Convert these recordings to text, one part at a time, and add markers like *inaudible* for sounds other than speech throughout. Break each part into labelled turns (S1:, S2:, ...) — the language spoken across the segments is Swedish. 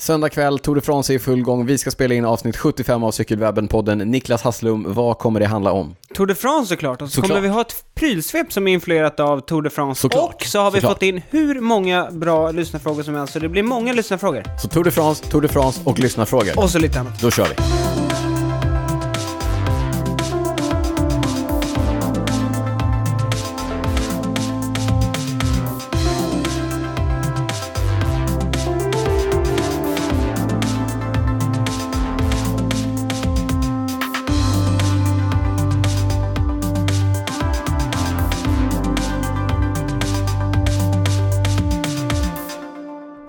S1: Söndag kväll, Tour de France är i full gång. Vi ska spela in avsnitt 75 av Cykelwebben-podden. Niklas Hasslum, vad kommer det handla om?
S2: Tour de France såklart. Och så
S1: Såklart.
S2: kommer vi ha ett prylsvep som är influerat av Tour de France.
S1: Såklart.
S2: Och så har vi
S1: Såklart.
S2: fått in hur många bra lyssnarfrågor som helst. Så det blir många lyssnarfrågor.
S1: Så Tour de France, Tour de France och lyssnarfrågor.
S2: Och så lite annat.
S1: Då kör vi.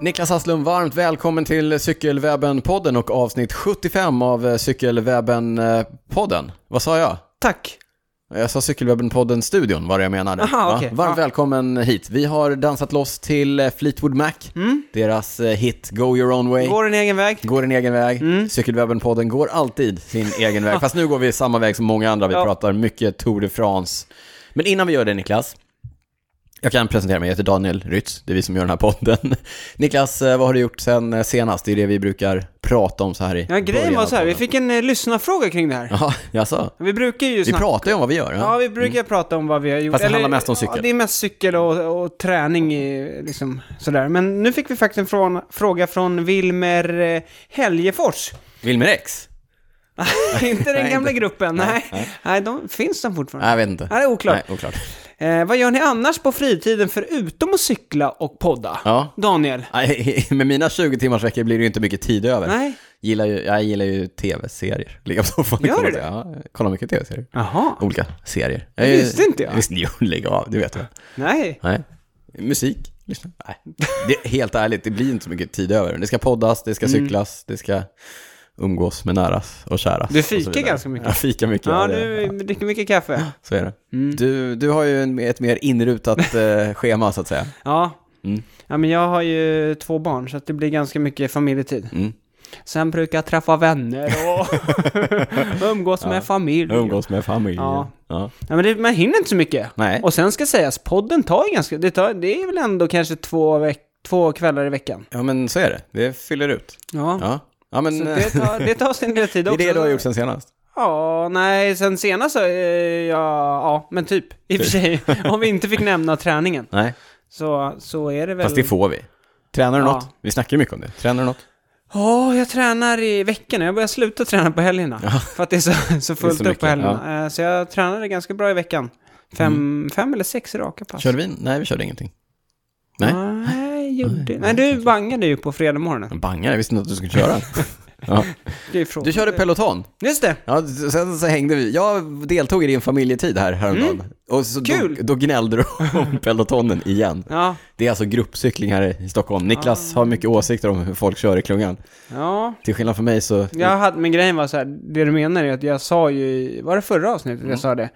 S1: Niklas Hasslum, varmt välkommen till Cykelwebben-podden och avsnitt 75 av eh, Cykelwebben-podden. Vad sa jag?
S2: Tack.
S1: Jag sa Cykelwebben-podden-studion, var det jag menade.
S2: Aha,
S1: Ja,
S2: okej.
S1: Varmt
S2: Ja.
S1: välkommen hit. Vi har dansat loss till eh, Fleetwood Mac,
S2: Mm.
S1: deras eh, hit Go Your Own Way. Går,
S2: Går en egen väg.
S1: en egen väg.
S2: Mm.
S1: Cykelwebben-podden går alltid sin egen väg. Fast nu går vi samma väg som många andra. Vi
S2: Ja.
S1: pratar mycket Tour de France. Men innan vi gör det, Niklas. Jag kan presentera mig. Jag heter Daniel Rytz. Det är vi som gör den här podden. *laughs* Niklas, eh, vad har du gjort sen eh, senast? Det är det vi brukar prata om så här i
S2: Ja, grejen
S1: början
S2: var
S1: av
S2: så här. Vi
S1: podden.
S2: fick en eh, lyssnarfråga kring det här.
S1: Ja, jaså?
S2: Vi brukar ju
S1: Vi
S2: snacka...
S1: pratar ju om vad vi gör. ja.
S2: Ja, vi brukar prata om vad vi har gjort.
S1: Fast det handlar mest om cykel.
S2: Ja, det är mest cykel och, och träning eh, liksom sådär. Men nu fick vi faktiskt en från, fråga från Wilmer eh, Helgefors. *laughs*
S1: Wilmer X?
S2: inte den
S1: Nej,
S2: gamla
S1: inte.
S2: gruppen,
S1: Nej,
S2: nej.
S1: nej.
S2: Nej, de, finns de fortfarande?
S1: Nej, jag vet inte.
S2: Nej, det är oklart.
S1: Nej, oklart.
S2: Eh, vad gör ni annars på fritiden förutom att cykla och podda?
S1: Ja.
S2: Daniel?
S1: Nej, *laughs* Med mina 20 timmars veckor blir det ju inte mycket tid över.
S2: Nej?
S1: Gillar ju, jag gillar ju tv-serier. *laughs* Ligga på soffan och
S2: Gör
S1: kolla
S2: du det?
S1: Ja, jag kollar mycket tv-serier.
S2: Jaha.
S1: Olika serier.
S2: Det visste inte jag.
S1: Visst, *laughs* jo, lägg av, det vet jag.
S2: Nej.
S1: Nej. Musik, lyssna. Nej. Det, helt ärligt, det blir inte så mycket tid över. Det ska poddas, det
S2: Mm.
S1: ska cyklas, det ska umgås med näras och käras.
S2: Du
S1: och så
S2: fikar
S1: vidare.
S2: ganska
S1: *laughs*
S2: mycket.
S1: Jag fikar mycket.
S2: Ja, Mm.
S1: det-
S2: du dricker mycket kaffe.
S1: Så är det. Du, du har ju en, ett mer
S2: *laughs*
S1: inrutat eh, schema, så att säga.
S2: Ja.
S1: Mm.
S2: Ja, men jag har ju två barn, så att det blir ganska mycket familjetid.
S1: Mm.
S2: Sen brukar jag träffa vänner
S1: *laughs*
S2: och umgås med familj.
S1: Umgås med familjen.
S2: Ja.
S1: Ja.
S2: Ja, men det, man hinner inte så mycket.
S1: Nej.
S2: Och sen ska sägas, podden tar ju ganska... Det, tar, det är väl ändå kanske två, veck, två kvällar i veckan.
S1: Ja, men så är det. Det fyller ut.
S2: Ja.
S1: Ja, ja men
S2: Så
S1: eh,
S2: det tar, det tar sin lilla
S1: *laughs*
S2: tid
S1: det är
S2: också.
S1: det du har gjort sen senast.
S2: Ja, nej, sen senast så, eh, ja, ja, men typ. I och för
S1: *laughs*
S2: sig, om vi inte fick nämna träningen,
S1: Nej,
S2: så, så är det väl...
S1: fast det får vi. Tränar du
S2: Ja.
S1: något? Vi snackar ju mycket om det. Tränar du något?
S2: Ja, jag tränar i veckorna. Jag börjar sluta träna på helgerna. För att det är så, så fullt upp
S1: mycket,
S2: på helgerna. Eh, Så jag tränade ganska bra i veckan. Fem,
S1: Mm.
S2: fem eller sex raka pass.
S1: Körde vi? Nej, vi körde ingenting. Nej.
S2: Nej, gjorde... nej, du bangade ju på fredag morgonen.
S1: Men Bangar, jag visste inte att du skulle *laughs* köra. ja.
S2: Det är ju frågan.
S1: Du körde peloton.
S2: Just det!
S1: Ja, sen så hängde vi. Jag deltog i din familjetid här häromdagen. Och så
S2: Kul!
S1: Då, då gnällde du *laughs* om pelotonen igen.
S2: Ja,
S1: Det är alltså gruppcykling här i Stockholm. Niklas har mycket åsikter om hur folk kör i klungan.
S2: ja.
S1: Till skillnad från mig så...
S2: Typ. Jag hade, men grejen var så här, det du menar är att jag sa ju, i- var det förra avsnittet
S1: Mm.
S2: jag sa det?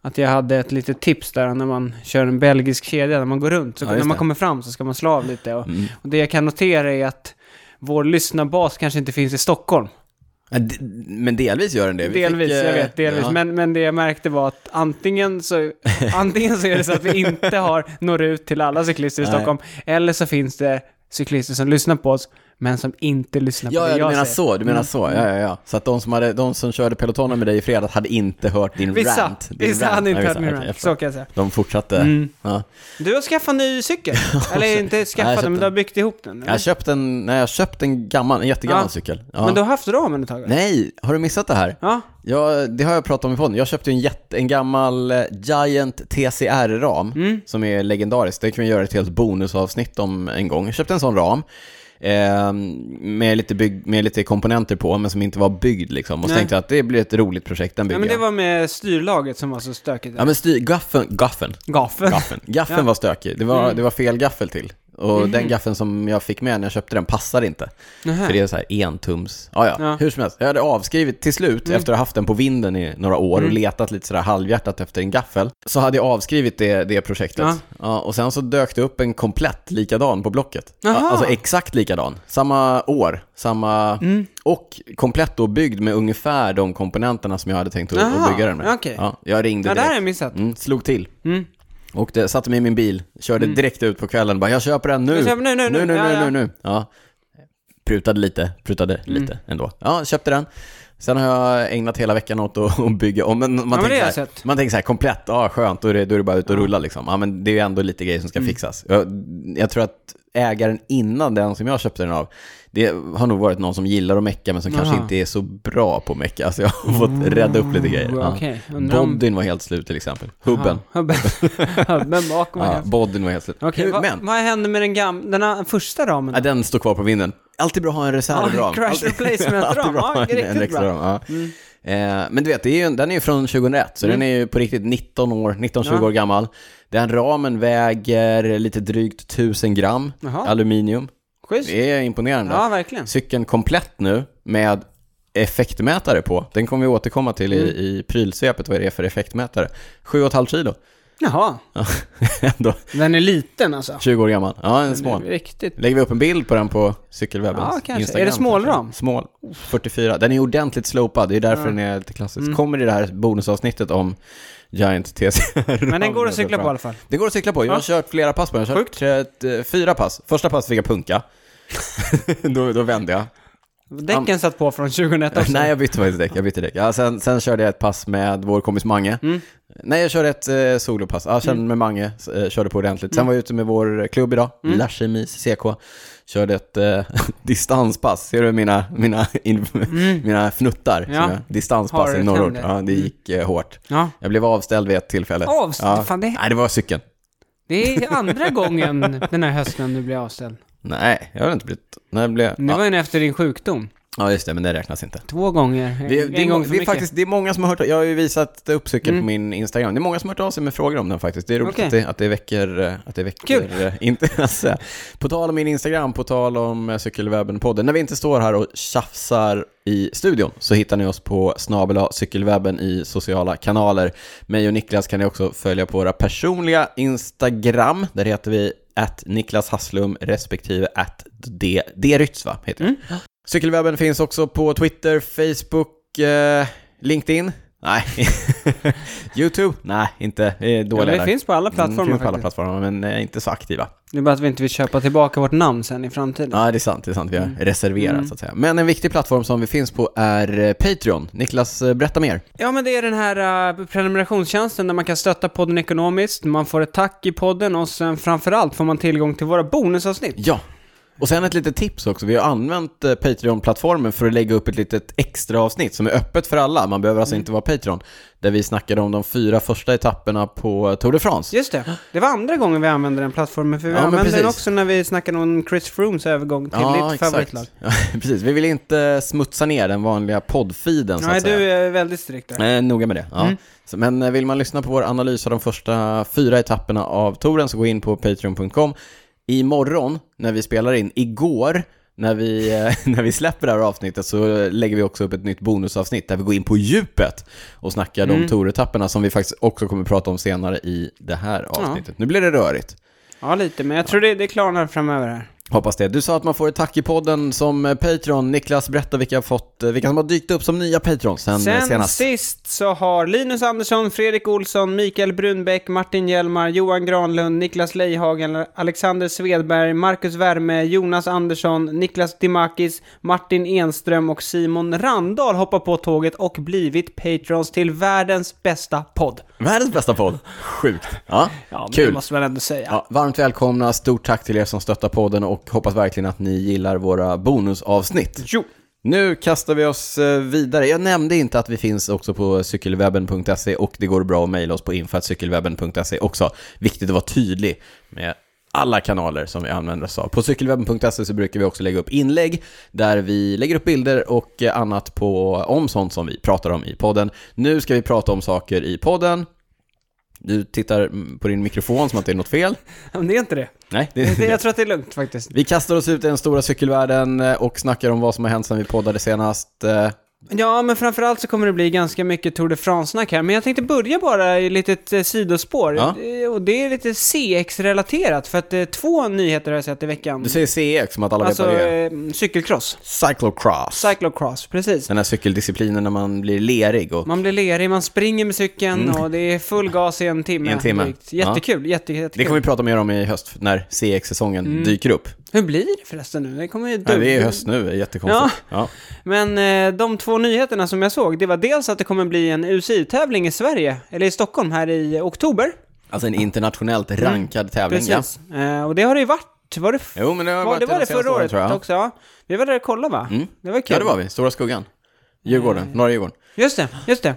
S2: Att jag hade ett litet tips där när man kör en belgisk kedja, när man går runt, så
S1: Ja, just
S2: när man
S1: det. Mm.
S2: kommer fram så ska man slå av lite. Och, och det jag kan notera är att vår lyssnarbas kanske inte finns i Stockholm.
S1: Ja, d- Men delvis gör den det. Vi
S2: Delvis,
S1: fick, eh,
S2: jag vet, delvis.
S1: ja.
S2: Men, men det jag märkte var att
S1: *laughs*
S2: antingen så, antingen så är det så att vi inte har når ut till alla cyklister i
S1: Nej.
S2: Stockholm, eller så finns det cyklister som lyssnar på oss, men som inte lyssnar på
S1: Ja,
S2: det
S1: ja, du
S2: jag Mm.
S1: menar
S2: säger.
S1: så, du menar så, ja, ja, ja. Så att de som, hade, de som körde pelotonen med dig i fredags hade inte hört din
S2: Vissa,
S1: rant? din
S2: vissa hade inte
S1: Ja,
S2: hört min
S1: okej, jag
S2: rant,
S1: förstår.
S2: så Mm. kan jag säga.
S1: De fortsatte. Ja.
S2: Du har skaffat
S1: *laughs*
S2: ny cykel. Eller inte
S1: jag
S2: skaffat
S1: köpte
S2: den, men du har byggt ihop den. eller?
S1: Jag köpte en, nej, jag köpte en gammal, en jättegammal
S2: Ja.
S1: cykel. Ja.
S2: Men du har haft ramen ett tag? va?
S1: Nej, har du missat det här?
S2: Ja.
S1: Ja, det har jag pratat om i podden. Jag köpte ju en, jätte, en gammal eh, Giant TCR-ram
S2: Mm.
S1: som är legendarisk. Det kan vi göra ett helt bonusavsnitt om en gång. Jag köpte en sån ram eh, med, lite bygg, med lite komponenter på, men som inte var byggd liksom. Och så
S2: Nej.
S1: tänkte jag att det blir ett roligt projekt, den
S2: ja,
S1: bygger
S2: men det
S1: jag.
S2: var med styrlaget som var så stökigt.
S1: Ja men styr, gaffen, gaffen, *laughs*
S2: Gafen.
S1: gaffen, gaffen var stökig. Det var,
S2: Mm.
S1: det var fel gaffel till. Och den gaffeln som jag fick med när jag köpte den passar inte.
S2: Nähä.
S1: För det är så här entums, ja, ja
S2: Ja. Mm.
S1: hur som helst. Jag hade avskrivit till slut, efter att ha haft den på vinden i några år och letat lite sådär halvhjärtat efter en gaffel, så hade jag avskrivit det, det projektet. Ja.
S2: Ja.
S1: och sen så dök det upp en komplett likadan på Blocket.
S2: Jaha.
S1: Ja, Alltså exakt likadan. Samma år, samma...
S2: Mm.
S1: Och komplett då byggd med ungefär de komponenterna som jag hade tänkt att, att
S2: Jaha,
S1: bygga den med.
S2: okej.
S1: Ja, jag ringde
S2: Ja, det här
S1: direkt.
S2: har jag missat.
S1: Mm, slog till. Och det, satte mig i min bil, körde direkt ut på kvällen bara jag köper den nu.
S2: Jag köper nu, nu,
S1: nu,
S2: nu,
S1: nu,
S2: ja,
S1: nu,
S2: ja.
S1: nu, nu. Ja. prutade lite, prutade lite ändå. Ja, köpte den. Sen har jag ägnat hela veckan åt att att bygga om. Men man,
S2: men det har
S1: tänker,
S2: jag
S1: så här,
S2: sett.
S1: man tänker så här, komplett, ja skönt, då är det, då är det bara ut och rulla liksom. Ja, men det är ju ändå lite grejer som ska fixas. Jag, jag tror att ägaren innan den som jag köpte den av, det har nog varit någon som gillar att mecka men som kanske
S2: Aha.
S1: inte är så bra på att mecka. Så jag har fått rädda upp lite grejer. Ja.
S2: Okej, undrar om-
S1: Bodyn var helt slut till exempel. Hubben. *laughs*
S2: Ja, Hubben. Hubben bakom
S1: Ja,
S2: ja.
S1: bodyn var helt slut.
S2: Oh Okej,
S1: Hur-
S2: vad,
S1: men,
S2: vad hände med den gamla, den här första ramen?
S1: ja, den står kvar på vinden. Alltid bra att ha en reservram.
S2: Ja, crash
S1: Alltid-
S2: replacement-ram.
S1: *laughs* alltid bra
S2: Ja,
S1: att ha en-
S2: riktigt
S1: en extra
S2: bra. Mm.
S1: ram, ja. Eh, Men du vet, det är ju, en- den är ju från 2001, så den är ju på riktigt 19 år, 19-20
S2: Ja.
S1: år gammal. Den ramen väger lite drygt 1000 gram
S2: Jaha.
S1: aluminium.
S2: Schysst.
S1: Det är imponerande.
S2: Ja, verkligen.
S1: Cykeln komplett nu med effektmätare på. Den kommer vi återkomma till i,
S2: Mm.
S1: i prylsvepet, vad det är för effektmätare. 7,5 kilo. *laughs*
S2: Jaha,
S1: Ja, Ändå
S2: den är liten alltså.
S1: 20 år gammal. Ja, en smål.
S2: Riktigt.
S1: Lägger vi upp en bild på den på cykelwebben?
S2: Ja, kanske. Är det smålram?
S1: Smål, 44. Den är ordentligt slopad, det är därför den är lite klassisk.
S2: Mm.
S1: Kommer i det här bonusavsnittet om Giant TC. *laughs*
S2: Men den går att cykla på i alla fall.
S1: Det går att cykla på, jag har
S2: Ja.
S1: kört flera pass på den. Jag har kört tre, eh, fyra pass. Första passet fick jag
S2: *laughs*
S1: punka. *laughs* då, då vände jag.
S2: Däcken satt på från 2001 också.
S1: Nej, jag bytte faktiskt däck. Jag bytte däck. Ja, sen, sen körde jag ett pass med vår kompis Mange.
S2: Mm.
S1: Nej, jag körde ett eh, solopass. Ja, kände med Mange, s- eh, körde på ordentligt. Sen
S2: Mm.
S1: var jag ute med vår klubb idag, mm. Larsemis CK. Körde ett eh, *laughs* distanspass. Ser du mina, mina, in, mina fnuttar?
S2: Mm. Ja.
S1: Som jag, distanspass
S2: Har
S1: i
S2: du
S1: norrort.
S2: tänder?
S1: Ja, det gick eh, hårt.
S2: Ja.
S1: Jag blev avställd vid ett tillfälle.
S2: Avställd?
S1: Ja.
S2: Fan, det-
S1: Nej, det var cykeln.
S2: Det är andra gången den här hösten du blir avställd.
S1: Nej, jag har inte blivit... Nej, det blev...
S2: Det
S1: ja.
S2: var ju efter din sjukdom.
S1: ja, just det, men det räknas inte.
S2: Två gånger.
S1: Det,
S2: en
S1: det, är,
S2: gång
S1: må- det, är
S2: för mycket. Mm.
S1: faktiskt, det är många som har hört Jag har ju visat upp cykeln på min Instagram. Det är många som har hört av sig med frågor om den faktiskt. Det är roligt
S2: Okej.
S1: att, det, att det väcker, eh, att det
S2: Kul.
S1: väcker eh, intresse. På tal om min Instagram, på tal om eh, Cykelwebben-podden. När vi inte står här och tjafsar i studion så hittar ni oss på snabel cykelwebben i sociala kanaler. Mig och Niklas kan ni också följa på våra personliga Instagram. Där heter vi att Niklas Hasslum respektive att Drytz va? Heter jag. Cykelwebben finns också på Twitter, Facebook, eh, LinkedIn.
S2: *laughs*
S1: Nej. YouTube? Nej, inte. Vi är
S2: Ja,
S1: dåliga
S2: det
S1: där.
S2: finns på alla
S1: Mm,
S2: plattformar
S1: finns på alla
S2: faktiskt.
S1: plattformar, men eh, inte så aktiva.
S2: Det är bara att vi inte vill köpa tillbaka vårt namn sen i framtiden.
S1: Ja, det är sant. Det är sant. Vi har
S2: Mm.
S1: reserverat, så att säga. Men en viktig plattform som vi finns på är eh, Patreon. Niklas, eh, berätta mer.
S2: Ja, men det är den här uh, prenumerationstjänsten där man kan stötta podden ekonomiskt, man får ett tack i podden och sen framförallt får man tillgång till våra bonusavsnitt.
S1: Ja. Och sen ett litet tips också. Vi har använt eh, Patreon-plattformen för att lägga upp ett litet extra avsnitt som är öppet för alla. Man behöver
S2: Mm.
S1: alltså inte vara Patreon. Där vi snackade om de fyra första etapperna på Tour de France.
S2: Just det, det var andra gången vi använde den plattformen, för vi
S1: Ja, men
S2: använde den
S1: precis.
S2: också när vi snackade om Chris Froomes övergång till ditt
S1: exakt.
S2: favoritlag.
S1: *laughs* Ja, precis. Vi vill inte smutsa ner den vanliga poddfiden så
S2: Nej,
S1: att säga.
S2: du är Mm. väldigt strikt där.
S1: Eh, noga med det. Ja. Så, men eh, vill man lyssna på vår analys av de första fyra etapperna av touren så gå in på patreon.com. Imorgon, när vi spelar in, igår, när vi, eh, *laughs* när vi släpper det här avsnittet så eh, lägger vi också upp ett nytt bonusavsnitt där vi går in på djupet och snackar
S2: Mm.
S1: om touretapperna som vi faktiskt också kommer prata om senare i det här avsnittet. Nu blir det rörigt.
S2: Ja, lite, men jag tror det, det klarnar framöver här.
S1: Hoppas det. Du sa att man får ett tack i podden som eh, Patreon. Niklas, berätta vilka, har fått, eh, vilka som har dykt upp som nya Patreons sen, eh,
S2: Sen
S1: senast.
S2: sist så har Linus Andersson, Fredrik Olsson, Mikael Brunbäck, Martin Hjelmar, Johan Granlund, Niklas Leihagen, Alexander Svedberg, Marcus Värme, Jonas Andersson, Niklas Dimakis, Martin Enström och Simon Randahl hoppat på tåget och blivit patrons till världens bästa podd.
S1: Världens bästa podd. Sjukt. Ja,
S2: det
S1: kul.
S2: måste man ändå säga.
S1: Ja, varmt välkomna, stort tack till er som stöttar podden och hoppas verkligen att ni gillar våra bonusavsnitt.
S2: Jo.
S1: Nu kastar vi oss eh, vidare. Jag nämnde inte att vi finns också på cykelwebben.se och det går bra att mejla oss på info.cykelwebben.se också. Viktigt att vara tydlig med alla kanaler som vi använder oss av. På cykelwebben.se så brukar vi också lägga upp inlägg där vi lägger upp bilder och eh, annat på, om sånt som vi pratar om i podden. Nu ska vi prata om saker i podden. Du tittar mm, på din mikrofon som att det är något fel.
S2: Men det är inte det.
S1: Nej, det
S2: Det- Jag tror att det är lugnt faktiskt.
S1: Vi kastar oss ut i den stora cykelvärlden eh, och snackar om vad som har hänt sedan vi poddade senast. Eh,
S2: Ja, men framförallt så kommer det bli ganska mycket Tour de France-snack här. Men jag tänkte börja bara i ett litet eh, sidospår.
S1: Ja.
S2: Eh, Och det är lite CX-relaterat, för att eh, två nyheter har jag sett i veckan.
S1: Du säger CX som att alla
S2: alltså,
S1: vet vad det är.
S2: eh, cykelcross.
S1: Cyclocross.
S2: Cyclocross, precis.
S1: den här cykeldisciplinen när man blir lerig och...
S2: Man blir lerig, man springer med cykeln och det är full gas i en timme.
S1: Mm. En timme.
S2: drygt. Jättekul, jätte, jättekul. Mm.
S1: Det kommer vi prata mer om i höst när CX-säsongen dyker upp.
S2: Hur blir det förresten nu? Det kommer ju
S1: Nej, det är
S2: dubbel-
S1: höst nu, det är jättekonstigt. Ja.
S2: Men eh, de två nyheterna som jag såg, det var dels att det kommer bli en UCI-tävling i Sverige, eller i Stockholm här i oktober.
S1: Alltså en internationellt rankad tävling,
S2: Mm. Precis. Eh, och det har det ju varit. Var det, f-
S1: ja. Jo, men det har
S2: var,
S1: varit
S2: det, var det
S1: de senaste
S2: förra
S1: åren,
S2: året
S1: tror jag.
S2: också? Ja. Vi var där och kollade va?
S1: Mm.
S2: Det var kul.
S1: Ja, det var vi. Stora Skuggan. Djurgården,
S2: Mm.
S1: norra Djurgården.
S2: Just det, just det.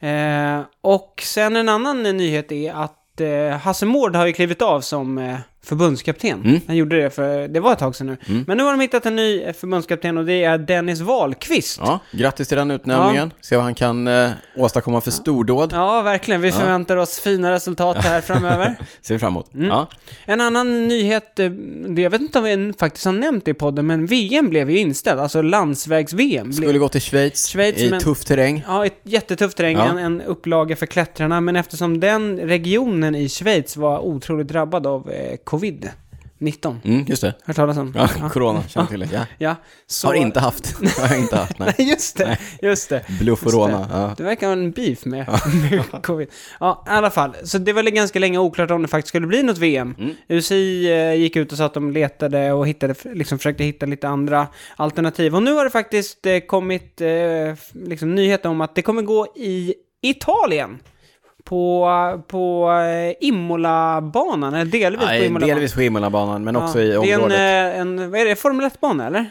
S1: Mm.
S2: Eh, och sen en annan nyhet är att eh, Hasse Mård har ju klivit av som eh, förbundskapten.
S1: Mm.
S2: Han gjorde det för, det var ett tag sedan nu. Men nu har de hittat en ny eh, förbundskapten och det är Dennis Wahlqvist.
S1: Ja, grattis till den utnämningen. Se vad han kan eh, åstadkomma för stordåd.
S2: Ja, verkligen. Vi förväntar oss
S1: *laughs*
S2: fina resultat här framöver.
S1: Ser vi fram emot.
S2: Mm.
S1: Ja.
S2: En annan nyhet, eh, det- jag vet inte om vi faktiskt har nämnt det i podden, men VM blev ju inställt. Alltså landsvägs-VM. Blev...
S1: Skulle gå till Schweiz,
S2: Schweiz,
S1: i
S2: men-
S1: tuff terräng.
S2: Ja, ett jättetufft terräng,
S1: Ja.
S2: en, en upplaga för klättrarna, men eftersom den regionen i Schweiz var otroligt drabbad av eh, covid-19,
S1: Mm, just det.
S2: hört talas om?
S1: Ja, corona, känner till det. Ja.
S2: Ja, så...
S1: Har inte haft. Har inte haft, nej.
S2: Nej, *laughs* just det, just det.
S1: Blufforona.
S2: Just
S1: Ja.
S2: Det verkar vara en beef med, *laughs* med covid. Ja, i alla fall. Så det var väl ganska länge oklart om det faktiskt skulle bli något VM.
S1: Mm.
S2: UCI eh, gick ut och sa att de letade och hittade, liksom försökte hitta lite andra alternativ. Och nu har det faktiskt eh, kommit eh, f- liksom, nyheter om att det kommer gå i Italien. På, på eh, Imola-banan, eller delvis på
S1: Nej,
S2: Imola-banan.
S1: delvis på Imola-banan, men också i
S2: det är en,
S1: området.
S2: eh, en, vad är det, Formel 1-bana eller?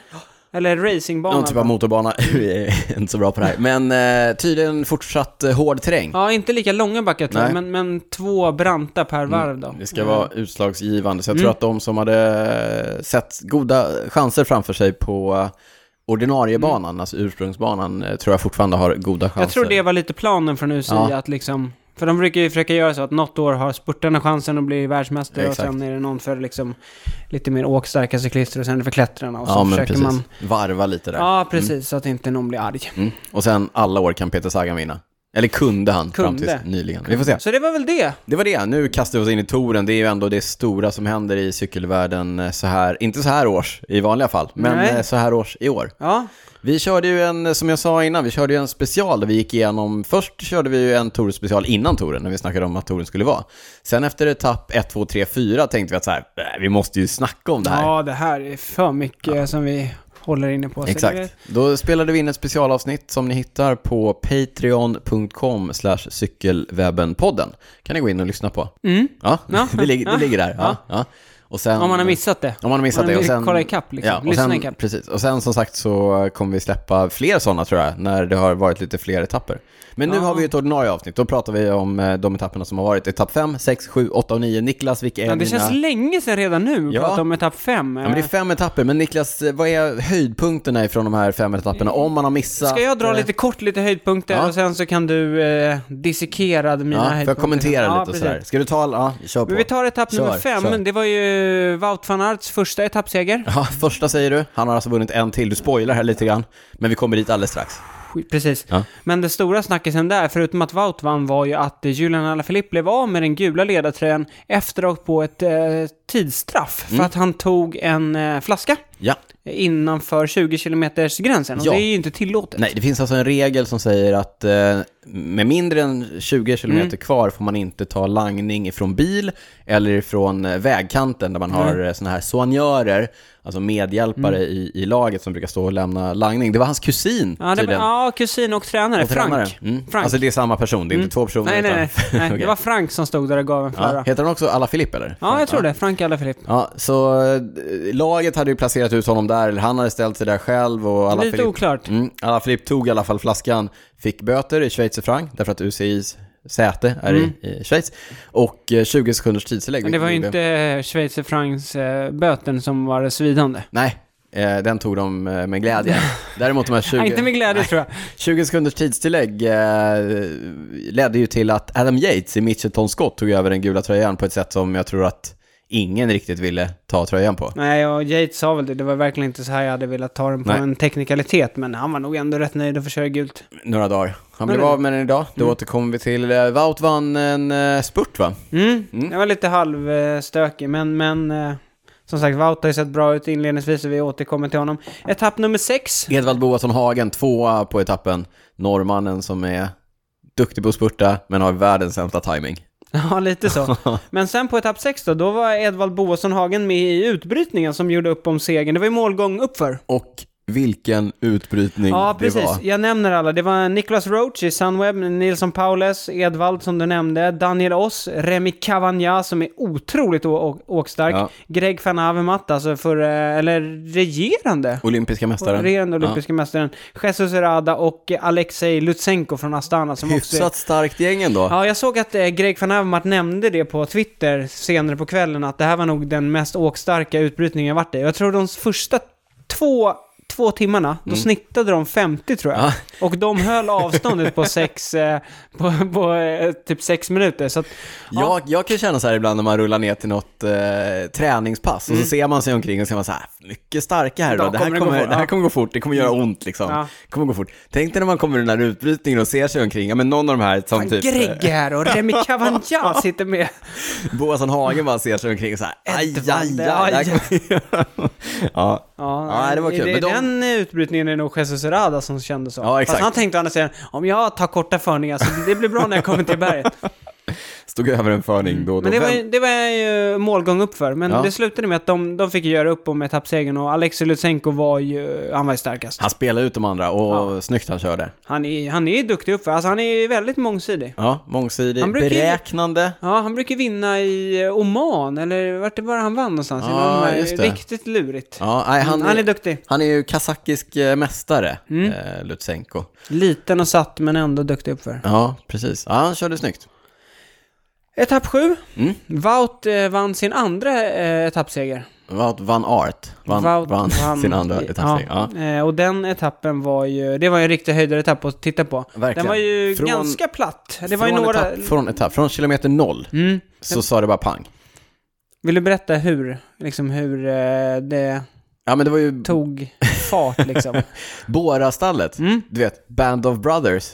S2: Eller racingbana?
S1: Någon typ av motorbana. *laughs* Vi är inte så bra på det här. Men eh, tydligen fortsatt eh, hård terräng.
S2: Ja, inte lika långa backar tror jag,
S1: Nej.
S2: men, men två branta per varv då.
S1: Det ska vara
S2: Mm.
S1: utslagsgivande. Så jag tror att de som hade eh, sett goda chanser framför sig på eh, ordinarie banan, alltså ursprungsbanan, eh, tror jag fortfarande har goda chanser.
S2: Mm. jag tror det var lite planen från UCI
S1: Ja.
S2: att liksom... För de brukar ju försöka göra så att något år har spurtarna chansen att bli världsmästare
S1: Ja,
S2: och
S1: exakt.
S2: sen är det någon för liksom lite mer åkstarka cyklister och sen är det för klättrarna och så
S1: Ja, men
S2: försöker
S1: precis.
S2: man...
S1: Varva lite där.
S2: Ja, precis. Så att inte någon blir arg.
S1: Mm. Och sen alla år kan Peter Sagan vinna. Eller kunde han fram
S2: Kunde.
S1: tills nyligen. Vi får se.
S2: Så det var väl det.
S1: Det var det. Nu kastar vi oss in i touren. Det är ju ändå det stora som händer i cykelvärlden eh, så här, inte så här års i vanliga fall, men
S2: Nej.
S1: eh, så här års i år.
S2: Ja,
S1: Vi körde ju en, som jag sa innan, vi körde ju en special där vi gick igenom, först körde vi ju en Tour-special innan touren, när vi snackade om att touren skulle vara. Sen efter etapp 1, 2, 3, 4 tänkte vi att så här, "Äh, vi måste ju snacka om det här.
S2: ja det här är för mycket som vi håller inne på. Så det-
S1: Exakt. Då spelade vi in ett specialavsnitt som ni hittar på patreon.com slash cykelwebbenpodden. kan ni gå in och lyssna på.
S2: Mm.
S1: Ja,
S2: Ja.
S1: *laughs* Det, ligger,
S2: Ja.
S1: det ligger där. Ja. Ja. Och sen,
S2: Om man har missat det.
S1: Om man har missat
S2: Man
S1: det. Och
S2: vill
S1: sen,
S2: kolla ikapp, liksom.
S1: och
S2: Lyssna
S1: sen,
S2: ikapp.
S1: Precis. Och sen som sagt så kommer vi släppa fler sådana tror jag, när det har varit lite fler etapper. Men nu
S2: Ja.
S1: har vi ett ordinarie avsnitt. Då pratar vi om eh, de etapperna som har varit. Etapp 5, 6, 7, 8 och 9. Niklas, vilka är
S2: Ja, det
S1: dina...
S2: känns länge sedan redan nu,
S1: Ja.
S2: prata om etapp fem.
S1: Ja, men det är fem etapper, men Niklas, eh, vad är höjdpunkterna ifrån de här fem etapperna? Om man har missat...
S2: Mm. Ska jag dra
S1: eh,
S2: lite kort, lite höjdpunkter
S1: Ja.
S2: och sen så kan du eh, dissekera mina
S1: Ja, får
S2: höjdpunkter.
S1: jag kommentera
S2: Ja,
S1: lite och
S2: precis.
S1: sådär? Ska du ta alla? Ja, kör på.
S2: Men vi tar etapp nummer
S1: Kör,
S2: fem,
S1: kör.
S2: det var ju Wout van Aerts första etappseger.
S1: Ja, första säger du. Han har alltså vunnit en till. Du spoilar här lite grann, men vi kommer dit alldeles strax.
S2: Skit, Precis.
S1: Ja.
S2: Men det stora snackisen där, förutom att Wout vann, var ju att eh, Julian Alaphilippe blev av med den gula ledartröjan efter att ha åkt på ett eh, tidsstraff
S1: Mm.
S2: för att han tog en eh, flaska
S1: Ja.
S2: innanför 20 km gränsen och
S1: Ja.
S2: det är ju inte tillåtet.
S1: Nej, det finns alltså en regel som säger att eh, med mindre än 20 km
S2: Mm.
S1: kvar får man inte ta langning ifrån bil eller ifrån eh, vägkanten där man har mm. sådana här soignörer, alltså medhjälpare i, i laget som brukar stå och lämna langning. Det var hans kusin
S2: Mm. Ja, det var,
S1: tydligen.
S2: ja, kusin och tränare,
S1: Och
S2: Frank.
S1: tränaren. Mm.
S2: Frank. Mm.
S1: Alltså det är samma person, det är inte två personer
S2: nej, nej, nej.
S1: utan...
S2: nej.
S1: *laughs*
S2: Det
S1: Okej.
S2: var Frank som stod där och gav en
S1: ja.
S2: flara. Ja,
S1: Heter han också Alla Filip eller?
S2: jag tror det. Frank Alaphilippe.
S1: Ja, så eh, laget hade ju placerat ut honom där, eller han hade ställt sig där själv och alla
S2: Lite oklart.
S1: Mm, alla Filip tog i alla fall flaskan, fick böter i schweizerfranc, därför att UCIs säte är i, i Schweiz, och eh, 20 sekunders tidstillägg.
S2: Mm. Men det var ju
S1: vilket gjorde-
S2: inte eh, Schweizer Franks eh, böten som var det svidande.
S1: Nej, eh, den tog de eh, med
S2: *laughs*
S1: glädje. Däremot de här 20...
S2: Nej, inte med glädje tror jag.
S1: 20 sekunders tidstillägg eh, ledde ju till att Adam Yates i Mitchelton Scott tog över den gula tröjan på ett sätt som jag tror att ingen riktigt ville ta tröjan på.
S2: Nej, och Yates sa väl det. Det var verkligen inte så här jag hade velat ta den på
S1: Nej.
S2: en teknikalitet. Men han var nog ändå rätt nöjd att få köra gult.
S1: Några dagar. Han blev
S2: Några
S1: av med den idag, då återkommer vi till... eh, Wout vann en eh, spurt va?
S2: Mm. Jag var lite halvstökig, men, men eh, som sagt, Wout har ju sett bra ut inledningsvis och vi återkommer till honom. Etapp nummer sex. *laughs*
S1: Edvald Boasson Hagen, tvåa på etappen. Norrmannen som är duktig på att spurta, men har världens sämsta timing.
S2: Ja, lite *laughs* så. Men sen på etapp 6 då, då var Edvald Boasson Hagen med i utbrytningen som gjorde upp om segern. Det var ju målgång uppför.
S1: Och vilken utbrytning
S2: Ja,
S1: det
S2: precis.
S1: var.
S2: Jag nämner alla. Det var Niklas Roach i Sunweb, Nilsson Paules, Edvald som du nämnde, Daniel Oss, Remi Cavagna som är otroligt å- å- åkstark,
S1: Ja.
S2: Greg van Avermaet, alltså för, eh, eller regerande.
S1: Olympiska mästaren.
S2: Regerande olympiska mästaren. Jesus Rada och eh, Alexej Lutsenko från Astana som
S1: Ja.
S2: också är
S1: Hyfsat starkt gäng ändå.
S2: Ja, jag såg att eh, Greg van Avermaet nämnde det på Twitter senare på kvällen, att det här var nog den mest åkstarka utbrytningen jag varit i. Jag tror de första två, två timmarna, då snittade de 50 tror jag.
S1: Mm. Ja.
S2: Och de höll
S1: *laughs*
S2: avståndet på sex, eh, på, på eh, typ sex minuter. Så att,
S1: Jag, jag kan känna så här ibland när man rullar ner till något eh, träningspass och så ser man sig omkring och ser man så här, mycket starka här idag, det
S2: Mm. Idag
S1: här kommer,
S2: kommer det gå
S1: det
S2: fort,
S1: här
S2: ja. Mm.
S1: kommer gå fort, det kommer göra ont liksom.
S2: Ja.
S1: Det kommer gå fort. Tänk dig när man kommer i den här utbrytningen och ser sig omkring, ja men någon av de här som typ
S2: Greg är här och
S1: *laughs*
S2: Remi Cavagna sitter med.
S1: Boasson Hagen eh, bara ser sig omkring och så här, aj, aj, aj,
S2: Edvard,
S1: det här
S2: aj.
S1: kommer- *laughs* ja. Ja, det var kul, men de-
S2: Den eh, utbrytningen är nog Jesus Rada som kände så.
S1: Ja, exakt.
S2: Fast han tänkte å andra sidan, om jag tar korta förningar så det blir bra när jag kommer till berget.
S1: Stod över en förning då och då.
S2: Men det var,
S1: Vem-
S2: ju- det var ju målgång upp för. Men
S1: Ja.
S2: det slutade med att de, de fick göra upp om etappsegern och Alexej Lutsenko var ju, han var ju starkast.
S1: Han spelade ut de andra och snyggt han körde.
S2: Han är, han är ju duktig uppför, alltså han är ju väldigt mångsidig.
S1: Ja, mångsidig,
S2: Han brukar ju-
S1: beräknande.
S2: Ja, han brukar vinna i Oman, eller vart det var han vann någonstans.
S1: Ja,
S2: Någon av de här-
S1: just det.
S2: Riktigt lurigt.
S1: Ja, nej, han,
S2: Mm, Han är duktig. Mm.
S1: Han är ju kazakisk eh, mästare, eh, Lutsenko.
S2: Liten och satt, men ändå duktig uppför.
S1: Ja, precis. Ja, han körde snyggt.
S2: Etapp 7.
S1: Mm.
S2: Wout eh, vann sin andra eh, etappseger.
S1: Wout van Art vann,
S2: Wout
S1: vann
S2: vann-
S1: sin andra etappsegern. Ja.
S2: Eh, Och den etappen var ju, det var ju en riktig höjdaretapp att titta på.
S1: Verkligen.
S2: Den var ju
S1: Från-
S2: ganska platt. Det var ju
S1: från,
S2: några...
S1: etapp, från etapp, från kilometer noll,
S2: Mm.
S1: så sa det bara pang.
S2: Vill du berätta hur, liksom hur eh, det
S1: Ja, men det var ju
S2: tog
S1: *laughs*
S2: fart liksom?
S1: Bårastallet,
S2: Mm.
S1: du vet, Band of Brothers.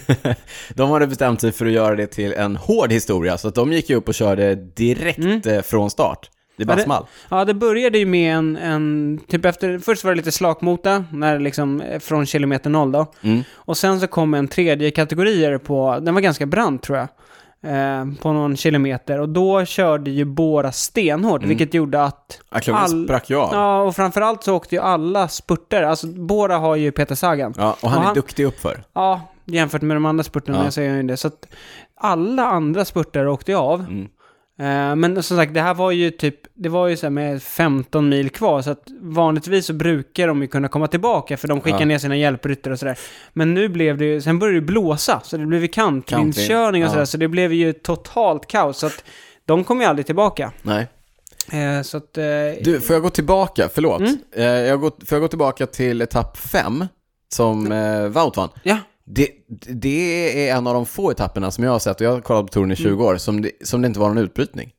S1: *laughs* de hade bestämt sig för att göra det till en hård historia, så att de gick ju upp och körde direkt eh, från start. Det bara
S2: det-
S1: small.
S2: Mm. Ja, det började ju med en, en typ efter, först var det lite slakmota, när liksom, eh, från kilometer noll då.
S1: Mm.
S2: Och sen så kom en tredje kategorier på, den var ganska brant tror jag, eh, på någon kilometer. Och då körde ju båda stenhårt,
S1: Mm.
S2: vilket gjorde att...
S1: Ja, klubben
S2: all-
S1: sprack ju av. Ja.
S2: Ja, och framförallt så åkte ju alla spurter. Alltså, båda har ju Peter Sagan.
S1: och han
S2: Och
S1: är
S2: han-
S1: duktig uppför.
S2: Ja, jämfört med de andra spurterna
S1: Ja.
S2: så är han ju det. Så att alla andra spurter åkte ju av.
S1: Mm.
S2: Eh, Men som sagt, det här var ju typ, det var ju så här med 15 mil kvar, så att vanligtvis så brukar de ju kunna komma tillbaka, för de skickar
S1: Ja.
S2: ner sina hjälpryttare och sådär. Men nu blev det ju, sen började det blåsa, så det blev ju kantvindskörning och
S1: Ja.
S2: sådär, så det blev ju totalt kaos. Så att de kom ju aldrig tillbaka.
S1: Nej.
S2: Eh, Så att... eh,
S1: Du, får jag gå tillbaka? Förlåt.
S2: Mm.
S1: Eh, jag går, får jag gå tillbaka till etapp 5, som eh, Wout vann?
S2: Ja.
S1: Det, det är en av de få etapperna som jag har sett, och jag har kollat på touren
S2: Mm.
S1: i 20 år, som det, som det inte var någon utbrytning.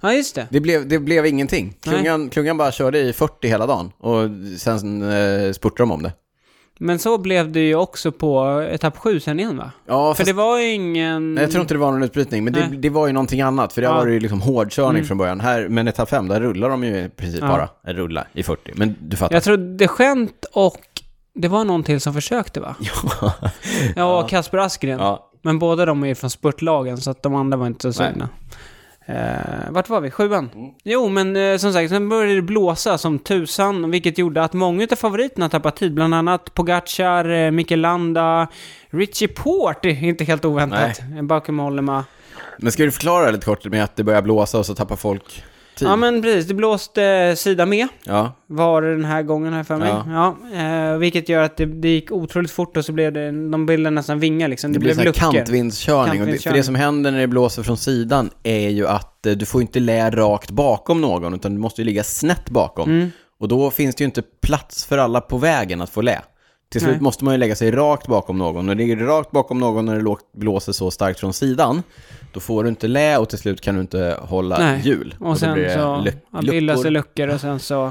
S2: ja, just det.
S1: Det blev, det blev ingenting.
S2: Nej.
S1: Klungan, klungan bara körde i 40 hela dagen och sen eh, spurtade de om det.
S2: Men så blev det ju också på etapp 7 sen igen va?
S1: Ja,
S2: För
S1: fast,
S2: det var ju ingen...
S1: Nej, jag tror inte det var någon utbrytning, men det,
S2: Nej.
S1: det var ju någonting annat. För det
S2: Ja. Mm.
S1: var ju liksom hårdkörning från början. Här, men etapp 5, där rullar de ju i princip
S2: Ja.
S1: bara. Eller Rulla i 40, men du fattar.
S2: Jag tror Degent och det var någon till som försökte va?
S1: Ja.
S2: Ja, och Kasper Askren.
S1: *laughs* ja.
S2: Men båda de är ju från spurtlagen så att de andra var inte så
S1: Nej. Mm.
S2: sugna. Eh, vart var vi? Sjuan? Jo, men eh, som sagt, sen började det blåsa som tusan, vilket gjorde att många av favoriterna tappade tid. Bland annat Pogacar, eh, Mikel Landa, Richie Port, inte helt oväntat, bakom Hollema.
S1: Men ska du förklara lite kort med att det börjar blåsa och så tappar folk tid?
S2: Ja, men precis. Det blåste eh, sida med.
S1: ja.
S2: var det den här gången här för mig. Ja.
S1: Ja.
S2: eh, vilket gör att det, det gick otroligt fort och så blev det, de bilderna nästan vingar liksom.
S1: Det,
S2: Det,
S1: blir
S2: blev
S1: sån här
S2: luckor.
S1: kantvindskörning. Och det, för
S2: Kantvindskörning.
S1: det som händer när det blåser från sidan är ju att eh, du får inte lä rakt bakom någon, utan du måste ju ligga snett bakom.
S2: Mm.
S1: Och då finns det ju inte plats för alla på vägen att få lä. Till slut
S2: Nej.
S1: måste man ju lägga sig rakt bakom någon. Och ligger du rakt bakom någon när det lågt- blåser så starkt från sidan, då får du inte lä och till slut kan du inte hålla
S2: Nej.
S1: hjul.
S2: Och
S1: då
S2: sen
S1: blir det
S2: så
S1: luck-
S2: ja, bildas det
S1: luckor.
S2: luckor och sen så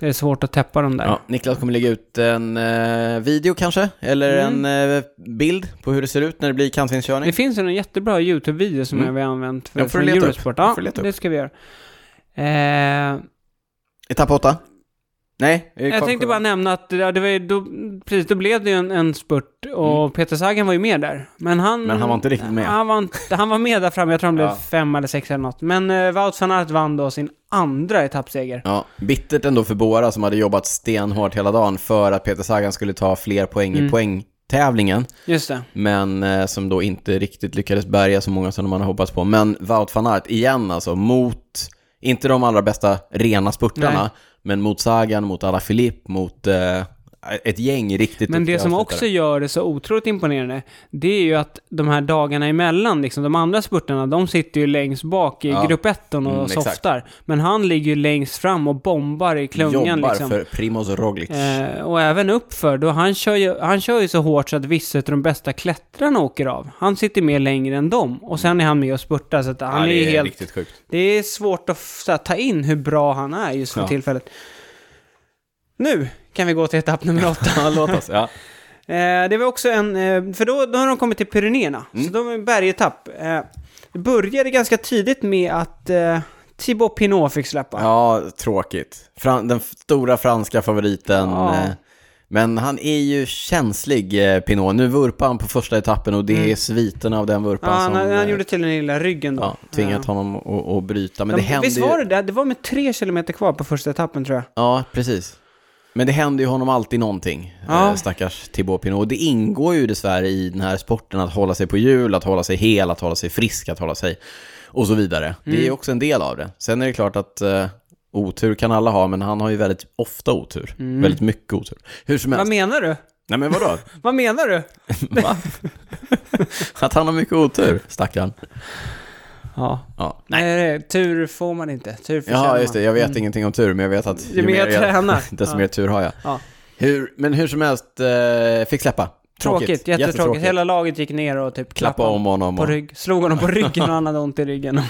S2: är det svårt att täppa dem där.
S1: Ja, Niklas kommer lägga ut en eh, video kanske, eller
S2: Mm.
S1: en eh, bild på hur det ser ut när det blir kantvindskörning.
S2: Det finns ju en jättebra YouTube-video som
S1: Mm.
S2: vi har använt för,
S1: Den får
S2: från
S1: du leta upp.
S2: Eurosport.
S1: Den
S2: Ja,
S1: får du leta upp.
S2: det ska vi göra. Eh,
S1: Etapp 8? Nej, eh,
S2: Jag
S1: Karlsjö-
S2: tänkte bara nämna att ja, det var, ju- då, precis, då blev det ju en, en spurt och Peter Sagan var ju med där. Men han,
S1: Mm. Men han var inte riktigt med.
S2: Han var, inte- han var med där framme, jag tror han blev
S1: Ja.
S2: fem eller sex eller något. Men eh, Wout van Aert vann då sin andra etappseger.
S1: Ja, bittert ändå för Bora som hade jobbat stenhårt hela dagen för att Peter Sagan skulle ta fler poäng
S2: Mm.
S1: i poängtävlingen.
S2: Just det.
S1: Men eh, som då inte riktigt lyckades bärga så många som man hade hoppats på. Men Wout van Aert igen alltså, mot, inte de allra bästa rena spurtarna,
S2: Nej.
S1: men mot Sagan, mot Alaphilippe, mot eh, ett gäng riktigt
S2: Men
S1: duktiga
S2: det som
S1: avslutare.
S2: också gör det så otroligt imponerande, det är ju att de här dagarna emellan, liksom, de andra spurtarna, de sitter ju längst bak i
S1: Ja.
S2: gruppettan och
S1: Mm, exakt.
S2: softar. Men han ligger ju längst fram och bombar i klungan
S1: Jobbar
S2: liksom.
S1: för Primoz Roglic.
S2: Eh, och även uppför, då han kör, ju, han kör ju så hårt så att vissa av de bästa klättrarna åker av. Han sitter med längre än dem och sen är han med och spurtar så att han
S1: Ja,
S2: är,
S1: det
S2: ju helt...
S1: riktigt sjukt.
S2: *laughs* Det är svårt att f- så här, ta in hur bra han är just för
S1: Ja.
S2: tillfället. Nu kan vi gå till etapp nummer åtta.
S1: Ja, låt oss. Ja.
S2: Eh, det var också en, eh, för då, då har de kommit till Pyrenéerna,
S1: Mm.
S2: så de är en bergetapp. Eh, det började ganska tidigt med att eh, Thibaut Pinot fick släppa.
S1: Ja, tråkigt. Fran- den f- stora franska favoriten.
S2: Ja.
S1: eh, Men han är ju känslig, eh, Pinot. Nu vurpar han på första etappen och det är sviten av den
S2: Mm. Ja,
S1: vurpan
S2: han,
S1: som
S2: han,
S1: eh,
S2: gjorde till den lilla ryggen då.
S1: ja, tvingat honom att, att bryta. Men det
S2: De-
S1: händer
S2: Visst var
S1: ju...
S2: det där? Det var med tre kilometer kvar på första etappen tror jag.
S1: Ja, precis. Men det händer ju honom alltid någonting,
S2: Ja.
S1: eh, stackars Thibaut Pinot. Och det ingår ju dessvärre i den här sporten att hålla sig på hjul, att hålla sig hel, att hålla sig frisk, att hålla sig och så vidare. Det är
S2: Mm.
S1: också en del av det. Sen är det klart att eh, otur kan alla ha, men han har ju väldigt ofta otur.
S2: Mm.
S1: Väldigt mycket otur. Hur som helst.
S2: Vad menar du?
S1: Nej men
S2: *laughs*
S1: vadå?
S2: Vad menar du?
S1: Va? att han har mycket otur, stackarn.
S2: Ja.
S1: Ja.
S2: Nej, nej, nej, tur får man inte. Tur förtjänar
S1: Ja, just det.
S2: man.
S1: Jag vet ingenting om tur, men jag vet att
S2: Ju Mm. mer jag tränar.
S1: *laughs* desto
S2: Ja.
S1: mer tur har jag.
S2: Ja.
S1: Hur, men hur som helst, eh, fick släppa.
S2: Tråkigt, jättetråkigt.
S1: jättetråkigt.
S2: Hela laget gick ner och typ
S1: Klappa
S2: klappade
S1: om honom.
S2: på
S1: Och...
S2: rygg, slog honom på ryggen och han hade ont i ryggen.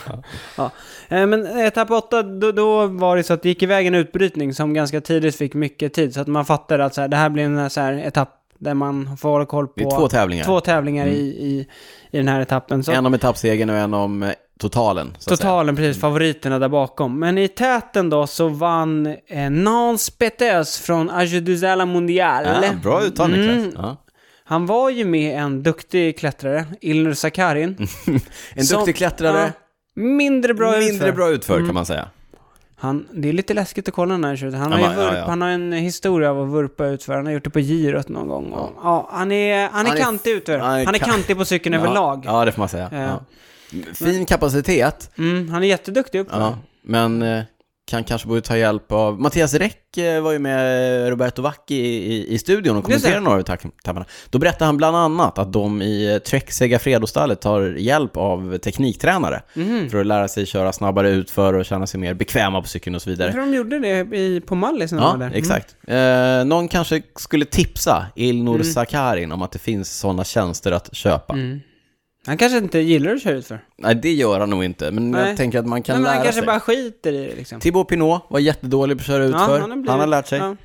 S2: Ja. Eh, Men etapp 8, då, då var det så att det gick iväg en utbrytning som ganska tidigt fick mycket tid. Så att man fattade att så här, det här blir en så här etapp där man får hålla koll på
S1: Det är två tävlingar. Mm.
S2: två tävlingar i, i, i den här etappen. Så att-
S1: En om etappsegern och en om eh, totalen. Så att säga.
S2: Totalen, precis. Favoriterna där bakom. Men i täten då så vann eh, Nance Petes från Ajuduzela Mundial.
S1: Ja, bra uttal Niklas.
S2: Mm.
S1: Ja.
S2: Han var ju med en duktig klättrare, Ilnur
S1: Mm.
S2: Sakarin.
S1: *laughs* En
S2: som-
S1: duktig klättrare, Mm.
S2: Ja, mindre bra
S1: mindre
S2: utför.
S1: bra utför kan man säga.
S2: Han, det är lite läskigt att kolla den här tjuren. Han,
S1: Ja,
S2: har ju
S1: men, ja,
S2: vurp-
S1: ja.
S2: han har en historia av att vurpa utför. Han har gjort det på girot någon gång. Och, ja, han är, han är
S1: Han är-
S2: kantig utför.
S1: han är
S2: Han är
S1: ka-
S2: kantig på cykeln överlag.
S1: Ja, ja, det får man säga.
S2: Eh.
S1: Ja. Fin kapacitet,
S2: Mm, han är jätteduktig uppför.
S1: ja. men eh, kan kanske borde ta hjälp av... Mattias Räck eh, var ju med Roberto Vacchi i, i, i studion och
S2: Just det.
S1: kommenterade några av tapparna. Då berättade han bland annat att de i eh, Trek Segafredo-stallet tar hjälp av tekniktränare för att lära sig köra snabbare utför och känna sig mer bekväma på cykeln och så vidare.
S2: Jag tror de gjorde det i, på Mallis när de
S1: Ja,
S2: var där. Mm. Mm.
S1: exakt. Eh, någon kanske skulle tipsa Ilnur Sakarin om att det finns sådana tjänster att köpa.
S2: Mm. Han kanske inte gillar att köra utför.
S1: Nej, det gör han nog inte, men
S2: Nej.
S1: jag tänker att man kan
S2: Nej, men han
S1: lära
S2: kanske
S1: sig.
S2: bara skiter i det liksom.
S1: Thibaut Pinot var jättedålig på att köra utför.
S2: har
S1: han,
S2: blivit-
S1: har lärt sig. Ja.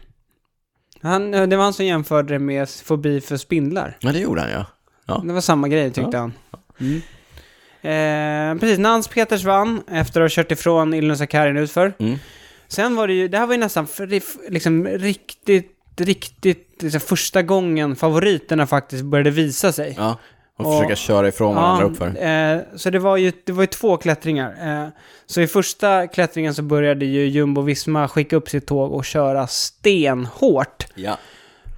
S2: ja. Han, eh, det var han som jämförde det med fobi för spindlar.
S1: det gjorde han ja. Ja.
S2: Det var samma grej tyckte han. Eh, precis, Nans Peters vann efter att ha kört ifrån Ilnur Sakarin utför.
S1: Mm.
S2: Sen var det ju, det här var ju nästan för, liksom riktigt, riktigt, liksom, första gången favoriterna faktiskt började visa sig.
S1: ja. Och,
S2: Och-
S1: försöka köra ifrån varandra uppför.
S2: eh, så det var ju, det var ju två klättringar. Eh, så i första klättringen så började ju Jumbo Visma skicka upp sitt tåg och köra stenhårt.
S1: Ja.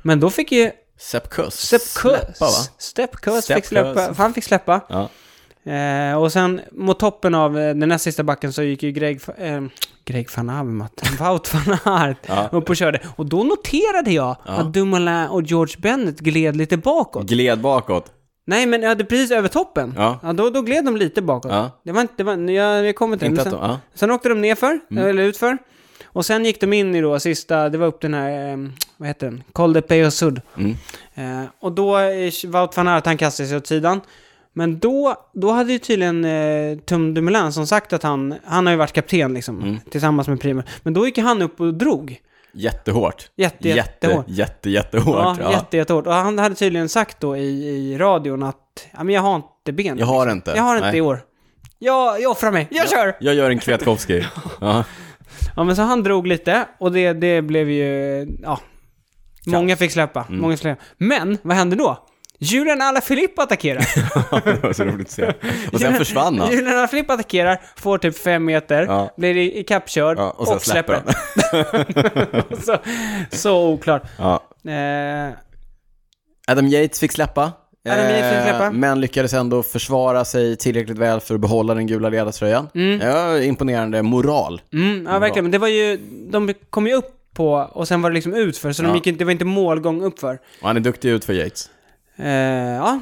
S2: Men då fick ju
S1: Sepkus. Släppa va?
S2: Stepkus Stepkus fick
S1: Stepkus.
S2: släppa, han fick släppa.
S1: Ja.
S2: Eh, och sen mot toppen av eh, den näst sista backen så gick ju Greg, eh, Greg van Avermaet, *laughs* Wout van Aert
S1: Ja.
S2: upp och körde. Och då noterade jag att Dumoulin och George Bennett gled lite bakåt.
S1: Gled bakåt.
S2: Nej, men jag hade precis över toppen.
S1: Mm. Ja.
S2: då, då gled de lite bakåt.
S1: Ja.
S2: Det var inte, det var, jag, jag kommer till det,
S1: Inte
S2: men
S1: att de,
S2: sen,
S1: ja.
S2: sen åkte de nerför,
S1: Mm.
S2: eller utför. Och sen gick de in i då sista, det var upp den här, eh, vad heter den? Col de Peo Sud.
S1: Mm.
S2: Eh, och då, eh, Wout van Aert, han kastade sig åt sidan. Men då, då hade ju tydligen eh, Tom Dumoulin som sagt att han, han har ju varit kapten liksom,
S1: Mm.
S2: tillsammans med Primo. Men då gick han upp och drog.
S1: Jättehårt.
S2: Jätte, jättehårt.
S1: Jätte, jätte, jättehårt. Ja,
S2: Ja, jätte, jättehårt. Och han hade tydligen sagt då i, i radion att ja, men jag har inte ben.
S1: Jag har inte.
S2: Jag har inte
S1: Nej.
S2: i år. Jag, jag offrar mig. Jag kör!
S1: Jag gör en Kwiatkowski. ja.
S2: *laughs* Ja, men så han drog lite och det, det blev ju... Ja. Många fick släppa.
S1: Mm.
S2: Många fick släppa. Men, vad hände då? Julian Alaphilippe
S1: *laughs*
S2: attackerar.
S1: det var så roligt att se. Och sen försvann han.
S2: Julian Alaphilippe attackerar, får typ fem meter,
S1: Ja.
S2: blir i- ikappkörd
S1: Ja,
S2: och,
S1: och sen
S2: släpper.
S1: släpper
S2: *laughs* så, så oklart.
S1: Ja.
S2: Eh,
S1: Adam Yates fick släppa.
S2: Adam Yates fick släppa.
S1: eh, Men lyckades ändå försvara sig tillräckligt väl för att behålla den gula ledartröjan. Ja, imponerande moral.
S2: Mm, ja, verkligen. Men det var ju, de kom ju upp på och sen var det liksom utför, så de
S1: Ja.
S2: gick inte, det var inte målgång uppför.
S1: Och han är duktig ut för Yates.
S2: Eh, ja,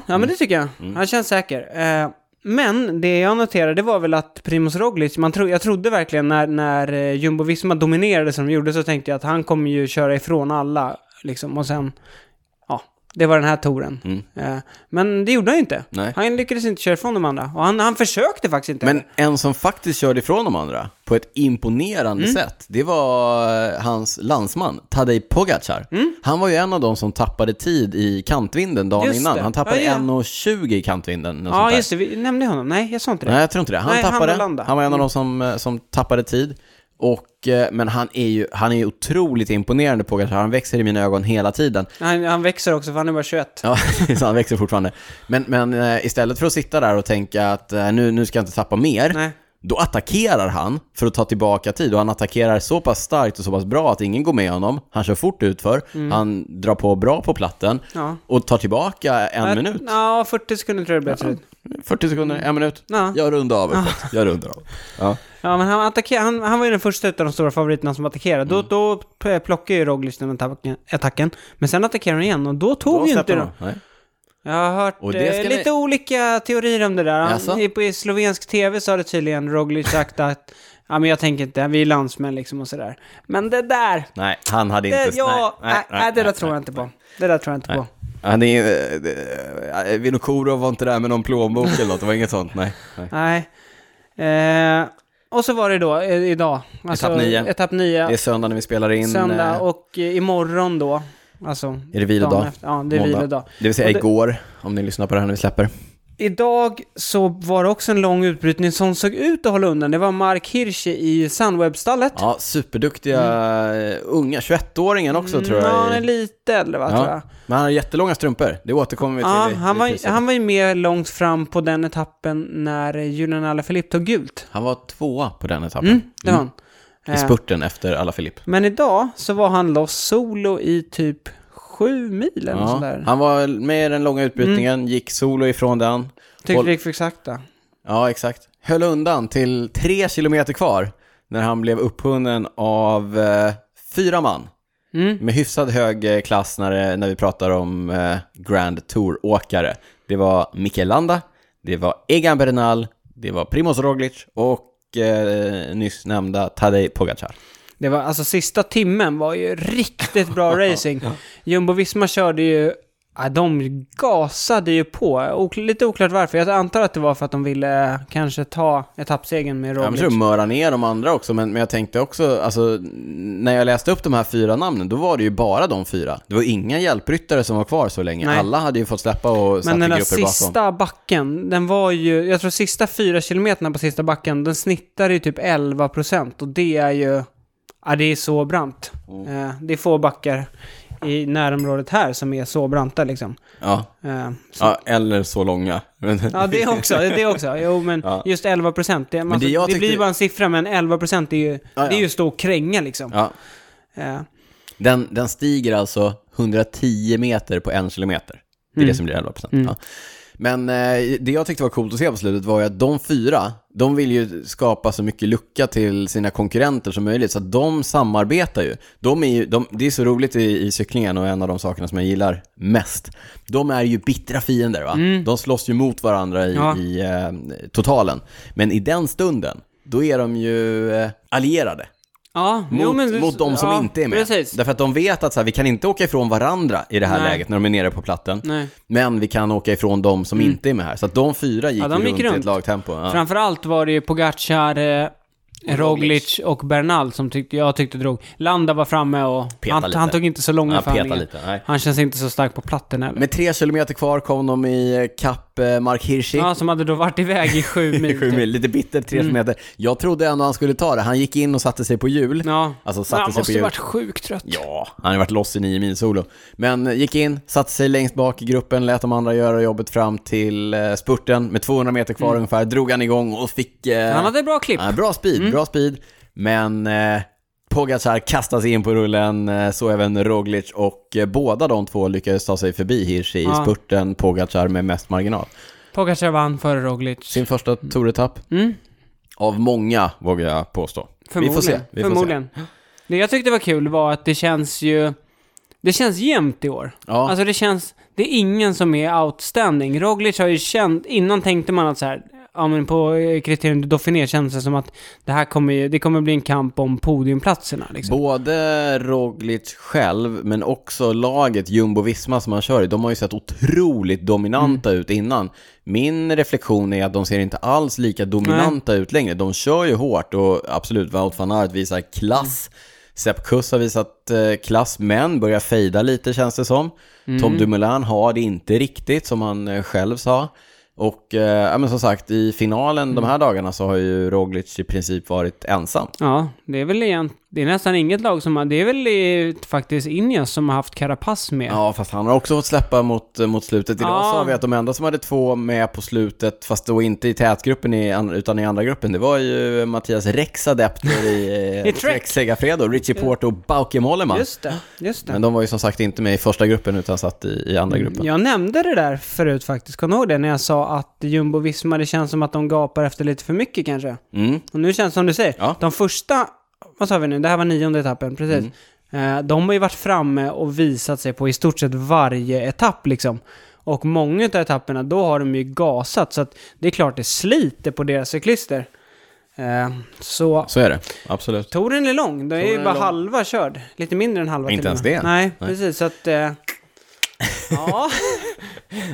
S2: ja
S1: Mm.
S2: men det tycker jag. Han känns säker. Eh, men det jag noterade det var väl att Primoz Roglic, man tro, jag trodde verkligen när, när eh, Jumbo-Visma dominerade som de gjorde så tänkte jag att han kommer ju köra ifrån alla. Liksom, och sen, ja, det var den här touren. Eh, men det gjorde han ju inte.
S1: Mm. Nej.
S2: Han lyckades inte köra ifrån de andra. Och han, han försökte faktiskt inte.
S1: Men en som faktiskt körde ifrån de andra på ett imponerande
S2: Mm.
S1: sätt, det var eh, hans landsman Tadej Pogacar.
S2: Mm.
S1: Han var ju en av de som tappade tid i kantvinden dagen
S2: Just
S1: innan.
S2: det.
S1: Han tappade
S2: Ja, ja.
S1: 1.20. i kantvinden. något sånt
S2: ja,
S1: där.
S2: just det. Vi nämnde honom. Nej, jag sa inte det.
S1: Nej, jag tror inte det. Han
S2: Nej, han
S1: tappade. Han,
S2: var landa. Mm.
S1: var en av de som, eh, som tappade tid. Och, eh, men han är ju han är ju otroligt imponerande på Pogacar. Han växer i mina ögon hela tiden.
S2: Han, han växer också för han är bara 21.
S1: Ja, *laughs* så han växer fortfarande. Men, men eh, istället för att sitta där och tänka att eh, nu, nu ska jag inte tappa mer,
S2: Nej.
S1: då attackerar han för att ta tillbaka tid. Och han attackerar så pass starkt och så pass bra att ingen går med honom. Han kör fort utför, han drar på bra på platten
S2: Mm. Ja. Äh,
S1: och tar tillbaka en minut.
S2: Ja, 40 sekunder tror jag det blev till slut.
S1: 40 sekunder, en minut.
S2: Ja.
S1: Jag rundar av uppåt. Jag rundar av. Ja.
S2: Ja, men han, attacker, han, han var ju den första utav de stora favoriterna som attackerade.
S1: Mm.
S2: Då, då p- plockade ju Roglic den attacken, attacken. Men sen attackerade han igen och då tog
S1: Då
S2: ju inte
S1: släpper
S2: då.
S1: man. Nej.
S2: Jag har hört
S1: Och det
S2: eh,
S1: ska ni-
S2: lite olika teorier om det där.
S1: Jaså?
S2: Han, i, på, I slovensk tv sa det tydligen Roglic sagt att ja, men jag tänker inte, vi är landsmän liksom och sådär. Men det där,
S1: Nej, han hade inte...
S2: det, ja, nej, nej, det där
S1: nej,
S2: tror
S1: nej.
S2: jag inte på. Det där tror jag inte på.
S1: Han är... eh, eh, Vinokurov var inte där med någon plånbok eller något, det var inget sånt, nej. nej.
S2: Nej. Eh, och så var det då eh, idag.
S1: Etapp nio.
S2: Etapp 9.
S1: Det är söndag när vi spelar in.
S2: Söndag
S1: eh,
S2: och eh, imorgon då. Alltså,
S1: Är det vilodag?
S2: dagen efter- Ja, det är
S1: måndag.
S2: vilodag.
S1: Det vill säga
S2: Och det-
S1: igår, om ni lyssnar på det här när vi släpper.
S2: Idag så var det också en lång utbrytning som såg ut att hålla undan. Det var Mark Hirschi i Sunweb-stallet.
S1: Ja, superduktiga eh, unga, 21-åringen också tror jag.
S2: Mm. Ja,
S1: i-
S2: han är lite äldre va,
S1: Ja.
S2: tror jag.
S1: Men han har jättelånga strumpor, det återkommer vi till.
S2: Ja,
S1: i-
S2: han,
S1: i
S2: var,
S1: priset.
S2: han var ju med långt fram på den etappen när Julian Alaphilippe tog gult.
S1: han var tvåa på den etappen.
S2: Mm, det var han.
S1: I
S2: Eh,
S1: spurten efter alla Filip.
S2: Men idag så var han loss solo i typ sju mil eller något sånt
S1: Ja,
S2: där.
S1: han var med i den långa utbrytningen,
S2: Mm.
S1: gick solo ifrån den.
S2: Tyckte
S1: Håll-
S2: det gick för sakta.
S1: Ja, exakt. Höll undan till tre kilometer kvar när han blev upphunnen av eh, fyra man.
S2: Mm.
S1: Med hyfsad hög eh, klass när, det- när vi pratar om eh, Grand Tour-åkare. Det var Mikael Landa, det var Egan Bernal, det var Primoz Roglic och eh, nyss nämnda Tadej Pogacar.
S2: Det var, alltså sista timmen var ju riktigt bra racing. Jumbo-Visma körde ju, ja, de gasade ju på. Ok, lite oklart varför. Jag antar att det var för att de ville eh, kanske ta etappsegern med
S1: Jag
S2: Roglic.
S1: tror möra ner de andra också, men, men jag tänkte också, alltså, n- när jag läste upp de här fyra namnen, då var det ju bara de fyra. Det var inga hjälpryttare som var kvar så länge.
S2: Nej.
S1: Alla hade ju fått släppa och satt i
S2: Men den där
S1: grupper bakom.
S2: sista backen, den var ju, jag tror sista fyra kilometerna på sista backen, den snittar ju typ 11 procent och det är ju, ja det är så brant. Eh, det är få backar i närområdet här som är så branta liksom.
S1: Ja.
S2: Eh, så
S1: ja, eller så långa. Men-
S2: Ja, det också. Det också. Jo, men
S1: Ja.
S2: just 11 procent. Det, man-
S1: det jag
S2: det
S1: tyckte-
S2: blir bara en siffra, men 11 procent är ju,
S1: ja.
S2: det är ju att stå och kränga liksom.
S1: ja.
S2: Eh,
S1: Den, den stiger alltså 110 meter på en kilometer. Det är det som blir 11 procent. Ja. Men eh, det jag tyckte var coolt att se på slutet var ju att de fyra, de vill ju skapa så mycket lucka till sina konkurrenter som möjligt, så att de samarbetar ju. De är ju de, det är så roligt i, i cyklingen och en av de sakerna som jag gillar mest. De är ju bittra fiender, va? De slåss ju mot varandra i,
S2: Ja.
S1: i eh, totalen. Men i den stunden, då är de ju eh, allierade.
S2: ja,
S1: Mot,
S2: jo, men,
S1: mot de som
S2: ja,
S1: inte är med.
S2: Precis.
S1: Därför att de vet att så här, vi kan inte åka ifrån varandra i det här
S2: Nej.
S1: läget när de är nere på platten.
S2: Nej. Mm.
S1: Men vi kan åka ifrån de som inte är med här. Så att de fyra gick,
S2: Ja, de
S1: ju
S2: gick
S1: runt i ett
S2: runt.
S1: lagtempo. Ja.
S2: Framförallt var det ju Pogacar, eh, Roglic och Bernal som tyckte, jag tyckte drog. Landa var framme och
S1: Peta
S2: han,
S1: lite.
S2: han tog inte så långa
S1: Ja, peta
S2: förhandlingar.
S1: lite, nej.
S2: Han känns inte så stark på platten heller.
S1: Med tre kilometer kvar kom de i eh, kapp eh, Mark Hirschi.
S2: Ja, som hade då varit iväg i sju
S1: *laughs*
S2: mil.
S1: Sju
S2: typ.
S1: mil, lite bitter, tre kilometer. Jag trodde ändå han skulle ta det. Han gick in och satte sig på hjul.
S2: Ja.
S1: Alltså
S2: Men
S1: satte sig
S2: han
S1: på
S2: måste ju
S1: hjul.
S2: varit sjukt trött.
S1: Ja, han har ju varit loss i nio mil solo. Men eh, gick in, satte sig längst bak i gruppen, lät de andra göra jobbet fram till eh, spurten. Med 200 meter kvar ungefär drog han igång och fick... eh,
S2: Mm. Han hade Mm. bra klipp.
S1: ja, bra speed, bra speed. Men eh, Pogacar kastas in på rullen, eh, så även Roglic. Och eh, båda de två lyckades ta sig förbi Hirschi
S2: Ja.
S1: i spurten, Pogacar med mest marginal.
S2: Pogacar vann före Roglic.
S1: Sin första touretapp.
S2: Mm.
S1: Av många, vågar jag påstå. Vi
S2: Förmodligen.
S1: får se. Vi Får se.
S2: Förmodligen. Det jag tyckte var kul var att det känns ju... Det känns jämnt i år.
S1: Ja.
S2: Alltså det känns... Det är ingen som är outstanding. Roglic har ju känt... Innan tänkte man att så här... Ja men på eh, kriterium du Dauphiné känns det som att det här kommer ju... Det kommer bli en kamp om podiumplatserna liksom.
S1: Både Roglic själv, men också laget Jumbo-Visma som han kör i, de har ju sett otroligt dominanta ut innan. Min reflektion är att de ser inte alls lika dominanta ut längre. De kör ju hårt och absolut, Wout van Aert visar klass. Sepp Kuss har visat eh, klass, men börjar fejda lite känns det som. Tom Dumoulin har det inte riktigt, som han eh, själv sa. Och eh, ja, men som sagt, i finalen de här dagarna så har ju Roglic i princip varit ensam.
S2: Ja, det är väl egent... Det är nästan inget lag som har... Det är väl i, faktiskt Ineos som har haft Carapaz med.
S1: Ja, fast han har också fått släppa mot, eh, mot slutet. Idag
S2: Ja.
S1: sa vi att de enda som hade två med på slutet, fast då inte i tätgruppen i, an- utan i andra gruppen, det var ju eh, Mattias Rex adepter
S2: *laughs*
S1: i, eh,
S2: I
S1: I
S2: Trek.
S1: Trek Segafredo, Richie Porte och Bauke Mollema.
S2: Just det, just det. Mm.
S1: Men de var ju som sagt inte med i första gruppen utan satt i, i andra gruppen.
S2: Jag nämnde det där förut faktiskt, kommer du ihåg det? När jag sa att Jumbo Visma, det känns som att de gapar efter lite för mycket kanske.
S1: Mm.
S2: Och nu känns det som du säger,
S1: Ja.
S2: de första, vad sa vi nu, det här var nionde etappen, precis.
S1: Mm.
S2: Eh, de har ju varit framme och visat sig på i stort sett varje etapp liksom. Och många av etapperna, då har de ju gasat. Så att det är klart det sliter på deras cyklister. Eh, så
S1: Så är det, absolut.
S2: touren är lång, det är ju
S1: Touren är
S2: bara
S1: lång.
S2: halva körd. Lite mindre än halva
S1: Inte
S2: till och
S1: ens
S2: med.
S1: det.
S2: Nej, precis. Så
S1: *laughs*
S2: att... Eh, ja.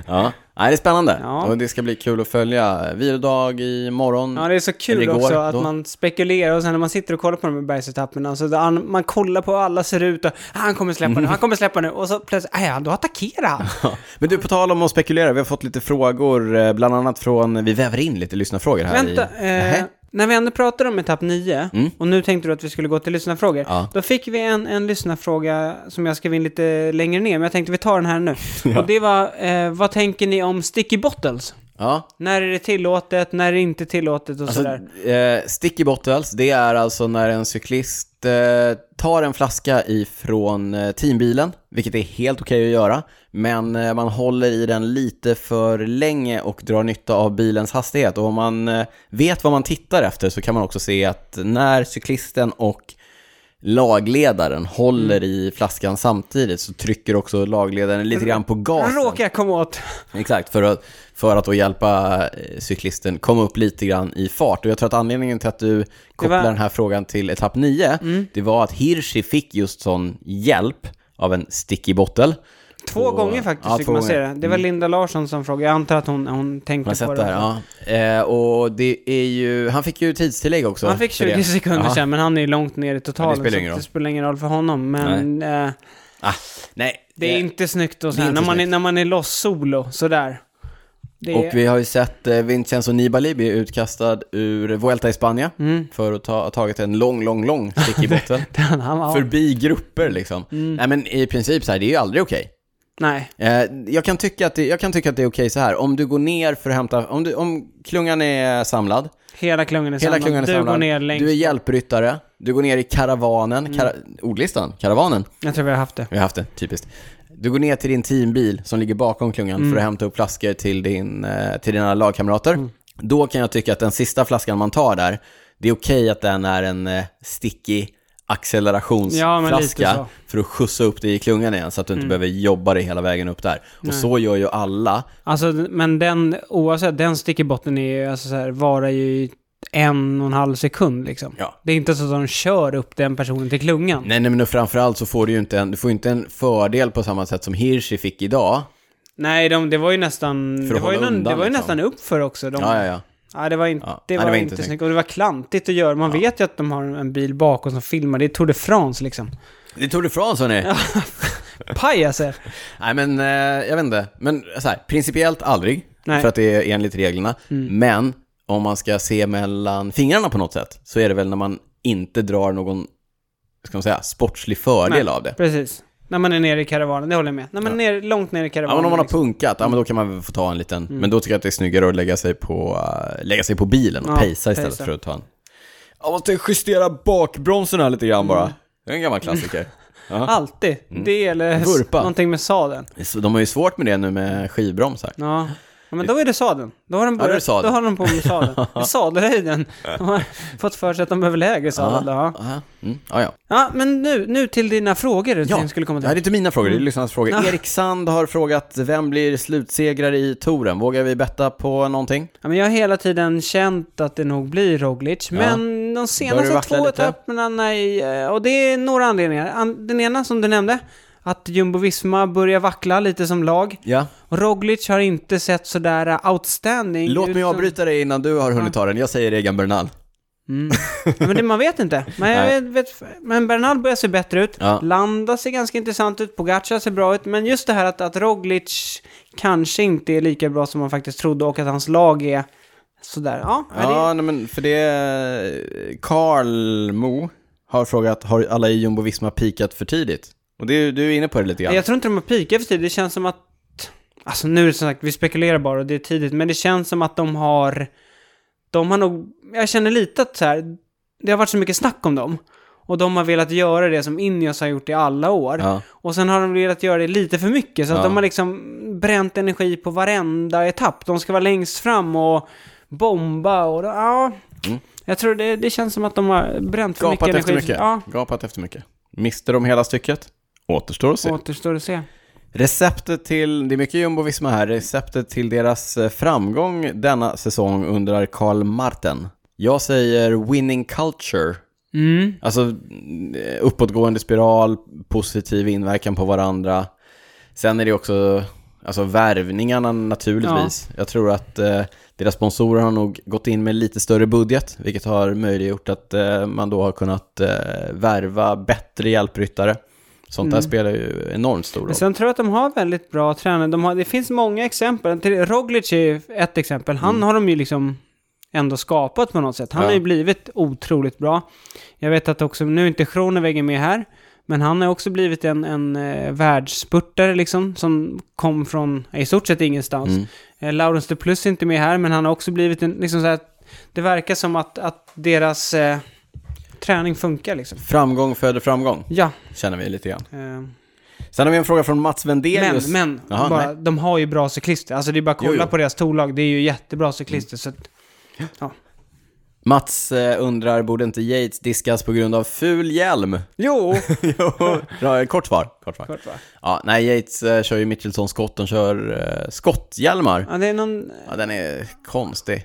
S1: Ja. Nej, det är spännande
S2: Ja.
S1: och det ska bli kul att följa. Vilodag imorgon.
S2: Ja, det är så kul
S1: Eller igår,
S2: också att
S1: då.
S2: man spekulerar och sen när man sitter och kollar på de här bergsetapperna så han, man kollar på hur alla ser ut och "Ah, han kommer släppa nu, han kommer släppa nu och så plötsligt, nej, då attackerar han.
S1: Ja. *laughs* Men du, på tal om att spekulera, vi har fått lite frågor, eh, bland annat från, vi väver in lite lyssnarfrågor här
S2: Vänta,
S1: i... Nähä.
S2: eh, när vi ändå pratar om etapp 9
S1: Mm.
S2: och nu tänkte du att vi skulle gå till lyssnarfrågor.
S1: Ja.
S2: Då fick vi en, en lyssnarfråga som jag skrev in lite längre ner, men jag tänkte vi tar den
S1: *laughs*
S2: här nu. Och det var, eh, vad tänker ni om sticky bottles?
S1: Ja,
S2: När är det tillåtet, när är det inte tillåtet och sådär?
S1: Alltså, eh, sticky bottles, det är alltså när en cyklist eh, tar en flaska ifrån eh, teambilen, vilket är helt okej att göra, men eh, man håller i den lite för länge och drar nytta av bilens hastighet. Och om man eh, vet vad man tittar efter så kan man också se att när cyklisten och lagledaren håller i flaskan samtidigt så trycker också lagledaren lite grann på gasen.
S2: Råkar jag komma åt.
S1: Exakt, för att, för att då hjälpa eh, cyklisten komma upp lite grann i fart. Och jag tror att anledningen till att du kopplar
S2: var- Mm.
S1: den här frågan till etapp 9, det var att Hirschi fick just sån hjälp av en sticky bottle.
S2: Två
S1: Och-
S2: gånger faktiskt
S1: ja,
S2: fick
S1: två
S2: man se
S1: gånger. Mm.
S2: det. Det var Linda Larsson som frågade. Jag antar att hon, hon
S1: Man har
S2: tänkte på
S1: sett
S2: det.
S1: det här, ja. Eh, och det är ju, han fick ju tidstillägg också.
S2: Han fick
S1: för det.
S2: 20 sekunder
S1: Ja.
S2: sedan, men han är ju långt ner i
S1: Ja,
S2: totalen.
S1: det spelar
S2: så
S1: ingen
S2: det
S1: roll.
S2: spelar ingen roll för honom. Men eh,
S1: Ah, nej,
S2: det är inte snyggt och så
S1: det är
S2: här,
S1: inte
S2: när, man är,
S1: snyggt.
S2: när man är loss solo sådär. Det
S1: Och
S2: är,
S1: vi har ju sett eh, Vincenzo Nibali bli utkastad ur Vuelta i Spanien
S2: Mm.
S1: för att ha tagit en lång, lång, lång
S2: *laughs*
S1: sticky bottle.
S2: *laughs* han, han, var-
S1: Förbi grupper liksom. Nej men i princip så här, det är ju aldrig okej.
S2: Nej.
S1: Eh, jag, kan tycka att det, jag kan tycka att det är okej så här. Om du går ner för att hämta... Om, du, om klungan är samlad,
S2: Hela klungan är
S1: hela
S2: samlad.
S1: klungan är
S2: du
S1: samlad,
S2: går ner längst. Mm.
S1: du är hjälpryttare, du går ner i karavanen, kara, ordlistan, karavanen,
S2: Jag tror vi har haft det.
S1: vi har haft det, typiskt. Du går ner till din teambil som ligger bakom klungan
S2: Mm.
S1: för att hämta upp flaskor till, din, eh, till dina lagkamrater. Då kan jag tycka att den sista flaskan man tar där, det är okej att den är en eh, sticky
S2: Ja, men lite
S1: accelerationsflaska
S2: så. Mm.
S1: för att skjutsa upp dig i klungan igen så att du inte behöver jobba dig hela vägen upp där. Och så gör ju alla.
S2: Alltså, men den, oavsett, den sticker botten är ju, alltså så här, varar ju i en och en halv sekund liksom.
S1: Ja.
S2: Det är inte så att de kör upp den personen till klungan.
S1: Nej, nej men och framförallt så får du ju inte en, du får ju inte en fördel på samma sätt som Hirschi fick idag.
S2: Nej, de, det var ju nästan...
S1: För att
S2: det var ju,
S1: hålla
S2: någon,
S1: undan,
S2: det var ju
S1: liksom.
S2: nästan uppför också. De,
S1: Ja, ja, ja.
S2: Nej, det var inte,
S1: Ja,
S2: det
S1: nej,
S2: var inte snyggt. Och det var klantigt att göra. Man vet ju att de har en bil bakom som filmar. Det är Tour de France liksom.
S1: Det är Tour de France
S2: *laughs*
S1: hörni. *laughs*
S2: Pajaser!
S1: Nej men, eh, jag vet inte. Men så här, principiellt aldrig.
S2: Nej. Mm.
S1: För att det är enligt reglerna. Men om man ska se mellan fingrarna på något sätt så är det väl när man inte drar någon, ska man säga, sportslig fördel av det.
S2: Precis. När man är nere i karavanen, det håller jag med. När man är ner, långt ner i
S1: Ja
S2: karavanen.
S1: men om man har
S2: liksom. Mm.
S1: punkat, ja men då kan man väl få ta en liten, men då tycker jag att det är snyggare att lägga sig på, eh, lägga sig på bilen och
S2: Ja,
S1: pejsa istället
S2: pejsa.
S1: för att ta en... Jag måste justera bakbromsen här lite grann
S2: Mm.
S1: bara. Det är en gammal
S2: *laughs*
S1: klassiker. Ja.
S2: Alltid. Det eller s-
S1: Mm. Vurpa.
S2: någonting med sadeln.
S1: Så De har ju svårt med det nu med skivbromsar.
S2: Ja. ja, men då är det sadeln. Då har de,
S1: då är det
S2: börjat, då
S1: sadeln.
S2: har de på med
S1: *laughs*
S2: sadeln. Det är sadelhöjden. De har fått för sig att de behöver lägre sadel. Ja, ja.
S1: Aha. Mm. Ja, ja.
S2: men nu, nu till dina frågor.
S1: Ja,
S2: Ja. Skulle komma
S1: det här är
S2: till. Mm. Ah.
S1: inte mina frågor, det är lyssnarnas frågor.
S2: Ja.
S1: Erik Sand har frågat, vem blir slutsegrare i touren? Vågar vi betta på någonting?
S2: Ja, men jag har hela tiden känt att det nog blir Roglic, men de
S1: Börjar
S2: senaste
S1: du vackla
S2: två
S1: lite?
S2: etapperna, nej. eh, Och det är några anledningar. An- Den ena som du nämnde, att Jumbo-Visma börjar vackla lite som lag.
S1: Ja.
S2: Och Roglic har inte sett sådär eh, outstanding
S1: Låt mig
S2: ut som-
S1: avbryta dig innan du har hunnit ta den. Jag säger Egan Bernal.
S2: Ja, Men det, man vet inte. Men, jag
S1: Nej.
S2: vet, men Bernal börjar se bättre ut.
S1: Ja.
S2: Landa ser ganska intressant ut. Pogacar ser bra ut. Men just det här att, att Roglic kanske inte är lika bra som man faktiskt trodde och att hans lag är sådär. Ja, är det-
S1: Ja, nej, men för det... eh, Karl Mo har frågat, har alla i Jumbo Visma pikat för tidigt? Och det, du är inne på det lite grann.
S2: Jag tror inte de har pikat för tidigt. Det känns som att... Alltså nu är det som sagt, vi spekulerar bara och det är tidigt. Men det känns som att de har... De har nog... Jag känner lite att så här, Det har varit så mycket snack om dem. Och de har velat göra det som Ineos har gjort i alla år.
S1: Ja.
S2: Och sen har de velat göra det lite för mycket. Så att
S1: Ja.
S2: de har liksom bränt energi på varenda etapp. De ska vara längst fram och bomba och... Ja. Jag tror det, det känns som att de har bränt för
S1: Mm. Gapat
S2: mycket
S1: efter
S2: energi.
S1: mycket.
S2: Ja,
S1: Gapat efter mycket. Mister de hela stycket? Återstår att se.
S2: återstår att se.
S1: Receptet till, det är mycket jumbovisma här, receptet till deras eh, framgång denna säsong undrar Karl Marten. Jag säger winning culture,
S2: Mm.
S1: alltså mm, uppåtgående spiral, positiv inverkan på varandra. Sen är det också, alltså värvningarna naturligtvis. Jag tror att eh, deras sponsorer har nog gått in med lite större budget, vilket har möjliggjort att eh, man då har kunnat eh, värva bättre hjälpryttare. Sånt där spelar ju enormt stor roll.
S2: Men sen tror jag att de har väldigt bra tränare. De har, det finns många exempel. Till- Roglic är ju ett exempel. Han har de ju liksom ändå skapat på något sätt. Han
S1: Ja.
S2: har ju blivit otroligt bra. Jag vet att också, nu är inte Kronevägger med här, men han har också blivit en, en eh, världsspurtare liksom, som kom från eh, i stort sett ingenstans. Eh, Laurens de Plus är inte med här, men han har också blivit en, liksom så här, det verkar som att, att deras eh, träning funkar liksom.
S1: Framgång föder framgång,
S2: Ja.
S1: känner vi lite grann.
S2: Eh.
S1: Sen har vi en fråga från Mats
S2: Men,
S1: Wendelius.
S2: men
S1: Jaha,
S2: bara,
S1: nej.
S2: de har ju bra cyklister. Alltså det är bara att
S1: Jo,
S2: kolla
S1: jo.
S2: på deras storlag. Det är ju jättebra cyklister. Så att,
S1: Mats eh, undrar, borde inte Yates diskas på grund av ful hjälm?
S2: *laughs* jo!
S1: jo, bra, eh, kort svar. Kort svar.
S2: Kort, va?
S1: Ja, nej, Yates eh, kör ju Mitchelson skott, de kör eh, skotthjälmar.
S2: ja, det är någon...
S1: Ja, den är konstig.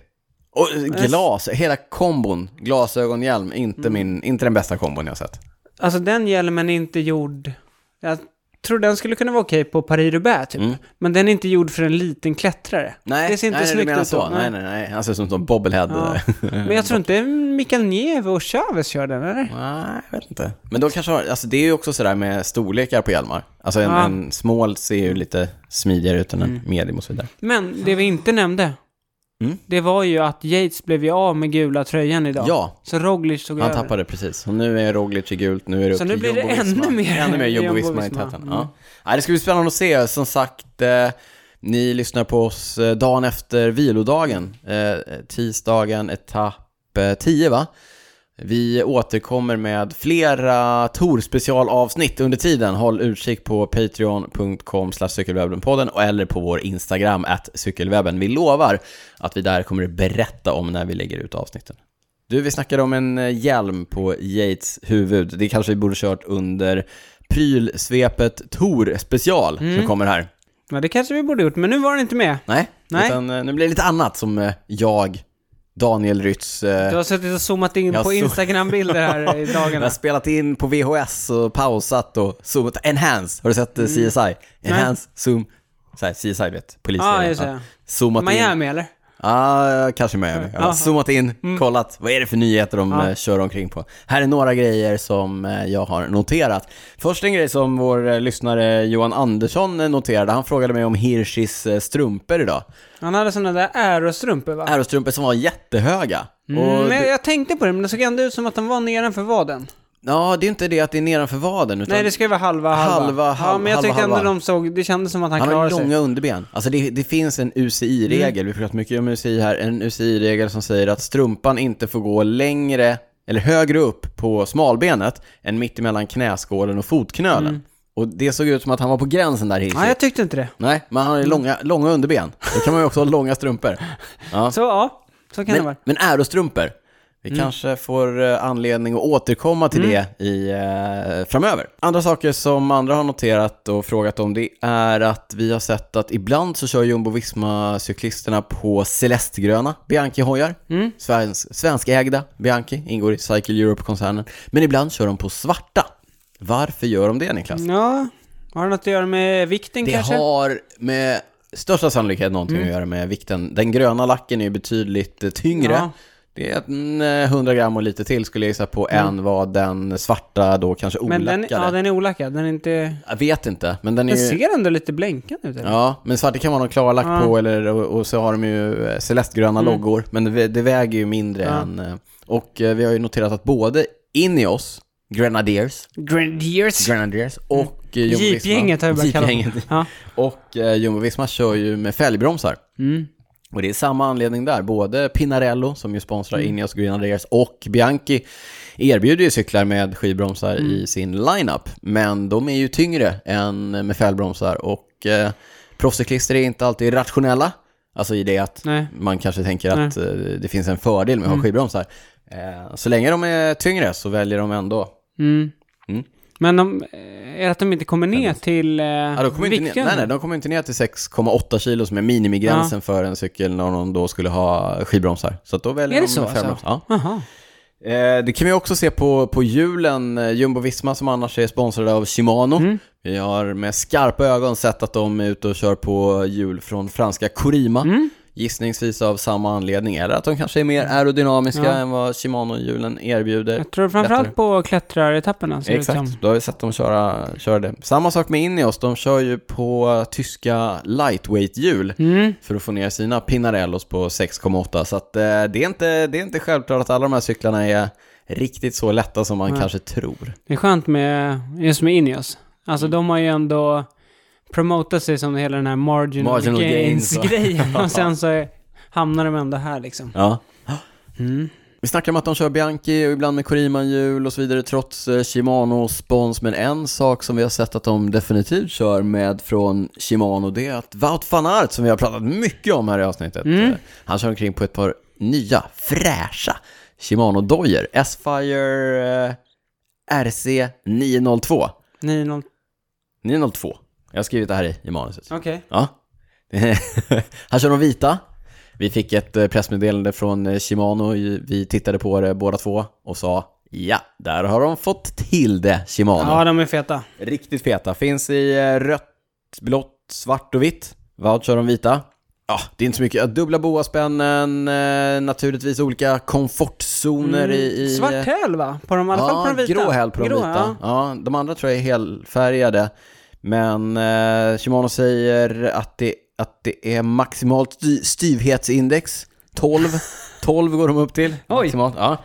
S1: Och eh, glas, hela kombon, glasögonhjälm, inte,
S2: Mm.
S1: min, inte den bästa kombon jag har sett.
S2: Alltså den hjälmen är inte gjord... Jag tror den skulle kunna vara okej på Paris-Roubaix typ. Men den är inte gjord för en liten klättrare.
S1: Mm. Nej,
S2: det ser inte
S1: nej, du
S2: snyggt
S1: menar
S2: ut. då.
S1: så. Nej. nej, nej, Han ser ut som en sån bobblehead. eh,
S2: Ja. Men jag tror inte Mikael Nieve och Chavez kör den, eller?
S1: Nej, jag vet inte. Men de kanske har, alltså det är ju också sådär med storlekar på hjälmar. Alltså en,
S2: Ja.
S1: en small ser ju lite smidigare ut än en medium och så vidare.
S2: Men det vi inte nämnde,
S1: Mm.
S2: det var ju att Yates blev ju av med gula tröjan idag.
S1: Ja,
S2: Så Roglic tog
S1: han
S2: över.
S1: tappade precis. Och nu är Roglic i gult, nu är det
S2: Så
S1: upp
S2: nu
S1: till
S2: blir det
S1: Jumbo Visma.
S2: ännu mer
S1: ännu mer Jumbo
S2: Jumbo
S1: Visma i
S2: Visma.
S1: täten.
S2: Mm.
S1: Ja. Nej, det ska bli spännande att se. Som sagt, eh, ni lyssnar på oss eh, dagen efter vilodagen. Eh, tisdagen etapp eh, 10, va? Vi återkommer med flera Tor-specialavsnitt under tiden. Håll utkik på patreon.com cykelwebbenpodden och- eller på vår Instagram at cykelwebben. Vi lovar att vi där kommer att berätta om när vi lägger ut avsnitten. Du, vi snackade om en eh, hjälm på Yates huvud. Det kanske vi borde kört under prylsvepet Tor special
S2: Mm.
S1: som kommer här.
S2: Ja, det kanske vi borde gjort, men nu var den inte med.
S1: Nej,
S2: Nej.
S1: Utan, eh, nu blir det lite annat som eh, jag, Daniel Rytz, eh,
S2: Du har suttit och zoomat in
S1: Jag
S2: på
S1: så-
S2: Instagram-bilder
S1: *laughs*
S2: här i
S1: Jag
S2: dagarna.
S1: har spelat in på VHS och pausat och zoomat. Enhance, har du sett eh,
S2: Mm.
S1: CSI? Enhance, zoom, så här, CSI vet, polisen.
S2: Ja, just det.
S1: Zoomat in.
S2: Miami eller?
S1: Ah, kanske Miami. Jag har
S2: Aha.
S1: zoomat in,
S2: Mm.
S1: kollat, vad är det för nyheter de eh, kör omkring på? Här är några grejer som eh, jag har noterat. Först en grej som vår eh, lyssnare Johan Andersson eh, noterade. Han frågade mig om Hirschis eh, strumpor idag.
S2: Han hade sådana där ärostrumpor va?
S1: Aerostrumpor som var jättehöga. Och
S2: Mm, jag,
S1: det,
S2: jag tänkte på det, men det såg ändå ut som att de var nedanför vaden.
S1: ja, det är inte det att det är nedanför vaden, utan
S2: Nej, det ska ju vara halva, halva.
S1: Halva,
S2: ja,
S1: halva,
S2: men jag tyckte
S1: halva,
S2: ändå
S1: halva.
S2: de såg, det kändes som att han,
S1: han har
S2: klarade
S1: långa
S2: sig. Mm.
S1: underben. Alltså det, det finns en UCI-regel, vi har pratat mycket om UCI här, en UCI-regel som säger att strumpan inte får gå längre, eller högre upp på smalbenet än mitt emellan knäskålen och fotknölen. Och det såg ut som att han var på gränsen där Hirsi.
S2: Nej, Mm. jag Mm. tyckte inte det.
S1: Nej, men han har ju långa, långa underben. Då kan man ju också ha långa strumpor. Ja.
S2: Så ja, så kan det
S1: Men,
S2: vara. Mm.
S1: men ärostrumpor, vi kanske får eh, anledning att återkomma till det i, eh, framöver. Andra saker som andra har noterat och frågat om det är att vi har sett att ibland så kör Jumbo-Visma-cyklisterna på celestgröna Bianchi-hojar. Mm. svenskägda Bianchi, ingår i Cycle Europe-koncernen. Men ibland kör de på svarta. Varför gör de det Niklas?
S2: Ja, har det något att göra med vikten
S1: Det
S2: kanske? Mm.
S1: har med största sannolikhet någonting att göra med vikten. Den gröna lacken är ju betydligt eh, tyngre.
S2: Ja.
S1: Det är en, eh, 100 gram och lite till skulle jag gissa på, än vad den svarta då kanske
S2: Mm. Men
S1: olackade.
S2: den, ja, den är olackad, den är inte...
S1: Jag vet inte, men den är
S2: Den
S1: ju...
S2: ser ändå lite blänkande ut. eller?
S1: Ja, men svart det kan vara någon klarlack
S2: Ja. Mm.
S1: på eller, och, och så har de ju eh, celestgröna loggor, men det, vä- det väger ju mindre
S2: Ja.
S1: än... eh, Och eh, vi har ju noterat att både Ineos, Grenadiers,
S2: Grenadiers.
S1: Grenadiers och eh, Jumbo Visma-
S2: Jeep-gänget har jag börjat kalla dem.
S1: Jeep-gänget.
S2: Ja.
S1: Och eh, Jumbo Visma kör ju med fälgbromsar.
S2: Mm.
S1: Och det är samma anledning där. Både Pinarello, som ju sponsrar
S2: Mm.
S1: Ineos Grenadiers, och Bianchi erbjuder ju cyklar med skivbromsar
S2: Mm.
S1: i sin lineup. Men de är ju tyngre än med fälgbromsar och eh, proffscyklister är inte alltid rationella. Alltså i det att
S2: Nej. Mm.
S1: man kanske tänker att eh, det finns en fördel med att ha skivbromsar. Eh, så länge de är tyngre så väljer de ändå.
S2: Mm.
S1: Mm.
S2: Men de, eh, är det att de inte kommer ner till eh,
S1: Ja, de kommer inte ner,
S2: vikten?
S1: nej, nej, de kommer inte ner till 6,8 kilo som är minimigränsen för en cykel när de då skulle ha skivbromsar. Så att då väljer
S2: Är det
S1: de
S2: så,
S1: med
S2: alltså?
S1: fälgbromsar. Ja.
S2: Jaha.
S1: Eh, det kan vi också se på, på julen. Eh, Jumbo Visma som annars är sponsrade av Shimano.
S2: Mm.
S1: Vi har med skarpa ögon sett att de är ute och kör på hjul från franska Corima.
S2: Mm.
S1: Gissningsvis av samma anledning, eller att de kanske är mer aerodynamiska
S2: Ja.
S1: än vad Shimano-hjulen erbjuder.
S2: Jag tror framförallt
S1: Lättare.
S2: på klättraretapperna. ser det liksom- ut som.
S1: Exakt, då har vi sett dem köra, köra det. Samma sak med Ineos, de kör ju på eh, tyska lightweight-hjul
S2: Mm.
S1: för att få ner sina Pinarellos på 6,8. Så att, eh, det, är inte, det är inte självklart att alla de här cyklarna är riktigt så lätta som man
S2: Nej.
S1: kanske tror.
S2: Det är skönt med, just med Ineos. Alltså
S1: Mm.
S2: de har ju ändå promotat sig som hela den här marginal,
S1: Marginal gains, va? *laughs*
S2: gains-grejen. och sen så är, hamnar de ändå här liksom.
S1: Ja.
S2: Mm.
S1: Vi snackar om att de kör Bianchi och ibland med Corima-hjul och så vidare trots eh, Shimano-spons. Men en sak som vi har sett att de definitivt kör med från Shimano det är att Wout van Aert, som vi har pratat mycket om här i avsnittet, eh, han kör omkring på ett par nya fräscha Shimano-dojor. S-Fire eh, RC 902.
S2: 9-0.
S1: 902. Jag har skrivit det här i, i manuset.
S2: Okej.
S1: Ja. *laughs* Här kör de vita. Vi fick ett eh, pressmeddelande från eh, Shimano. Vi tittade på det båda två och sa ja, där har de fått till det, Shimano.
S2: Ja, de är feta.
S1: Riktigt feta. Finns i eh, rött, blått, svart och vitt. Vad kör de vita? Ja, det är inte så mycket. Ja, Dubbla boaspännen, eh, naturligtvis olika komfortzoner i... i
S2: Mm.
S1: eh,
S2: Svart häl va? På de, i alla fall på de vita.
S1: grå häl på de
S2: Grå,
S1: vita.
S2: ja.
S1: Ja. de andra tror jag är helfärgade. Men eh, Shimano säger att det, att det är maximalt sty- styvhetsindex. 12. 12 går de upp till.
S2: Oj.
S1: Maximalt, ja.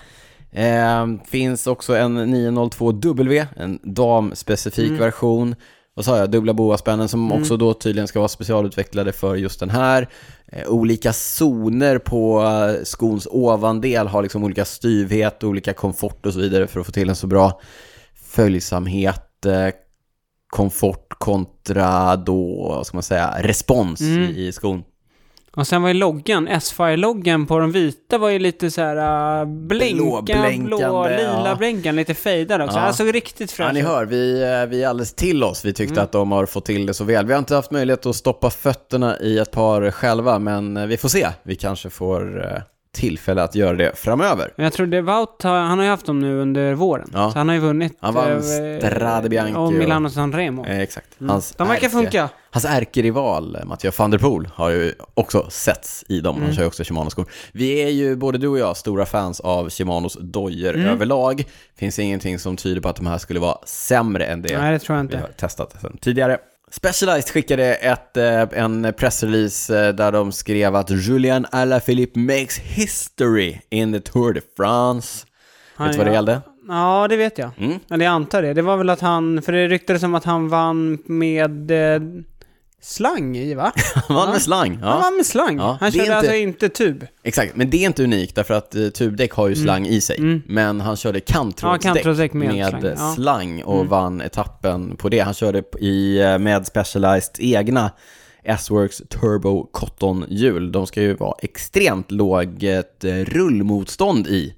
S1: Eh, finns också en 902W, en damspecifik version. Vad sa jag? Dubbla boaspännen som också då tydligen ska vara specialutvecklade för just den här. Eh, olika zoner på eh, skons ovandel har liksom olika styvhet, olika komfort och så vidare för att få till en så bra följsamhet, eh, komfort kontra då, vad ska man säga, respons
S2: Mm.
S1: i, i skon.
S2: Och sen var ju loggan, S-Fire-loggan på de vita var ju lite så här äh, blinka,
S1: Blåblänkande,
S2: blå, lila
S1: ja.
S2: blänkan, lite fejdad också.
S1: Ja.
S2: Han såg riktigt
S1: Ja,
S2: fräsch
S1: ni
S2: ut.
S1: hör, vi, eh, vi är alldeles till oss. Vi tyckte
S2: Mm.
S1: att de har fått till det så väl. Vi har inte haft möjlighet att stoppa fötterna i ett par själva, men eh, vi får se. Vi kanske får eh, tillfälle att göra det framöver.
S2: Men jag tror det Wout, har- han har ju haft dem nu under våren.
S1: Ja.
S2: Så han har ju vunnit.
S1: Han vann
S2: eh,
S1: Strade Bianche
S2: Och
S1: och-
S2: Milano San Remo.
S1: Eh, exakt. Hans
S2: Mm. De verkar funka.
S1: Hans ärkerival eh, Mathieu van der Poel har ju också setts i dem. Han kör ju också Shimano-skor. Vi är ju, både du och jag, stora fans av Shimanos dojor överlag. Finns ingenting som tyder på att de här skulle vara sämre än det
S2: Nej, det tror jag
S1: vi
S2: inte.
S1: har testat sedan tidigare. Specialized skickade ett, eh, en pressrelease eh, där de skrev att Julian Alaphilippe makes history in the Tour de France.
S2: Han
S1: Vet du vad det Mm.
S2: gör-
S1: gällde?
S2: Ja, det vet jag. Eller jag antar det. Det var väl att han, för det ryktades som att han vann med eh, slang
S1: *laughs*
S2: i va?
S1: Han vann med slang.
S2: Han
S1: Ja.
S2: vann med slang.
S1: Ja,
S2: han
S1: det är
S2: körde
S1: inte-
S2: alltså inte tub.
S1: Exakt, men det är inte unikt därför att eh, tubdäck har ju slang i sig. Men han körde
S2: Mm. Ja,
S1: kantrådsdäck
S2: kantrådsdäck med
S1: med, eh,
S2: slang,
S1: slang,
S2: ja. Mm.
S1: och vann etappen på det. Han körde p- i, eh, med Specialized egna S-Works Turbo Cotton-hjul. De ska ju vara extremt lågt eh, rullmotstånd i.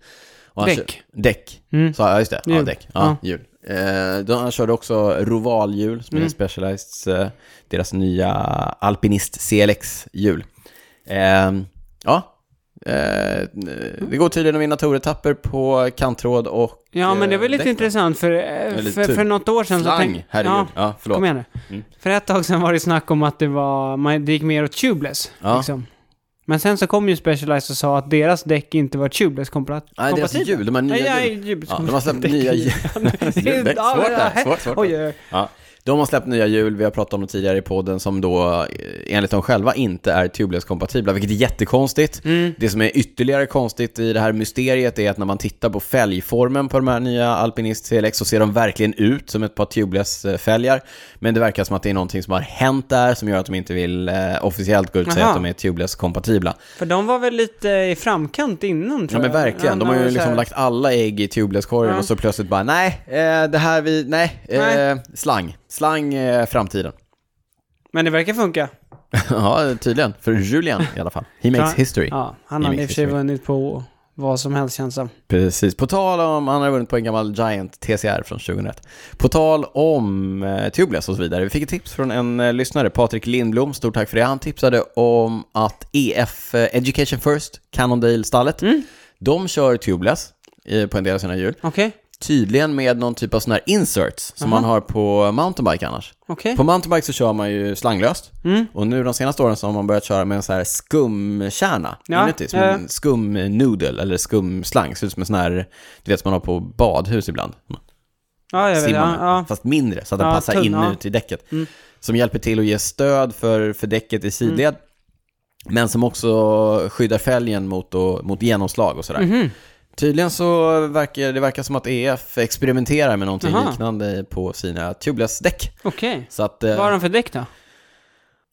S1: Och han
S2: Däck.
S1: kö- Däck.
S2: Mm.
S1: Så, ja, just det. Ja,
S2: Hjul.
S1: däck. Ja, hjul. Eh, de, han körde också Rovalhjul, som
S2: Mm.
S1: är Specializeds, eh, deras nya Alpinist CLX-hjul. Ehm, ja, Eh, det går tydligen att vinna touretapper på kantråd och...
S2: Ja, men det var
S1: eh,
S2: lite
S1: däck.
S2: intressant för, eh,
S1: Eller
S2: för,
S1: tub.
S2: för något år sedan så
S1: Slang,
S2: tänkte...
S1: herregud. Mm. Ja, förlåt.
S2: kom igen nu. För ett tag sedan var det snack om att det var, man, det gick mer åt tubeless.
S1: Ja.
S2: Liksom. Men sen så kom ju Specialized och sa att deras däck inte var tubeless kompat-
S1: Nej, deras hjul, de här nya
S2: Nej,
S1: hjulen.
S2: nej, ljud.
S1: Ja, de har
S2: *laughs*
S1: släppt nya hjul. *laughs* Hjuldäck. Svårt det här, svårt, svårt.
S2: Oj, oj, oj.
S1: Ja. De har släppt nya hjul, vi har pratat om det tidigare i podden, som då eh, enligt dem själva inte är tubeless-kompatibla, vilket är jättekonstigt.
S2: Mm.
S1: Det som är ytterligare konstigt i det här mysteriet är att när man tittar på fälgformen på de här nya Alpinist CLX så ser de verkligen ut som ett par tubeless-fälgar. Men det verkar som att det är någonting som har hänt där som gör att de inte vill eh, officiellt gå ut och säga
S2: Aha.
S1: att de är tubeless-kompatibla.
S2: För de var väl lite i framkant innan
S1: Ja
S2: tror jag.
S1: men verkligen, de har
S2: när
S1: ju
S2: det var Eh,
S1: liksom
S2: så här-
S1: lagt alla ägg i tubeless-korgen och så plötsligt bara nej, eh, det här vi, nej, eh,
S2: Nej.
S1: slang, slang eh, framtiden.
S2: Men det verkar funka.
S1: *laughs* ja, tydligen, för Julian i alla fall. He makes
S2: Ja.
S1: history.
S2: Ja, han
S1: He
S2: har i
S1: makes
S2: och för sig
S1: history.
S2: vunnit på vad som helst känns som.
S1: Precis, på tal om, han har vunnit på en gammal Giant TCR från 2001. På tal om eh, Tubeless och så vidare, vi fick ett tips från en eh, lyssnare, Patrik Lindblom, stort tack för det. Han tipsade om att EF eh, Education First, Cannondale-stallet,
S2: Mm.
S1: de kör Tubeless eh, på en del av sina hjul.
S2: Okej,
S1: Tydligen med någon typ av sån här inserts som man har på mountainbike annars.
S2: okej.
S1: På mountainbike så kör man ju slanglöst.
S2: Mm.
S1: Och nu de senaste åren så har man börjat köra med en sån här skumkärna
S2: Ja,
S1: inuti. Som
S2: ja.
S1: en skumnoodle eller skumslang. Ser ut som en sån här, du vet som man har på badhus ibland.
S2: Ja, jag vet.
S1: Simmar
S2: Ja,
S1: med,
S2: ja.
S1: fast mindre så att den
S2: Ja,
S1: passar
S2: tunn, ja. Mm.
S1: inuti däcket. Som hjälper till att ge stöd för, för däcket i sidled.
S2: Mm.
S1: Men som också skyddar fälgen mot, och, mot genomslag och sådär.
S2: Mhm.
S1: Tydligen så verkar det verkar som att EF experimenterar med någonting
S2: Aha.
S1: liknande på sina tubeless-däck.
S2: Okej.
S1: Så att... eh,
S2: Vad har de för däck då?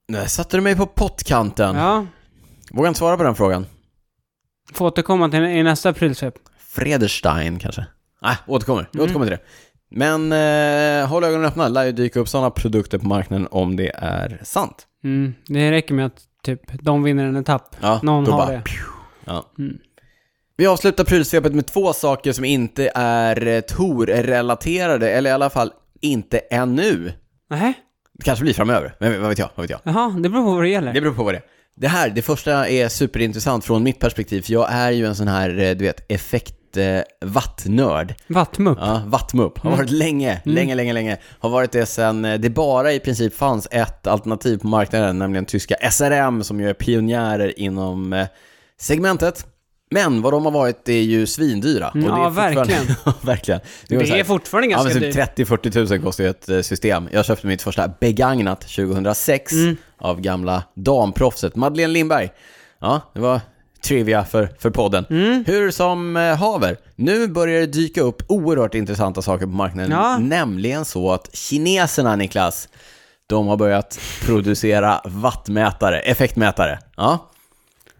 S1: Nej, satte du mig på pottkanten?
S2: Ja.
S1: Vågar inte svara på den frågan.
S2: Får återkomma till i nästa aprilsvep.
S1: Frederstein kanske? Nej, återkommer.
S2: Mm.
S1: Vi återkommer till det. Men eh, håll ögonen öppna, lär ju dyka upp sådana produkter på marknaden om det är sant.
S2: Mm, det räcker med att typ de vinner en etapp.
S1: Ja,
S2: Någon
S1: då
S2: har
S1: bara,
S2: det.
S1: Ja.
S2: Mm.
S1: Vi avslutar prylsvepet med två saker som inte är eh, Tor-relaterade, eller i alla fall inte ännu.
S2: Nähä?
S1: Det kanske blir framöver, men vad vet jag? Vad vet jag?
S2: Jaha, det beror på vad det gäller.
S1: Det beror på vad det är. Det här, det första är superintressant från mitt perspektiv, för jag är ju en sån här, eh, du vet, effekt eh, vattnörd.
S2: Vattmupp.
S1: Ja, Vattmupp.
S2: Mm.
S1: Har varit länge, länge, länge, länge. Har varit det sen eh, det bara i princip fanns ett alternativ på marknaden, nämligen tyska SRM som ju är pionjärer inom eh, segmentet. Men vad de har varit är ju svindyra.
S2: Mm,
S1: det är
S2: ja,
S1: fortfarande-
S2: verkligen.
S1: *laughs* Ja, verkligen. var
S2: Det
S1: så här-
S2: är fortfarande
S1: Ja,
S2: ganska
S1: men
S2: dyrt.
S1: typ 30-40 tusen kostar ju ett eh, system. Jag köpte mitt första begagnat 2006
S2: Mm.
S1: av gamla damproffset Madeleine Lindberg. Ja, det var trivia för, för podden.
S2: Mm.
S1: Hur som eh, haver, nu börjar det dyka upp oerhört intressanta saker på marknaden.
S2: Ja.
S1: Nämligen så att kineserna, Niklas, de har börjat producera vattmätare, effektmätare. Ja.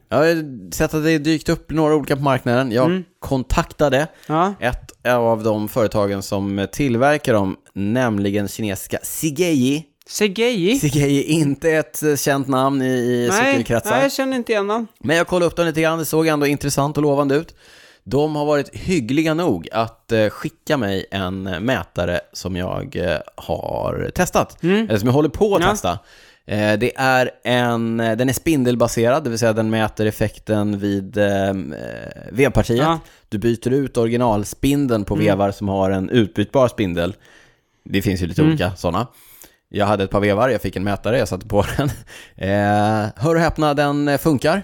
S1: Jag har sett att det dykt upp några olika på marknaden. Jag
S2: Mm.
S1: kontaktade
S2: Ja.
S1: ett av de företagen som tillverkar dem, nämligen kinesiska Sigeyi.
S2: Segei?
S1: Sigeyi är inte ett eh, känt namn i, i
S2: Nej, nej,
S1: cykelkretsar.
S2: jag känner inte igen honom.
S1: Men jag kollade upp dem lite grann, det såg ändå intressant och lovande ut. De har varit hyggliga nog att eh, skicka mig en mätare som jag eh, har testat, eller som jag håller på att
S2: Mm. Ja.
S1: testa. Eh, Det är en, eh, den är spindelbaserad, det vill säga den mäter effekten vid eh, eh, vevpartiet.
S2: Ja. Mm.
S1: Du byter ut originalspindeln på vevar som har en utbytbar spindel. Det finns ju lite
S2: Mm.
S1: olika sådana. Jag hade ett par vevar, jag fick en mätare, jag satte på *laughs* den. Eh, hör och häpna, den eh, funkar.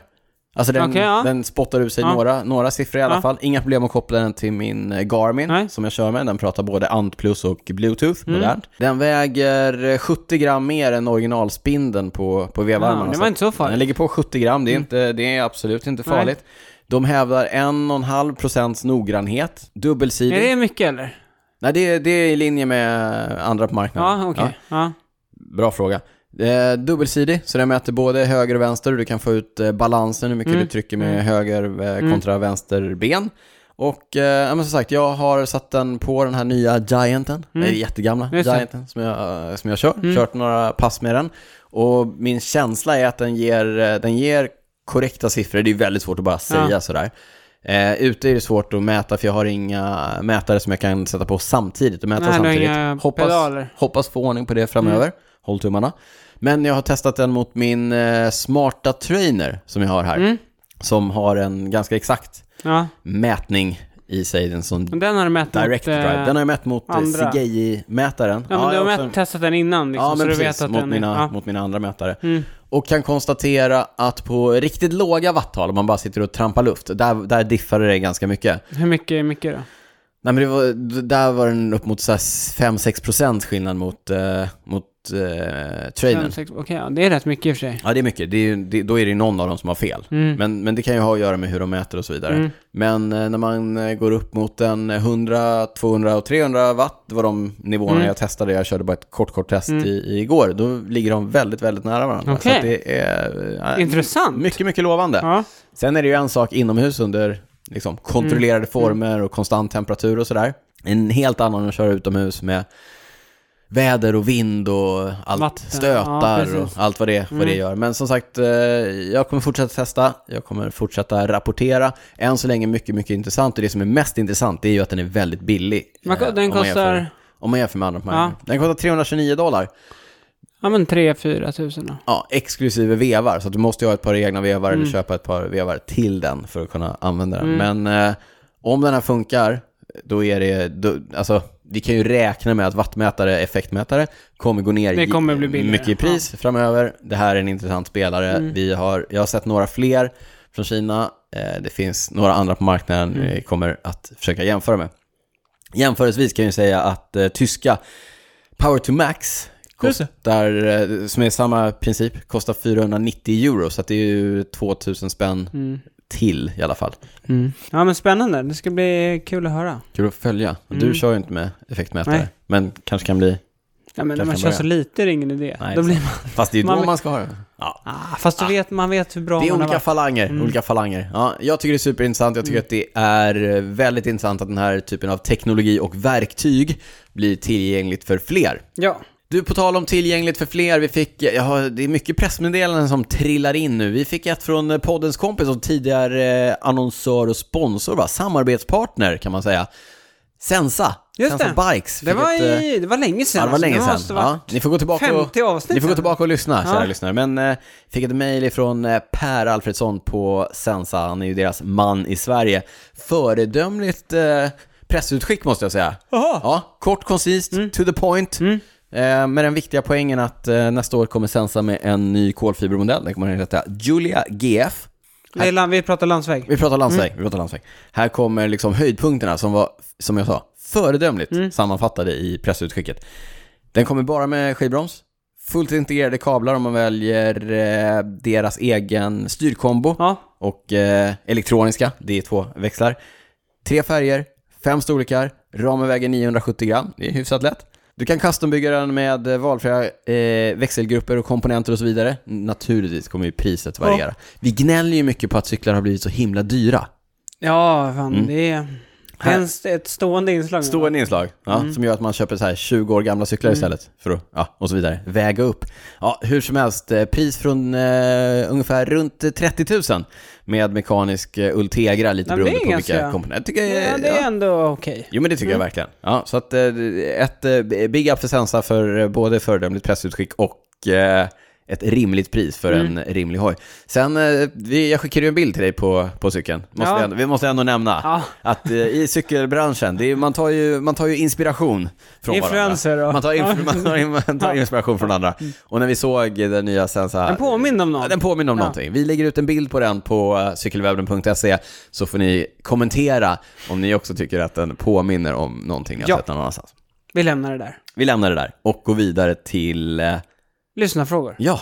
S1: Alltså den,
S2: Okej, ja.
S1: den spottar ur sig
S2: Ja.
S1: några, några siffror i alla
S2: Ja.
S1: fall. Inga problem att koppla den till min eh, Garmin
S2: Nej. Mm.
S1: som jag kör med. Den pratar både ANT plus och Bluetooth, modernt. Den väger eh, 70 gram mer än originalspindeln på, på vevarmarna.
S2: det
S1: så
S2: var
S1: att
S2: inte så farligt. Mm.
S1: Den ligger på 70 gram, det är, inte, det är absolut inte
S2: Nej.
S1: farligt. De hävdar 1,5 procents noggrannhet, dubbelsidig.
S2: Är det mycket eller?
S1: Nej, det, är- det är i linje med andra på marknaden.
S2: Ja, okej. Ja.
S1: Bra fråga. Eh, dubbelsidig, så den mäter både höger och vänster och du kan få ut eh, balansen, hur mycket
S2: Mm.
S1: du trycker med höger eh, kontra vänster ben. Och eh, ja, men som sagt, jag har satt den på den här nya Gianten, nej jättegamla
S2: Mm. Just det. Mm.
S1: Gianten som jag, eh, som jag kör, kört några pass med den. Och min känsla är att den ger, eh, den ger korrekta siffror, det är väldigt svårt att bara säga
S2: Ja.
S1: sådär. Eh, ute är det svårt att mäta för jag har inga mätare som jag kan sätta på samtidigt och mäta
S2: Nej, du har
S1: samtidigt.
S2: inga
S1: Hoppas,
S2: pedaler. Mm.
S1: hoppas få ordning på det framöver. Håll tummarna. Men jag har testat den mot min eh, smarta trainer som jag har här.
S2: Mm.
S1: Som har en ganska exakt
S2: ja.
S1: mätning i sig. En sån
S2: Men den har du mätt
S1: direct
S2: mot, eh,
S1: drive. Den har jag mätt mot
S2: andra.
S1: CGI-mätaren.
S2: Ja, men du har
S1: jag
S2: mätt,
S1: också-
S2: testat den innan liksom,
S1: ja,
S2: så
S1: men
S2: du
S1: precis.
S2: vet att
S1: mot,
S2: den...
S1: mina,
S2: ja. Mm.
S1: mot mina andra mätare. Och kan konstatera att på riktigt låga watttal, om man bara sitter och trampar luft, där, där diffade det ganska mycket.
S2: Hur mycket är mycket då?
S1: Nej men det var, d- där var den upp mot så här 5-6% skillnad mot, eh, mot eh, trainern.
S2: Fem, sex- Okej, ja, det är rätt mycket i och för sig. Mm.
S1: Ja det är mycket, det är, ju- det, då är det ju någon av dem som har fel. Men, men det kan ju ha att göra med hur de mäter och så vidare. Men eh, när man eh, går upp mot en 100, 200 och 300 watt, det var de nivåerna
S2: Mm.
S1: jag testade, jag körde bara ett kort kort test i, i igår, då ligger de väldigt, väldigt nära varandra. Så
S2: Okej.
S1: att det är eh,
S2: Intressant.
S1: mycket, mycket lovande.
S2: Ja.
S1: Sen är det ju en sak inomhus under liksom,
S2: Mm.
S1: kontrollerade former och konstant temperatur och sådär. En helt annan att köra utomhus med väder och vind och allt
S2: Vatten. Ja,
S1: stötar
S2: precis. Mm.
S1: och allt vad det, vad det gör. Men som sagt, eh, jag kommer fortsätta testa, jag kommer fortsätta rapportera. Än så länge mycket, mycket intressant och det som är mest intressant det är ju att den är väldigt billig.
S2: Vad ko-
S1: eh,
S2: den
S1: om man jämför-
S2: kostar-
S1: Om man jämför med andra ja. Den kostar 329 dollar.
S2: ja, men 3-4 tusen då.
S1: Ja, exklusive vevar. Så att du måste ju ha ett par egna vevar
S2: Mm.
S1: eller köpa ett par vevar till den för att kunna använda den. Men eh, om den här funkar, då är det... Då, alltså, vi kan ju räkna med att vattmätare, effektmätare, kommer gå ner
S2: Det kommer bli
S1: i,
S2: billigare. Mm.
S1: mycket i pris framöver. Det här är en intressant spelare. Vi har, jag har sett några fler från Kina. Eh, det finns några andra på marknaden
S2: Mm.
S1: vi kommer att försöka jämföra med. Jämförelsevis kan jag ju säga att eh, tyska Power to Max
S2: Just det.
S1: kostar, eh, som är samma princip, kostar 490 euro. Så att det är ju 2000 spänn till i alla fall.
S2: Mm. Ja, men spännande. Det ska bli kul att höra.
S1: Kul att följa. Du kör ju inte med effektmätare,
S2: Mm. Nej.
S1: men kanske kan bli...
S2: Ja, men när
S1: Kanske
S2: man
S1: kan
S2: kör
S1: börja.
S2: så lite är det ingen idé.
S1: Nej,
S2: Då
S1: exakt.
S2: blir man...
S1: Fast det är ju då
S2: Man-
S1: man, ska ha det. Ja.
S2: Ah, fast du vet, man vet hur bra
S1: Det är
S2: man har
S1: olika
S2: varit.
S1: falanger, olika falanger. Ja, jag tycker det är superintressant, jag tycker
S2: Mm.
S1: att det är eh, väldigt intressant att den här typen av teknologi och verktyg blir tillgängligt för fler.
S2: Ja.
S1: Du, på tal om tillgängligt för fler, vi fick, jag har, det är mycket pressmeddelanden som trillar in nu. Vi fick ett från eh, poddens kompis och tidigare eh, annonsör och sponsor, va? samarbetspartner kan man säga. Sensa,
S2: Just
S1: Sensa
S2: det.
S1: Bikes.
S2: Det
S1: fick
S2: var,
S1: ett, eh,
S2: i, det var länge sedan.
S1: Ja, det var
S2: alltså.
S1: länge sedan.
S2: måste
S1: Ja,
S2: varit-
S1: ni får gå tillbaka
S2: 50
S1: och,
S2: avsnitt
S1: ni får gå
S2: sedan.
S1: tillbaka och lyssna, kära
S2: Ja.
S1: lyssnare. Men eh, fick ett mejl ifrån eh, Per Alfredsson på Sensa, han är ju deras man i Sverige. Föredömligt eh, pressutskick måste jag säga.
S2: Jaha. Mm.
S1: Ja, kort, koncist, to the point. Eh, med den viktiga poängen att eh, nästa år kommer Sensa med en ny kolfibermodell. Den kommer att heta Julia GF.
S2: Det är land, vi pratar landsväg.
S1: Vi pratar landsväg, vi pratar landsväg. Här kommer liksom höjdpunkterna som var, som jag sa, föredömligt sammanfattade i pressutskicket. Den kommer bara med skivbroms, fullt integrerade kablar om man väljer eh, deras egen styrkombo
S2: Ja.
S1: och eh, elektroniska, det är två växlar. Tre färger, fem storlekar, ramen väger 970 gram, det är hyfsat lätt. Du kan custombygga den med eh, valfria eh, växelgrupper och komponenter och så vidare. Naturligtvis kommer ju priset variera. Vi gnäller ju mycket på att cyklar har blivit så himla dyra.
S2: Ja, fan,
S1: Mm.
S2: det är... Det
S1: Här.
S2: är en st- ett stående inslag. nu, va?
S1: Stående inslag, ja,
S2: Mm.
S1: som gör att man köper så här 20 år gamla cyklar istället. För att, ja, och så vidare. Väga upp. Ja, hur som helst, eh, pris från eh, ungefär runt eh, 30 000 med mekanisk eh, Ultegra, lite
S2: Ja, men det
S1: beroende
S2: är
S1: på
S2: ganska-
S1: vilka komponenter. Jag Tycker,
S2: Ja, det är Mm. ändå okej.
S1: Jo men det tycker jag verkligen. Ja, så att eh, ett eh, big up för Sensa för eh, både föredömligt pressutskick och eh, ett rimligt pris för
S2: Mm.
S1: en rimlig hoj. Sen, eh, vi, jag skickade ju en bild till dig på, på cykeln. Måste
S2: Ja.
S1: jag, vi måste ändå nämna
S2: Ja.
S1: att eh, i cykelbranschen, det är, man, tar ju, man tar ju inspiration från
S2: Influenser
S1: varandra.
S2: och- Mm.
S1: Man tar, inf- man, tar in, man tar inspiration från andra. Och när vi såg den nya Sensa...
S2: Den påminner om någon.
S1: Ja, den påminner om
S2: Ja.
S1: någonting. Vi lägger ut en bild på den på eh, cykelwebben.se så får ni kommentera om ni också tycker att den påminner om någonting ni har
S2: Ja.
S1: sett någon annanstans.
S2: Vi lämnar det där.
S1: Vi lämnar det där och går vidare till, eh,
S2: Lyssna frågor.
S1: ja,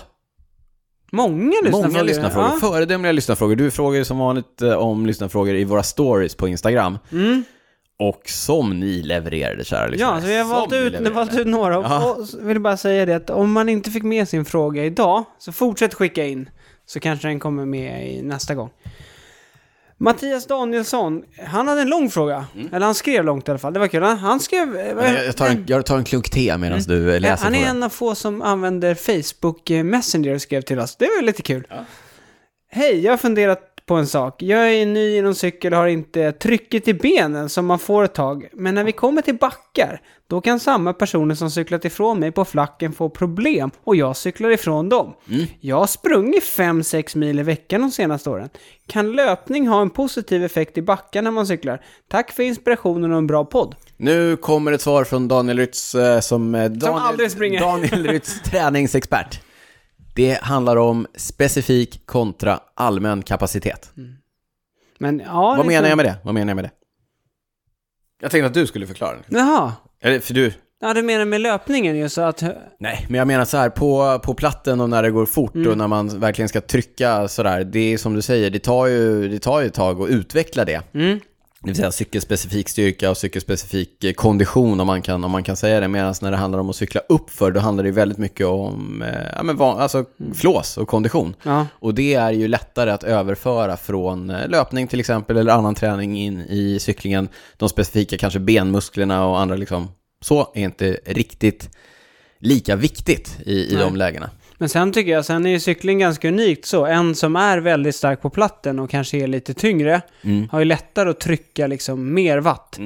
S2: Många lyssnarfrågor.
S1: många lyssnarfrågor.
S2: Ja.
S1: Föredömliga lyssnarfrågor. Du frågar ju som vanligt eh, om lyssnarfrågor i våra stories på Instagram.
S2: Mm.
S1: Och som ni levererade, kära lyssnare.
S2: Ja, så vi har
S1: liksom. Som
S2: valt
S1: ni
S2: ut,
S1: levererade.
S2: valt ut några.
S1: Ja.
S2: Och så vill jag bara säga det att om man inte fick med sin fråga idag, så fortsätt skicka in. Så kanske den kommer med i nästa gång. Mattias Danielsson, han hade en lång fråga. Eller han skrev långt i alla fall, det var kul. Han, han skrev...
S1: Mm. Men jag- Jag tar, en, jag tar en klunk te medan du eh, läser
S2: Mm. han
S1: på
S2: är
S1: den.
S2: en av få som använder Facebook eh, Messenger och skrev till oss. Det var lite kul. Hej, jag har funderat på en sak. Jag är ny inom cykel och har inte trycket i benen som man får ett tag. Men när vi kommer till backar, då kan samma personer som cyklat ifrån mig på flacken få problem och jag cyklar ifrån dem.
S1: Mm.
S2: Jag har sprungit 5-6 mil i veckan de senaste åren. Kan löpning ha en positiv effekt i backar när man cyklar? Tack för inspirationen och en bra podd.
S1: Nu kommer ett svar från Daniel Rytz eh, som, eh, Daniel,
S2: aldrig springer.
S1: Daniel
S2: *laughs*
S1: Rytz träningsexpert. Det handlar om specifik kontra allmän kapacitet.
S2: Mm. Men ja...
S1: Vad menar jag med det? Vad menar jag med det? Jag tänkte att du skulle förklara.
S2: Jaha.
S1: Eller för du?
S2: Ja, du menar med löpningen ju så att...
S1: Nej, men jag menar så här, på, på platten och när det går fort och när man verkligen ska trycka sådär, det är som du säger, det tar ju, det tar ju ett tag att utveckla det.
S2: Mm.
S1: Det vill säga cykelspecifik styrka och cykelspecifik eh, kondition om man kan, om man kan säga det. Medan när det handlar om att cykla uppför, då handlar det ju väldigt mycket om eh, ja, men van, alltså, flås och kondition.
S2: Ja.
S1: Och det är ju lättare att överföra från eh, löpning till exempel eller annan träning in i cyklingen. De specifika kanske benmusklerna och andra liksom, så är inte riktigt lika viktigt i, i de lägena.
S2: Men sen tycker jag, sen är ju cykling ganska unikt så. En som är väldigt stark på platten och kanske är lite tyngre har ju lättare att trycka liksom mer watt.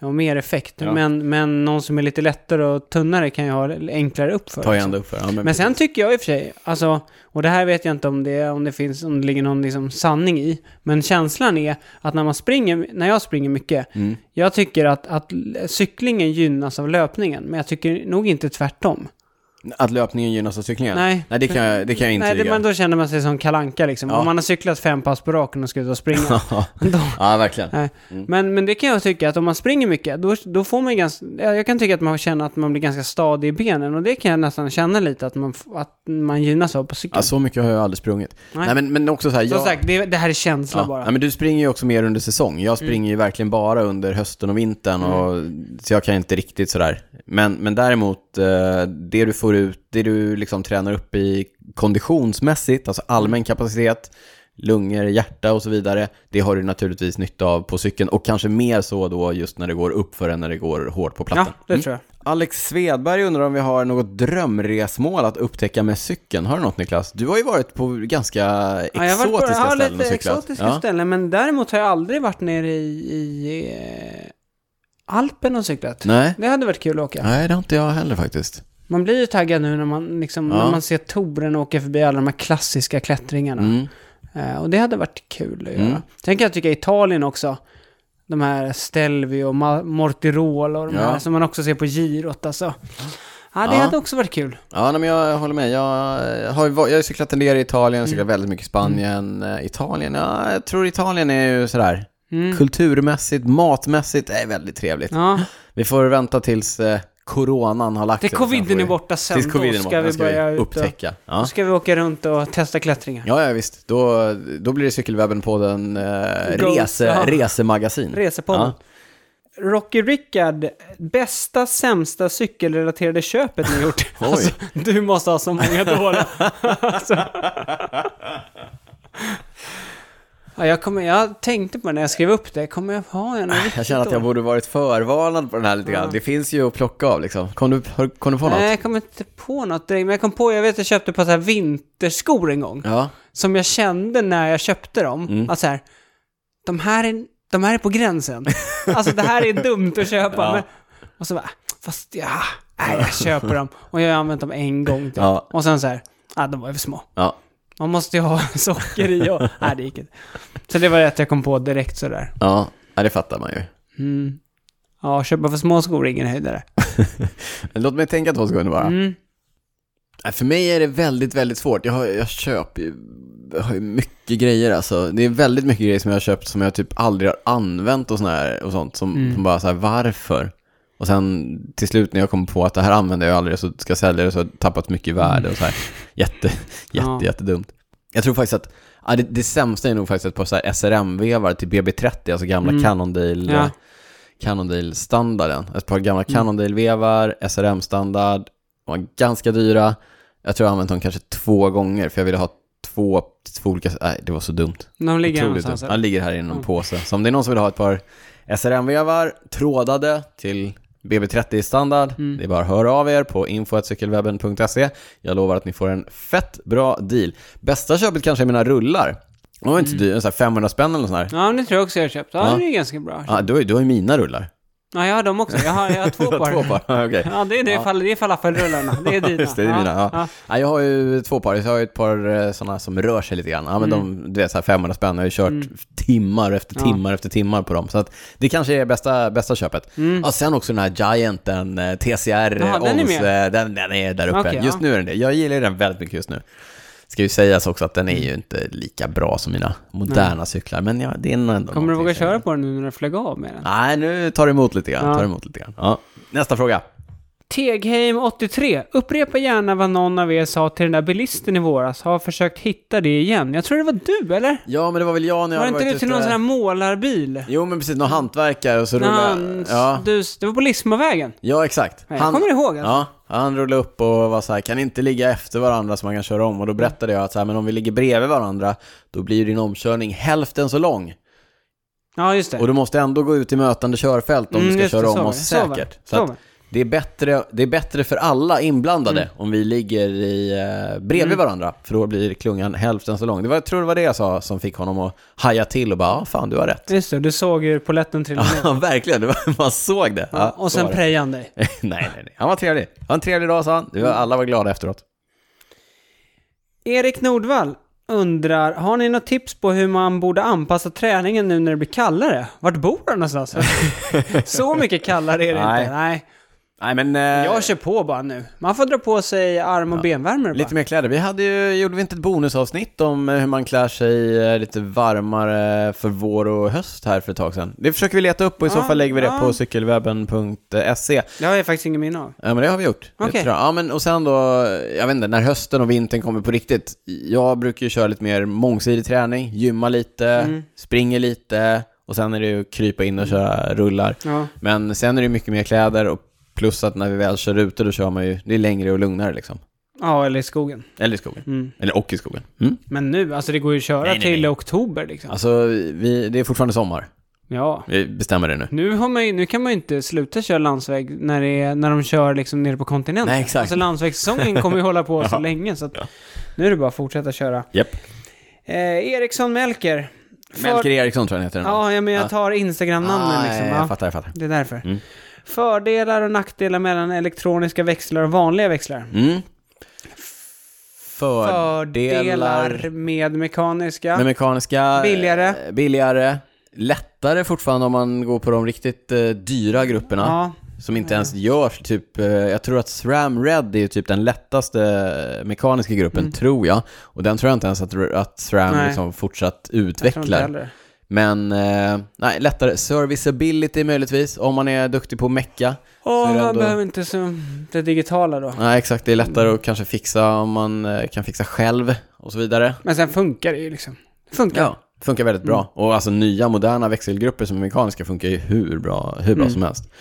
S2: Och mer effekt. Men, men någon som är lite lättare och tunnare kan ju ha enklare uppför.
S1: Tar jag
S2: också.
S1: ändå upp för. Ja, men
S2: Men sen tycker jag i och för sig, alltså, och det här vet jag inte om det, om det finns, om det ligger någon liksom sanning i, men känslan är att när man springer, när jag springer mycket,
S1: Mm.
S2: jag tycker att, att cyklingen gynnas av löpningen, men jag tycker nog inte tvärtom.
S1: Att löpningen gynnas av cyklingen?
S2: Nej.
S1: Nej, det kan jag, det kan jag
S2: Nej,
S1: intyga.
S2: det, men då känner man sig som kalanka liksom.
S1: Ja.
S2: Om man har cyklat fem pass på raken och ska ut
S1: *laughs*
S2: och springa. då,
S1: Ja, verkligen.
S2: nej.
S1: Mm.
S2: Men, men det kan jag tycka att om man springer mycket, då, då får man ju ganska, ja, jag kan tycka att man känner att man blir ganska stadig i benen och det kan jag nästan känna lite att man, f- att man gynnas av på cykeln.
S1: Ja, så mycket har jag aldrig sprungit. Nej,
S2: Nej.
S1: men, men också så här,
S2: Som
S1: Alltså, jag...
S2: sagt, det, det här är känsla
S1: ja.
S2: bara. Mm.
S1: Nej, men du springer ju också mer under säsong. Jag springer ju verkligen bara under hösten och vintern, och, så jag kan inte riktigt sådär. Men, men däremot, eh, det du får ut, det du liksom tränar upp i konditionsmässigt, alltså
S2: Mm.
S1: allmän kapacitet, lungor, hjärta och så vidare, det har du naturligtvis nytta av på cykeln. Och kanske mer så då just när det går uppför än när det går hårt på
S2: ja,
S1: plattan.
S2: det tror jag.
S1: Alex Svedberg undrar om vi har något drömresmål att upptäcka med cykeln. Har du något Niklas? Du har ju varit på ganska
S2: Ja, jag har varit
S1: exotiska
S2: på- ja,
S1: ställen och
S2: lite
S1: cyklat.
S2: exotiska ställen, men däremot har jag aldrig varit nere i, i eh, Alpen och cyklat.
S1: Nej.
S2: Det hade varit kul att åka.
S1: Nej, det har inte jag heller faktiskt.
S2: Man blir ju taggad nu när man, liksom,
S1: Ja.
S2: när man ser Toren åka förbi alla de här klassiska klättringarna.
S1: Mm.
S2: Eh, och det hade varit kul att göra.
S1: Mm.
S2: Sen kan jag tycka Italien också. De här Stelvio och Ma- Mortirol och de
S1: Ja.
S2: här som man också ser på girot alltså. Ja, det
S1: Ja.
S2: hade också varit kul.
S1: Ja, nej, men jag håller med. Jag eh, har, ju va- jag har ju cyklat en del i
S2: Mm.
S1: Italien, cyklat väldigt mycket i Spanien. Eh, Italien, ja, jag tror Italien är ju sådär
S2: Mm.
S1: kulturmässigt, matmässigt, det är väldigt trevligt.
S2: Ja.
S1: Vi får vänta tills eh, coronan har lagt
S2: Det
S1: sig. Sen får
S2: coviden
S1: vi-
S2: är borta sen,
S1: Tills coviden
S2: då
S1: är
S2: ska
S1: borta,
S2: vi
S1: då ska
S2: börja
S1: vi
S2: ut och-
S1: upptäcka. Ja.
S2: Då ska vi åka runt och testa klättringar.
S1: Ja, ja visst. Då, då blir det Cykelwebben-podden eh,
S2: Go.
S1: rese,
S2: Ja.
S1: resemagasin.
S2: Resepodden. Rocky Rickard, bästa sämsta cykelrelaterade köpet ni gjort?
S1: *laughs* Oj.
S2: Alltså, du måste ha så
S1: *laughs*
S2: många dåliga. alltså. ja, jag, kommer, jag tänkte på det när jag skrev upp det, kommer jag ha en riktigt
S1: Jag känner att jag
S2: dålig?
S1: borde varit förvarnad på den här lite grann. Det finns ju att plocka av liksom. Kom du, har- kom du på något?
S2: Nej, jag kommer inte på något direkt, men jag kom på, jag vet jag köpte ett par så här vinterskor en gång.
S1: Ja.
S2: som jag kände när jag köpte dem,
S1: Mm.
S2: att så här, de här är, de här är
S1: *laughs*
S2: på gränsen. alltså det här är dumt att köpa. Men, och så bara, fast ja, nej, jag köper dem. Och jag har använt dem en gång typ.
S1: Ja.
S2: Och sen så här, Ah, de var för små.
S1: Ja.
S2: Man måste ju ha *laughs* socker i och... Nej, det gick inte. Så det var det att jag kom på direkt sådär.
S1: Ja, ja, det fattar man ju.
S2: Mm. Ja, köpa för små skor är ingen höjdare.
S1: Låt mig tänka två sekunder bara.
S2: Mm.
S1: Nej, Äh, För mig är det väldigt, väldigt svårt. Jag, har, jag köper ju, jag har ju mycket grejer alltså. Det är väldigt mycket grejer som jag har köpt som jag typ aldrig har använt och, sån här, och sånt. Som,
S2: Mm.
S1: som bara så här, varför? Och sen till slut när jag kom på att det här använder jag aldrig så ska jag sälja det så har det tappat mycket i värde och så här. Jätte, jätte,
S2: Mm. *laughs* Ja.
S1: jättedumt. Jag tror faktiskt att, ja, det, det sämsta är nog faktiskt ett par så här SRM-vevar till BB30, alltså gamla
S2: Mm.
S1: Cannondale,
S2: Ja. Mm.
S1: Cannondale-standarden. Ett par gamla Cannondale-vevar, SRM-standard, de var ganska dyra. Jag tror jag har använt dem kanske två gånger, för jag ville ha två, två olika, nej det var så dumt.
S2: De
S1: Otroligt
S2: ligger någonstans.
S1: dumt.
S2: här.
S1: Han ligger här i någon
S2: Mm.
S1: påse. Så om det är någon som vill ha ett par SRM-vevar trådade till BB30 i standard,
S2: Mm.
S1: det är bara att höra av er på info.cykelwebben.se. Jag lovar att ni får en fett bra deal. Bästa köpet kanske är mina rullar. De var inte
S2: Mm.
S1: så dyra, så här 500 spänn eller sådär.
S2: Ja, men det tror jag också jag har köpt. Ja,
S1: Ja.
S2: det är ganska bra.
S1: Ja, du, har ju- du har ju mina rullar.
S2: Ja, jag har dem också. Jag har, jag har
S1: *laughs* Du
S2: två
S1: har
S2: par.
S1: Två par. Ja, okej.
S2: Ja, det är, det,
S1: Ja.
S2: fall, det är falafelrullarna.
S1: *laughs*
S2: Det är dina.
S1: Just det, det är mina, ja. Ja, jag har ju två par, jag har ju ett par sådana som rör sig lite grann. Ja, men de, du vet, så här 500 spänn, jag har ju kört timmar efter
S2: Mm. Ja.
S1: timmar efter timmar på dem. Så att det kanske är bästa, bästa köpet. Ja, sen också den här Gianten, eh, TCR,
S2: Mm. Jaha, den är
S1: ONS,
S2: med.
S1: eh, den, den är där uppe.
S2: Okej, ja.
S1: just nu är den det. Jag gillar ju den väldigt mycket just nu. Ska ju sägas också att den är
S2: Mm.
S1: ju inte lika bra som mina moderna cyklar, men ja, det är nog ändå
S2: Kommer du
S1: någonting
S2: våga
S1: som-
S2: köra på den nu när du flög av med den?
S1: Nej, nu tar det emot lite grann.
S2: Ja.
S1: Tar det emot lite grann. Ja. Nästa fråga.
S2: Tegheim 83. Upprepa gärna vad någon av er sa till den där bilisten i våras. Har försökt hitta det igen. Jag tror det var du, eller?
S1: Ja, men det var typ väl jag när jag
S2: var det
S1: hade
S2: inte
S1: varit
S2: du till
S1: ute-
S2: någon sån här målarbil?
S1: Jo men precis, någon hantverkare och så
S2: När
S1: rullade...
S2: han,
S1: Ja,
S2: du, det var på Lismavägen.
S1: ja exakt.
S2: Nej, jag kommer ihåg alltså.
S1: Ja, han rullade upp och var så här, kan ni inte ligga efter varandra så man kan köra om? Och då berättade jag att så här, men om vi ligger bredvid varandra, då blir din omkörning hälften så lång.
S2: Ja, just det.
S1: Och du måste ändå gå ut i mötande körfält om
S2: Mm,
S1: du
S2: just
S1: ska
S2: det,
S1: köra
S2: så
S1: om
S2: var
S1: oss
S2: det, så var det,
S1: säkert.
S2: så
S1: Så
S2: var
S1: att
S2: det. Mm.
S1: det, är bättre, det är bättre för alla inblandade om vi ligger i, eh, bredvid varandra, för då blir klungan hälften så lång. Det var, jag tror det var det jag sa som fick honom att haja till och bara, ah, fan du har rätt.
S2: Just det, du såg hur polletten trillade ner.
S1: Ja, *laughs* verkligen. Det var, man såg det. Ja,
S2: och
S1: så
S2: sen
S1: var det.
S2: prejade han dig.
S1: *laughs* nej, nej, nej. Han var trevlig. Han var en trevlig dag, sa han. Det var, alla var glada efteråt.
S2: Erik Nordvall undrar, har ni något tips på hur man borde anpassa träningen nu när det blir kallare? Vart bor
S1: *laughs*
S2: han någonstans? Så mycket kallare är det
S1: Nej.
S2: inte. Nej.
S1: Nej, men... eh,
S2: Jag kör på bara nu. Man får dra på sig arm och benvärmare bara.
S1: Lite mer kläder. Vi hade ju, gjorde vi inte ett bonusavsnitt om eh, hur man klär sig eh, lite varmare för vår och höst här för ett tag sedan? Det försöker vi leta upp och i så
S2: Ja,
S1: fall lägger vi det
S2: ja.
S1: på cykelwebben.se.
S2: Det har jag faktiskt ingen minne av.
S1: Ja men det har vi gjort. Det
S2: Okej.
S1: tror jag. Ja men och sen då, jag vet inte, när hösten och vintern kommer på riktigt. Jag brukar ju köra lite mer mångsidig träning, gymma lite, springer lite och sen är det ju att krypa in och köra rullar.
S2: Ja.
S1: Men sen är det mycket mer kläder och plus att när vi väl kör ute då kör man ju, det är längre och lugnare liksom.
S2: ja, eller i skogen.
S1: Eller i skogen.
S2: Mm.
S1: Eller och i skogen. Mm.
S2: Men nu, alltså det går ju att köra
S1: Nej, nej,
S2: till
S1: nej.
S2: oktober liksom.
S1: Alltså, vi, det är fortfarande sommar.
S2: Ja.
S1: Vi bestämmer det nu.
S2: Nu, har man ju, nu kan man ju inte sluta köra landsväg när, det är, när de kör liksom nere på kontinenten.
S1: Nej, exakt.
S2: Alltså landsvägssäsongen kommer ju
S1: *laughs*
S2: hålla på så länge så att nu är det bara att fortsätta köra.
S1: Japp.
S2: Eh, Eriksson Melker. För-
S1: Melker Eriksson tror jag den heter.
S2: Ja, ja, men jag tar Instagram-namnen
S1: ah,
S2: liksom.
S1: Jag,
S2: Ja.
S1: fattar, jag fattar.
S2: Det är därför.
S1: Mm.
S2: Fördelar och nackdelar mellan elektroniska växlar och vanliga växlar.
S1: Mm.
S2: Fördelar med mekaniska.
S1: Med mekaniska.
S2: Billigare.
S1: eh, Billigare. Lättare fortfarande om man går på de riktigt eh, dyra grupperna.
S2: ja.
S1: Som
S2: Mm.
S1: inte ens görs, typ, eh, jag tror att SRAM Red är ju typ den lättaste eh, mekaniska gruppen, tror jag. Och den tror jag inte ens att, att SRAM
S2: Mm. Nej.
S1: liksom fortsatt
S2: jag tror inte
S1: utvecklar.
S2: heller.
S1: Men, eh, nej, lättare. Serviceability möjligtvis, om man är duktig på att mecka.
S2: Åh,
S1: är det
S2: man
S1: ändå-
S2: behöver inte så, det digitala då.
S1: Nej, exakt, det är lättare
S2: Mm.
S1: att kanske fixa om man eh, kan fixa själv och så vidare.
S2: Men sen funkar det ju liksom. Det funkar.
S1: Ja, funkar väldigt
S2: Mm.
S1: bra. Och alltså nya moderna växelgrupper som är mekaniska funkar ju hur bra, hur
S2: Mm.
S1: bra som helst.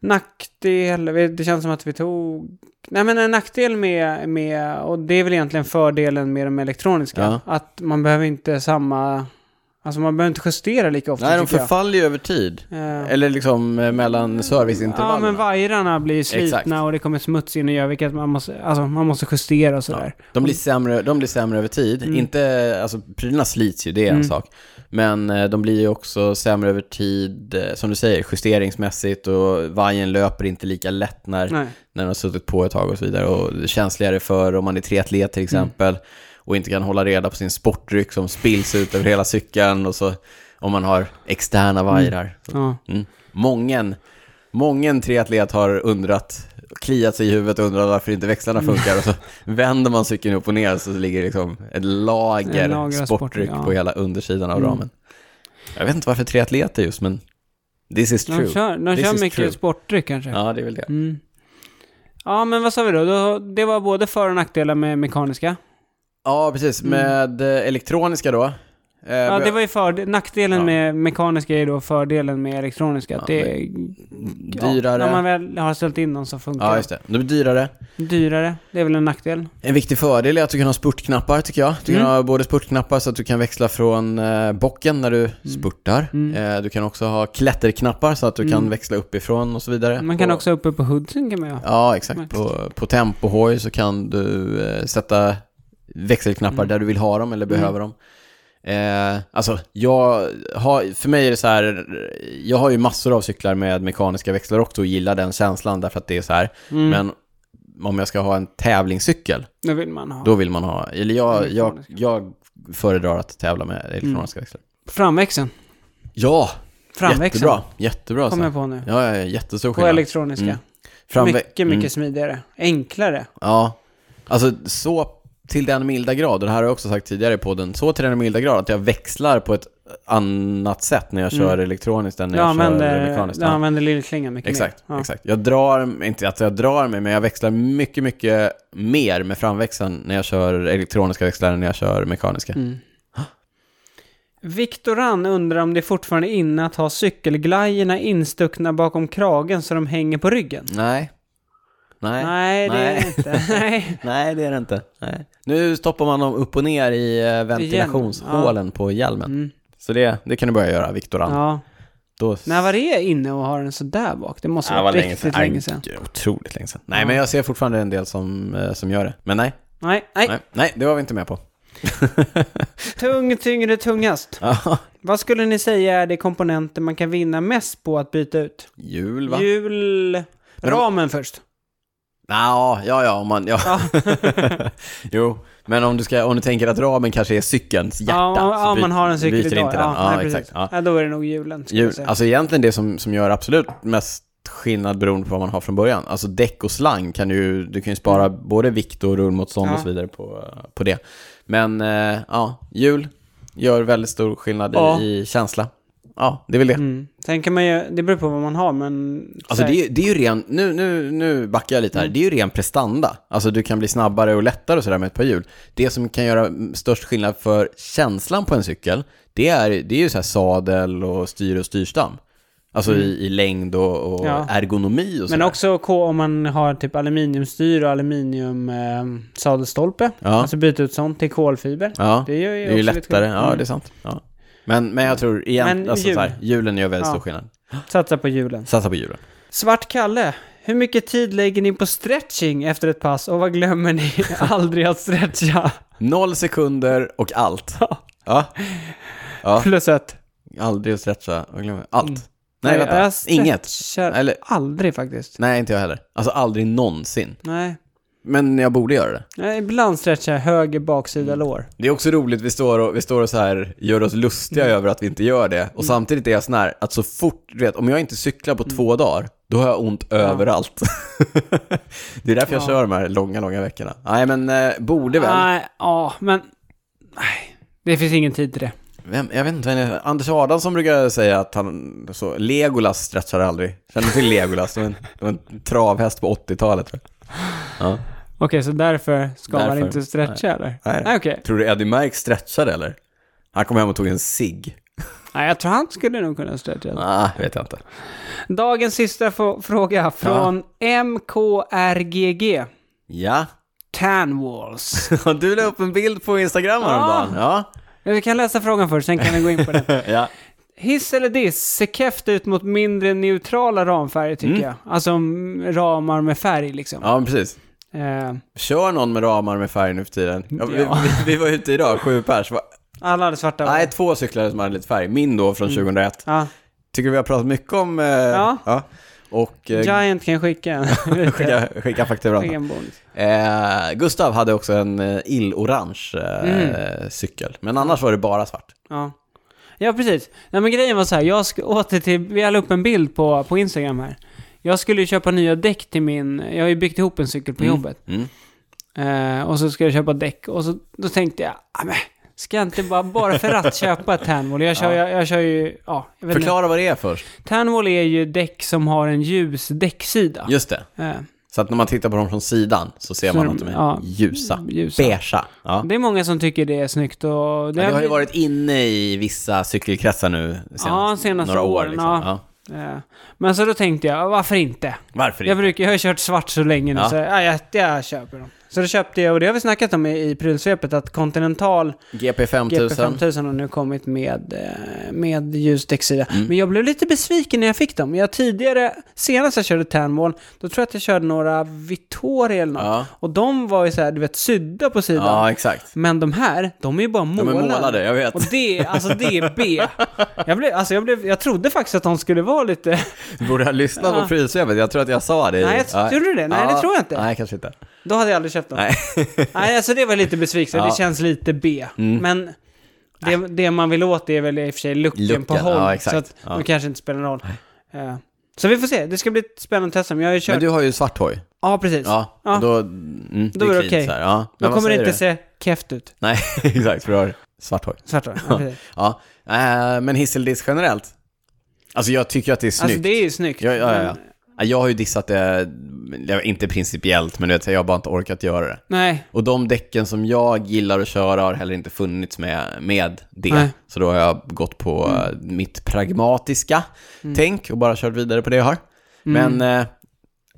S2: Nackdel, vi- det känns som att vi tog... Nej men en nackdel med, med, och det är väl egentligen fördelen med de elektroniska,
S1: Ja.
S2: att man behöver inte samma... Alltså man behöver inte justera lika ofta
S1: Nej, de
S2: tycker jag.
S1: förfaller ju över tid.
S2: Eh,
S1: Eller liksom eh, mellan
S2: Ja,
S1: serviceintervallerna.
S2: men vajrarna blir slitna
S1: Exakt.
S2: och det kommer smuts in och gör vilket man måste, alltså, man måste justera och sådär.
S1: De blir sämre, de blir sämre över tid. Inte, alltså prylarna slits ju, det är en sak. Men eh, de blir ju också sämre över tid, eh, som du säger, justeringsmässigt och vajern löper inte lika lätt när,
S2: Nej.
S1: när den har suttit på ett tag och så vidare. Och det är känsligare för om man är triatlet till exempel och inte kan hålla reda på sin sportdryck som spills ut över hela cykeln och så om man har externa vajrar.
S2: Ja.
S1: Mm. Mången, mången triatlet har undrat, kliat sig i huvudet och undrat varför inte växlarna funkar. Och så vänder man cykeln upp och ner så ligger det liksom ett lager,
S2: En lager av
S1: sportdryck
S2: sportdryck, ja.
S1: på hela undersidan av
S2: Mm.
S1: ramen. Jag vet inte varför triatleter just, men this is
S2: De
S1: true.
S2: kör, de
S1: This
S2: kör
S1: is
S2: mycket
S1: true.
S2: sportdryck kanske.
S1: Ja, det är väl det.
S2: Mm. Ja, men vad sa vi då? då? Det var både för och nackdelar med mekaniska.
S1: Ja, precis. Med eh, elektroniska då. Eh,
S2: Mm. Ja, det var ju för, nackdelen
S1: Ja.
S2: med mekaniska är då fördelen med elektroniska. att det är ja,
S1: Dyrare.
S2: När man väl har ställt in dem så funkar
S1: Ja, just det. De är dyrare.
S2: det. Dyrare, det är väl en nackdel.
S1: En viktig fördel är att du kan ha spurtknappar tycker jag. Du kan
S2: Mm.
S1: ha både spurtknappar så att du kan växla från eh, bocken när
S2: Mm.
S1: du spurtar. Eh, du kan också ha klätterknappar så att du kan växla uppifrån och så vidare.
S2: Mm. Man kan
S1: Och-
S2: också uppe på hoodsen kan man göra.
S1: Ja, exakt. På, på tempohoj så kan du eh, sätta växelknappar
S2: Mm.
S1: där du vill ha dem eller behöver dem. Eh, alltså, jag har, för mig är det så här, jag har ju massor av cyklar med mekaniska växlar också och gillar den känslan därför att det är så här. Men om jag ska ha en tävlingscykel
S2: Det Mm. vill man ha.
S1: då vill man ha, eller jag, jag,
S2: Elektroniska. Mm.
S1: jag föredrar att tävla med elektroniska växlar.
S2: Framväxeln.
S1: Ja,
S2: Framväxeln.
S1: jättebra. Jättebra.
S2: Kommer
S1: Så.
S2: jag på nu.
S1: Ja, ja, ja, jättestor
S2: På
S1: skillnad.
S2: elektroniska.
S1: Mm. Framvä-
S2: mycket, mycket
S1: Mm,
S2: smidigare. Enklare.
S1: ja. Alltså så till den milda grad, och det här har jag också sagt tidigare i podden, så till den milda grad att jag växlar på ett annat sätt när jag
S2: Mm.
S1: kör elektroniskt än när
S2: Du
S1: jag
S2: använder,
S1: kör mekaniskt.
S2: du
S1: Ja.
S2: använder lillslingan mycket
S1: Exakt,
S2: mer. eh, Ja.
S1: exakt. Jag drar, inte att jag drar mig, men jag växlar mycket, mycket mer med framväxeln när jag kör elektroniska växlar än när jag kör mekaniska.
S2: Mm. Viktoran undrar om det fortfarande är inne att ha cykelglajjorna instuckna bakom kragen så de hänger på ryggen.
S1: Nej. Nej.
S2: Nej, det är det
S1: *laughs*
S2: inte. Nej.
S1: Nej, det är det inte. Nej. Nu stoppar man dem upp och ner i eh, ventilationshålen på hjälmen. Så det, det kan du börja göra, Viktoran.
S2: Mm. Ja.
S1: Då...
S2: När var det inne och har den så där bak? Det måste
S1: Ja, det
S2: vara riktigt
S1: Nej,
S2: länge sedan.
S1: gud, Otroligt länge sedan. Nej, men jag ser fortfarande en del som, eh, som gör det. Men nej,
S2: Nej, nej.
S1: nej, nej, det var vi inte med på. *laughs*
S2: Tung, tyngre, tungast.
S1: Ja,
S2: Vad skulle ni säga är de komponenter man kan vinna mest på att byta ut?
S1: Jul, va?
S2: Hjul...
S1: Men om-
S2: Ramen först.
S1: Nå, ja, ja, om man... Ja. *laughs* jo, men om du, ska, om du tänker att ramen kanske är cykelns hjärta.
S2: ja, om,
S1: så
S2: om
S1: byt-
S2: man har en cykel
S1: byter
S2: idag.
S1: inte den. Ja,
S2: nej,
S1: exakt. Ja.
S2: Ja. då är det nog hjulen. skulle jag
S1: Hjul,
S2: säga.
S1: alltså egentligen det som, som gör absolut mest skillnad beroende på vad man har från början. Alltså däck och slang kan du, du kan ju spara både vikt och rullmotstånd och
S2: Mm. Ja.
S1: så vidare på, på det. Men eh, ja, hjul gör väldigt stor skillnad
S2: Ja.
S1: i, i känsla. Ja, det är väl det.
S2: Mm. Sen kan man ju, det beror på vad man har men...
S1: Alltså
S2: så här-
S1: det är, ju- det är ju ren, nu, nu, nu backar jag
S2: Mm.
S1: lite här, det är ju ren prestanda. Alltså du kan bli snabbare och lättare och sådär med ett par hjul. Det som kan göra mm, störst skillnad för känslan på en cykel, det är, det är ju så här sadel och styr och styrstam. Alltså i, i längd och, och
S2: Mm. Ja.
S1: ergonomi och sådär.
S2: men också K om man har typ aluminiumstyr och aluminium eh, sadelstolpe.
S1: Ja.
S2: Alltså byta ut sånt till kolfiber.
S1: ja, det
S2: det gör
S1: är
S2: ju
S1: ju
S2: också lite
S1: lättare,
S2: skillnad.
S1: ja
S2: Mm.
S1: det är sant. Ja. Men, men jag tror igen,
S2: Men
S1: alltså,
S2: hjul.
S1: så här, hjulen gör väldigt
S2: Ja.
S1: stor skillnad.
S2: Satsa på hjulen.
S1: Satsa på hjulen.
S2: Svart Kalle, hur mycket tid lägger ni på stretching efter ett pass och vad glömmer ni *laughs* aldrig att stretcha?
S1: Noll sekunder och allt. Ja,
S2: Plus ett.
S1: aldrig att stretcha och glömma. Allt. Nej,
S2: Mm. Nej,
S1: vänta.
S2: jag stretchar-
S1: Inget. Eller,
S2: Aldrig faktiskt.
S1: Nej, inte jag heller. Alltså aldrig någonsin.
S2: Nej.
S1: Men jag borde göra det.
S2: Nej, ibland stretchar jag höger baksida
S1: Mm.
S2: lår.
S1: Det är också roligt, vi står och, vi står och så här gör oss lustiga över att vi inte gör det. Och samtidigt är jag sån här, att så fort, du vet, om jag inte cyklar på två dagar, då har jag ont överallt. *laughs* det är därför jag kör de här långa, långa veckorna. Nej, men eh, borde väl.
S2: Nej, ja, men... Nej, det finns ingen tid till det.
S1: Vem, jag vet inte, vem det är. Anders Adamsson brukar säga att han, så, Legolas stretchar aldrig. Känner du till Legolas? Det var en, det var en travhäst på 80-talet. tror jag. Ja.
S2: Okej, så därför ska man
S1: Därför.
S2: inte stretcha eller?
S1: Nej.
S2: Nej, okej.
S1: Tror du Eddie Merck stretchade eller? Han kom hem och tog en cigg.
S2: Nej, jag tror han skulle nog kunna stretcha.
S1: Nej, vet Ah, jag inte.
S2: Dagens sista få- fråga från MKRGG.
S1: Ja. *laughs*
S2: Tanwalls.
S1: Du la upp en bild på Instagram häromdagen. Ja.
S2: Vi kan läsa frågan först, sen kan vi gå in
S1: *laughs*
S2: på den.
S1: Ah. ja.
S2: Hiss eller diss ser keft ut mot mindre neutrala ramfärger tycker jag. Alltså mm, ramar med färg liksom.
S1: ja, men precis.
S2: Eh,
S1: Kör någon med ramar med färg nu för tiden? Ja, vi,
S2: Ja.
S1: vi, vi var ute idag, sju pers. Va-
S2: alla hade svarta.
S1: Nej, två cyklar som hade lite färg. Min då från 2001.
S2: Ja.
S1: Tycker vi har pratat mycket om... Eh, Mm. ja. Och eh,
S2: Giant kan skicka *laughs* en.
S1: *laughs* skicka, skicka fakturan.
S2: Skicka en bonus.
S1: Eh, Gustav hade också en eh, illorange eh, cykel, men annars var det bara svart.
S2: Ja. ja, precis. Nej, men grejen var så här, jag sk- åter till, vi la upp en bild på, på Instagram här. Jag skulle ju köpa nya däck till min, jag har ju byggt ihop en cykel på jobbet.
S1: Mm.
S2: Eh, och så ska jag köpa däck och så, då tänkte jag, "Ah, men, ska jag inte bara, bara för att köpa ett Ternwall? Jag kör, jag, jag kör ju, ja, jag vet inte.
S1: Förklara vad det är först.
S2: Ternwall är ju däck som har en ljus däcksida.
S1: Just det.
S2: Eh,
S1: Så att när man tittar på dem från sidan så ser
S2: Så
S1: man
S2: de-
S1: att de är
S2: ja,
S1: ljusa.
S2: ljusa.
S1: Beiga. Ja.
S2: Det är många som tycker det är snyggt
S1: Det,
S2: och...
S1: har ju
S2: blivit-
S1: varit inne i vissa cykelkretsar nu senast,
S2: Ja, senaste
S1: några år.
S2: åren,
S1: liksom.
S2: ja. Eh, Men så då tänkte jag, varför inte?
S1: Varför
S2: Jag,
S1: inte?
S2: brukar, jag har ju kört svart så länge nu
S1: Ja.
S2: så ja, jag, jag köper dem. Så då köpte jag, och det har vi snackat om i, i prylsvepet, att Continental
S1: GP 5000.
S2: GP5000 har nu kommit med, eh, med ljus däcksida.
S1: Mm.
S2: Men jag blev lite besviken när jag fick dem. Jag tidigare, senast jag körde Ternwall, då tror jag att jag körde några Vittoria eller något.
S1: Ja.
S2: Och de var ju så här, du vet, sydda på sidan.
S1: Ja, exakt.
S2: Men de här, de är ju bara
S1: De är
S2: målade.
S1: målade, jag vet.
S2: Och det, alltså det är
S1: *laughs*
S2: B. Jag, blev, alltså jag, blev, jag trodde faktiskt att de skulle vara lite... *laughs*
S1: Du borde ha lyssnat
S2: Ja.
S1: på prylsvepet, jag tror att jag sa det. i-
S2: Nej, jag
S1: Ja.
S2: gjorde du det? Nej, det tror jag inte.
S1: Nej, kanske inte.
S2: Då hade jag aldrig köpt dem.
S1: Nej.
S2: Nej, alltså det var lite besviken.
S1: Ja. Mm.
S2: Det känns lite B. Men det, det man vill åt är väl i och för sig looken,
S1: Looken,
S2: på håll.
S1: ja, exakt.
S2: Så att
S1: Ja.
S2: det kanske inte spelar någon roll. Eh, Så vi får se. Det ska bli ett spännande test. Jag har ju
S1: Men
S2: kört...
S1: du har ju svart hoj.
S2: Ja, precis.
S1: Ja,
S2: Ja.
S1: då... Mm,
S2: Då är
S1: clean
S2: det okej.
S1: så här, Ja.
S2: Då
S1: Men vad
S2: kommer det
S1: säger
S2: inte
S1: du?
S2: se keft ut.
S1: Nej, *laughs* exakt, för du har svart hår.
S2: Svart då. ja, precis.
S1: Ja, eh, men hiss eller diss generellt? Alltså jag tycker att det är snyggt.
S2: Alltså det är ju snyggt.
S1: ja, ja, ja, ja.
S2: Men-
S1: Ja, Jag har ju dissat det, ja, inte principiellt, men du vet, jag har bara inte orkat göra det.
S2: Nej,
S1: Och de däcken som jag gillar att köra har heller inte funnits med, med det.
S2: Nej. Mm.
S1: Så då har jag gått på eh, mitt pragmatiska tänk och bara kört vidare på det jag har.
S2: Mm.
S1: Men eh,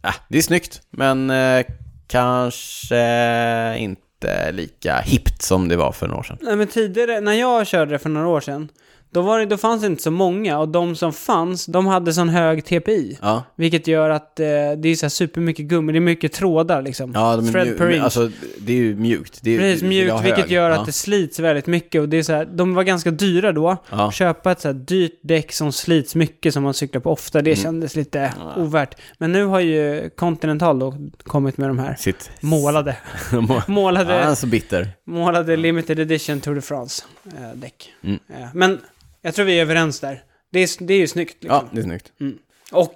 S1: ah, det är snyggt, men eh, kanske inte lika hippt som det var för några år sedan.
S2: Nej men tidigare, när jag körde det för några år sedan, då, var det, då fanns det inte så många och de som fanns, de hade sån hög TPI.
S1: Ja.
S2: Vilket gör att eh, det är så här supermycket gummi, det är mycket trådar liksom.
S1: Ja, de är
S2: Thread
S1: mju-
S2: per
S1: men
S2: inch.
S1: Alltså, det är ju mjukt. Det är,
S2: Precis,
S1: det vill jag
S2: mjukt,
S1: ha
S2: vilket
S1: hög.
S2: gör
S1: Ja.
S2: att det slits väldigt mycket. Och det är så här, de var ganska dyra då.
S1: Ja.
S2: Köpa ett så här dyrt däck som slits mycket, som man cyklar på ofta,
S1: Mm.
S2: det kändes lite ovärt. Men nu har ju Continental då kommit med de här
S1: Sitt...
S2: målade,
S1: *laughs* Må- Ja,
S2: målade
S1: han är så bitter.
S2: Målade limited edition Tour de France eh, däck.
S1: Mm.
S2: Eh, men jag tror vi är överens där. Det är, det är ju snyggt
S1: Ja,
S2: liksom.
S1: det är snyggt.
S2: Och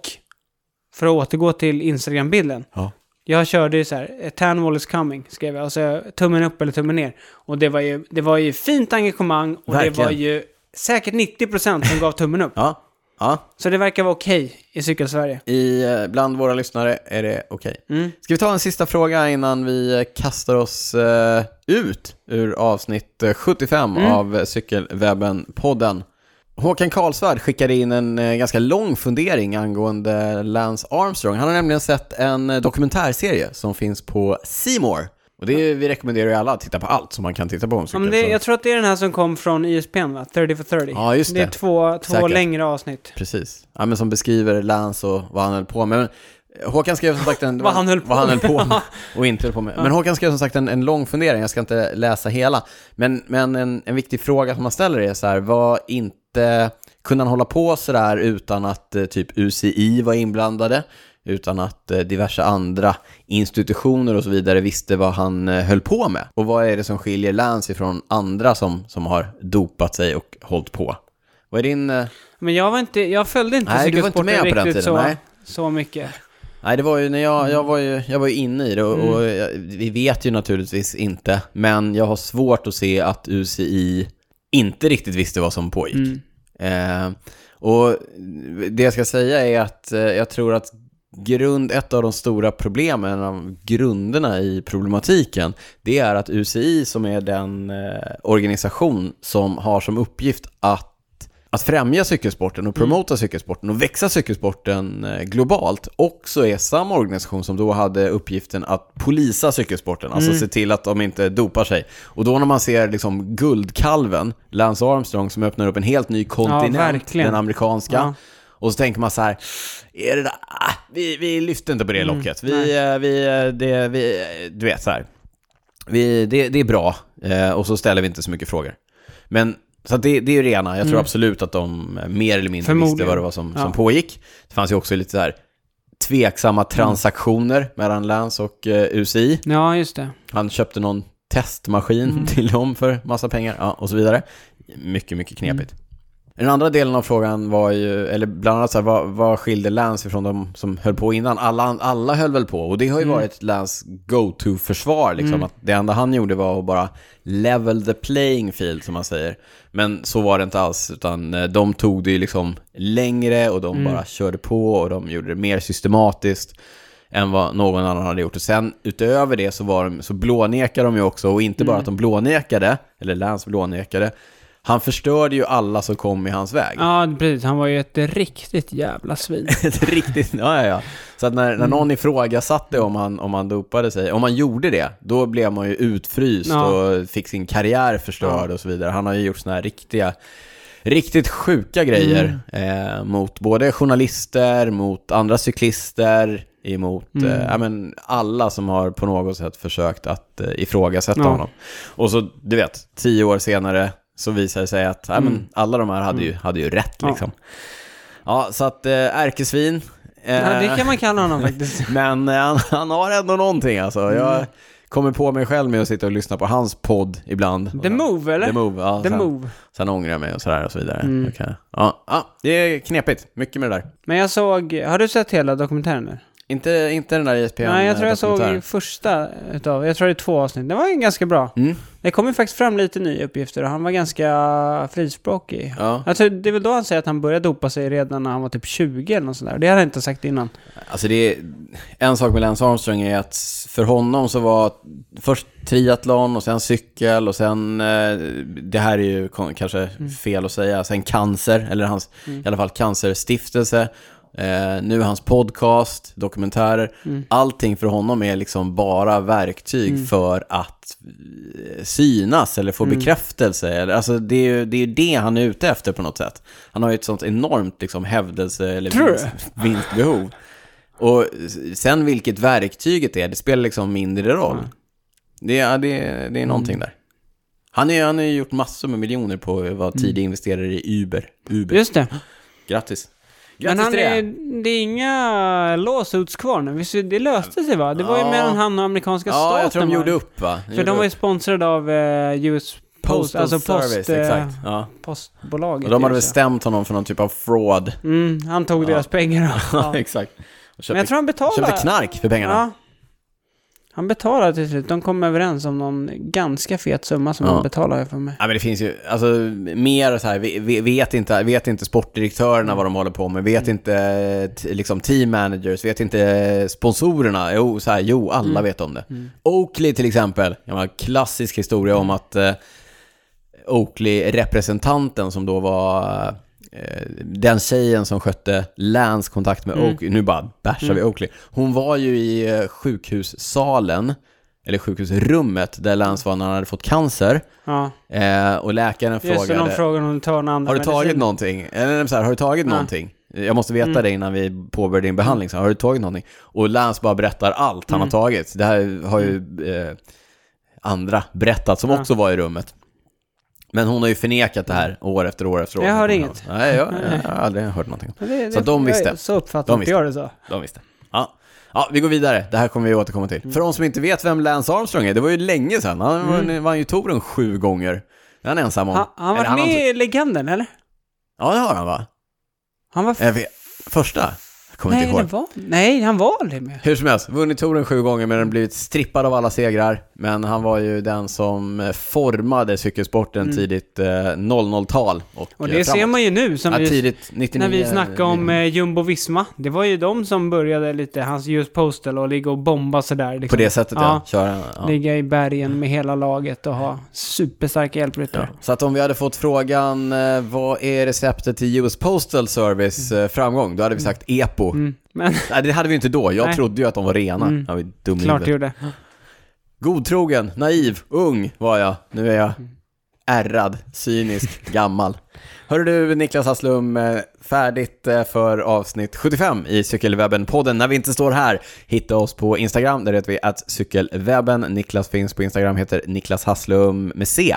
S2: för att återgå till Instagram-bilden.
S1: Ja. jag
S2: Jag körde ju så här, eh, Ternwall is coming skrev jag. Och så tummen upp eller tummen ner. Och det var ju, det var ju fint engagemang och det
S1: Verkligen.
S2: var ju säkert 90% som gav tummen upp.
S1: Ja. ja.
S2: Så det verkar vara okej i Cykelsverige. Mm.
S1: I, eh, bland våra lyssnare är det okej. Ska vi ta en sista fråga innan vi eh, kastar oss eh, ut ur avsnitt eh, 75
S2: Mm.
S1: av eh, Cykelwebben-podden? Håkan Karlsvärd skickade in en eh, ganska lång fundering angående Lance Armstrong. Han har nämligen sett en eh, dokumentärserie som finns på Seymour. Och det är, vi rekommenderar ju alla att titta på allt som man kan titta på om
S2: Ja,
S1: cykel.
S2: men det,
S1: så-
S2: jag tror att det är den här som kom från ISPn va? 30 for 30.
S1: Ja, just
S2: Det är
S1: det.
S2: två, två
S1: Säkert.
S2: längre avsnitt.
S1: Precis. Ja, men som beskriver Lance och vad han höll på med. Men eh, Håkan skrev som sagt en...
S2: *laughs* Vad han höll på
S1: vad han höll på med *laughs*
S2: med.
S1: och inte höll på med. Men Håkan skrev som sagt en, en lång fundering, jag ska inte läsa hela. Men, men en, en viktig fråga som man ställer är så här, var inte... Kunde han hålla på så där utan att eh, typ UCI var inblandade? Utan att eh, diverse andra institutioner och så vidare visste vad han eh, höll på med? Och vad är det som skiljer Lance ifrån andra som, som har dopat sig och hållit på? Vad är din... eh,
S2: Men jag var inte, jag följde inte
S1: Nej, du var inte
S2: cykelsporten
S1: med på den
S2: riktigt
S1: tiden,
S2: så,
S1: nej.
S2: så mycket.
S1: Nej, det var ju när jag, jag, var ju, jag var ju inne i det och, och jag, vi vet ju naturligtvis inte, men jag har svårt att se att UCI inte riktigt visste vad som pågick. Eh, och det jag ska säga är att eh, jag tror att grund, ett av de stora problemen, en av grunderna i problematiken, det är att UCI som är den eh, organisation som har som uppgift att att främja cykelsporten
S2: Mm.
S1: och promota cykelsporten och växa cykelsporten eh, globalt också är samma organisation som då hade uppgiften att polisa cykelsporten,
S2: Mm.
S1: alltså se till att de inte dopar sig. Och då när man ser liksom guldkalven, Lance Armstrong, som öppnar upp en helt ny kontinent,
S2: verkligen.
S1: den amerikanska,
S2: Ja.
S1: och så tänker man så här, är det där, ah, vi, vi lyfter inte på
S2: Mm,
S1: det locket. Vi, eh, vi, eh, det, vi, eh, du vet så här. Vi, det, det är bra eh, och så ställer vi inte så mycket frågor. Men så att det, det är ju det ena. Jag tror absolut att de eh, mer eller mindre visste
S2: Mm. Förmodligen.
S1: vad det var som,
S2: Ja. Mm.
S1: som pågick. Det fanns ju också lite så här tveksamma transaktioner mellan Lance och eh, UCI.
S2: Ja, just det.
S1: Han köpte någon testmaskin till dem för massa pengar ja, och så vidare. Mycket, mycket knepigt. Den andra delen av frågan var ju, eller bland annat så här, vad, vad skilde Lance ifrån de som höll på innan? Alla, alla höll väl på och det har ju varit Lance go-to-försvar liksom. Att det enda han gjorde var att bara level the playing field som man säger. Men så var det inte alls utan eh, de tog det ju liksom längre och de bara körde på och de gjorde det mer systematiskt än vad någon annan hade gjort. Och sen utöver det så, var de, så blånekade de ju också, och inte bara att de blånekade, eller Lance blånekade, han förstörde ju alla som kom i hans väg.
S2: Ja, precis. Han var ju ett riktigt jävla svin.
S1: *laughs* Ett riktigt, ja, ja, ja. Så att när,
S2: Mm.
S1: när någon ifrågasatte om han, om han dopade sig, om han gjorde det, då blev man ju utfryst
S2: Ja.
S1: och fick sin karriär förstörd och så vidare. Han har ju gjort såna här riktiga, riktigt sjuka grejer
S2: Mm.
S1: eh, mot både journalister, mot andra cyklister, emot
S2: Mm.
S1: eh, ja, men alla som har på något sätt försökt att eh, ifrågasätta
S2: Ja.
S1: honom. Och så, du vet, tio år senare så visar det sig att ja, men, alla de här hade ju, hade ju rätt
S2: Mm. Ja.
S1: liksom. Ja, så att eh, ärkesvin. Eh,
S2: Ja, det kan man kalla honom
S1: *laughs*
S2: faktiskt.
S1: Men eh, han, han har ändå någonting alltså.
S2: Mm.
S1: Jag kommer på mig själv med att sitta och lyssna på hans podd ibland. Och
S2: The
S1: sen-
S2: Move, eller?
S1: The Move, ja.
S2: The
S1: sen,
S2: Move. Mm.
S1: sen ångrar jag mig och sådär och så vidare. Jag kan- ja, ja, det är knepigt. Mycket med det där.
S2: Men jag såg... Har du sett hela dokumentären nu?
S1: Inte, inte den där ESPN
S2: Nej, jag tror jag
S1: dokumentären.
S2: såg första utav... Jag tror det är två avsnitt. Det var ju ganska bra.
S1: Mm.
S2: Det kom ju faktiskt fram lite nya uppgifter och han var ganska frispråkig.
S1: Ja.
S2: Alltså, det är väl då han säger att han började dopa sig redan när han var typ 20 eller något sånt där. Det hade han inte sagt innan.
S1: Alltså det är, en sak med Lance Armstrong är att för honom så var först triathlon och sen cykel och sen, eh, det här är ju kon- kanske
S2: Mm.
S1: fel att säga, sen cancer, eller hans, i alla fall cancerstiftelse. Eh, nu hans podcast, dokumentärer.
S2: Mm.
S1: Allting för honom är liksom bara verktyg för att eh, synas eller
S2: Mm.
S1: få bekräftelse. Eller, alltså det är ju det, är ju det han är ute efter på något sätt. Han har ju ett sånt enormt liksom, hävdelse eller
S2: Tror du?
S1: vinst, vinstbehov. Och sen vilket verktyget är, det spelar liksom mindre roll.
S2: Mm.
S1: Det, är- det, är- det är någonting där. Han har han har ju gjort massor med miljoner på att vara tidig investerare i Uber. Uber.
S2: Mm. Just det.
S1: Grattis.
S2: Men
S1: Grattis
S2: han
S1: till
S2: är,
S1: det.
S2: det är inga lawsuits kvar nu. Visst, det löste sig va? Det var ju
S1: Ja.
S2: mellan han och amerikanska staten.
S1: Ja, jag tror de
S2: va?
S1: gjorde upp va?
S2: För
S1: gjorde
S2: de var ju
S1: upp.
S2: sponsrade av eh, US Post,
S1: Postal
S2: alltså post,
S1: Service,
S2: eh,
S1: exakt. Ja.
S2: postbolaget.
S1: Och de hade
S2: i USA.
S1: bestämt honom för någon typ av fraud. *laughs*
S2: Mm, han tog deras pengar.
S1: Ja,
S2: Ja.
S1: exakt. Och
S2: Men jag
S1: köpte,
S2: tror han betalade.
S1: köpte knark för pengarna.
S2: Ja. Han betalade till slut. De kom överens om någon ganska fet summa som
S1: Ja.
S2: han betalade för mig.
S1: Ja, men det finns ju, alltså mer så här, vi- vi- vet inte, vet inte sportdirektörerna vad de håller på med, vet inte eh, t- liksom team managers, vet inte eh, sponsorerna. Jo, så här, jo alla vet om det. Oakley till exempel, en gammal klassisk historia om att eh, Oakley-representanten som då var eh, den tjejen som skötte Lans kontakt med Oakley, nu bara bärsar vi Oakley. Hon var ju i eh, sjukhussalen, eller sjukhusrummet där Lance var när han hade fått cancer.
S2: Ja.
S1: Eh, och läkaren
S2: Just det, någon
S1: frågade,
S2: frågade om du tar någon annan
S1: har du tagit
S2: medicin. Ah.
S1: någonting? Eller så här, har du tagit någonting? Jag måste veta
S2: Mm.
S1: det innan vi påbörjar din behandling. Så här, har du tagit någonting? Och Lance bara berättar allt
S2: Mm.
S1: han har tagit. Det här har ju eh, andra berättat
S2: Ah.
S1: som också var i rummet. Men hon har ju förnekat det här år efter år efter år.
S2: Mm. Jag hör inget.
S1: Nej,
S2: *laughs*
S1: jag, jag har aldrig hört någonting om.
S2: Ja, det- det-
S1: Så de
S2: jag-
S1: visste.
S2: Så
S1: De
S2: uppfattade inte
S1: visste.
S2: jag det så.
S1: De visste. Ja. ja, vi går vidare. Det här kommer vi återkomma till.
S2: Mm.
S1: För de som inte vet vem Lance Armstrong är, det var ju länge sedan. Han vann- vann ju touren sju gånger. Det är han ensam om.
S2: Han, han var
S1: Eller har
S2: med
S1: inte-
S2: i Legenden, eller?
S1: Ja, det har han va?
S2: Han var... f-
S1: Eh, vi- Första? Kommer inte ihåg.
S2: det var... Nej, han var aldrig med.
S1: Hur som helst, vunnit touren sju gånger men den blivit strippad av alla segrar. Men han var ju den som formade cykelsporten tidigt eh, 00-tal och,
S2: Mm. Och
S1: eh,
S2: det
S1: framåt.
S2: ser man ju nu som
S1: ja,
S2: vi,
S1: tidigt 99.
S2: när vi snackade om eh, Jumbo Visma. Det var ju de som började lite, hans US Postal och ligga och bomba sådär.
S1: På
S2: Liksom.
S1: det sättet ja.
S2: Ja.
S1: Köra, ja.
S2: Ligga i bergen med hela laget och ha superstarka hjälpryttare.
S1: Så att om vi hade fått frågan eh, vad är receptet till US Postal Service eh, framgång? Då hade vi sagt EPO.
S2: Mm. Men
S1: Nej, det hade vi inte då. Jag
S2: Nej.
S1: trodde ju att de var rena.
S2: Mm.
S1: Jag var ju dum i
S2: klart
S1: huvudet.
S2: det gjorde.
S1: Godtrogen, naiv, ung var jag. Nu är jag ärrad, cynisk, gammal. Hörru du Niklas Hasslum, eh, färdigt eh, för avsnitt 75 i Cykelwebben-podden. När vi inte står här, hitta oss på Instagram, där heter vi att cykelwebben. Niklas finns på Instagram, heter Niklas Hasslum med C.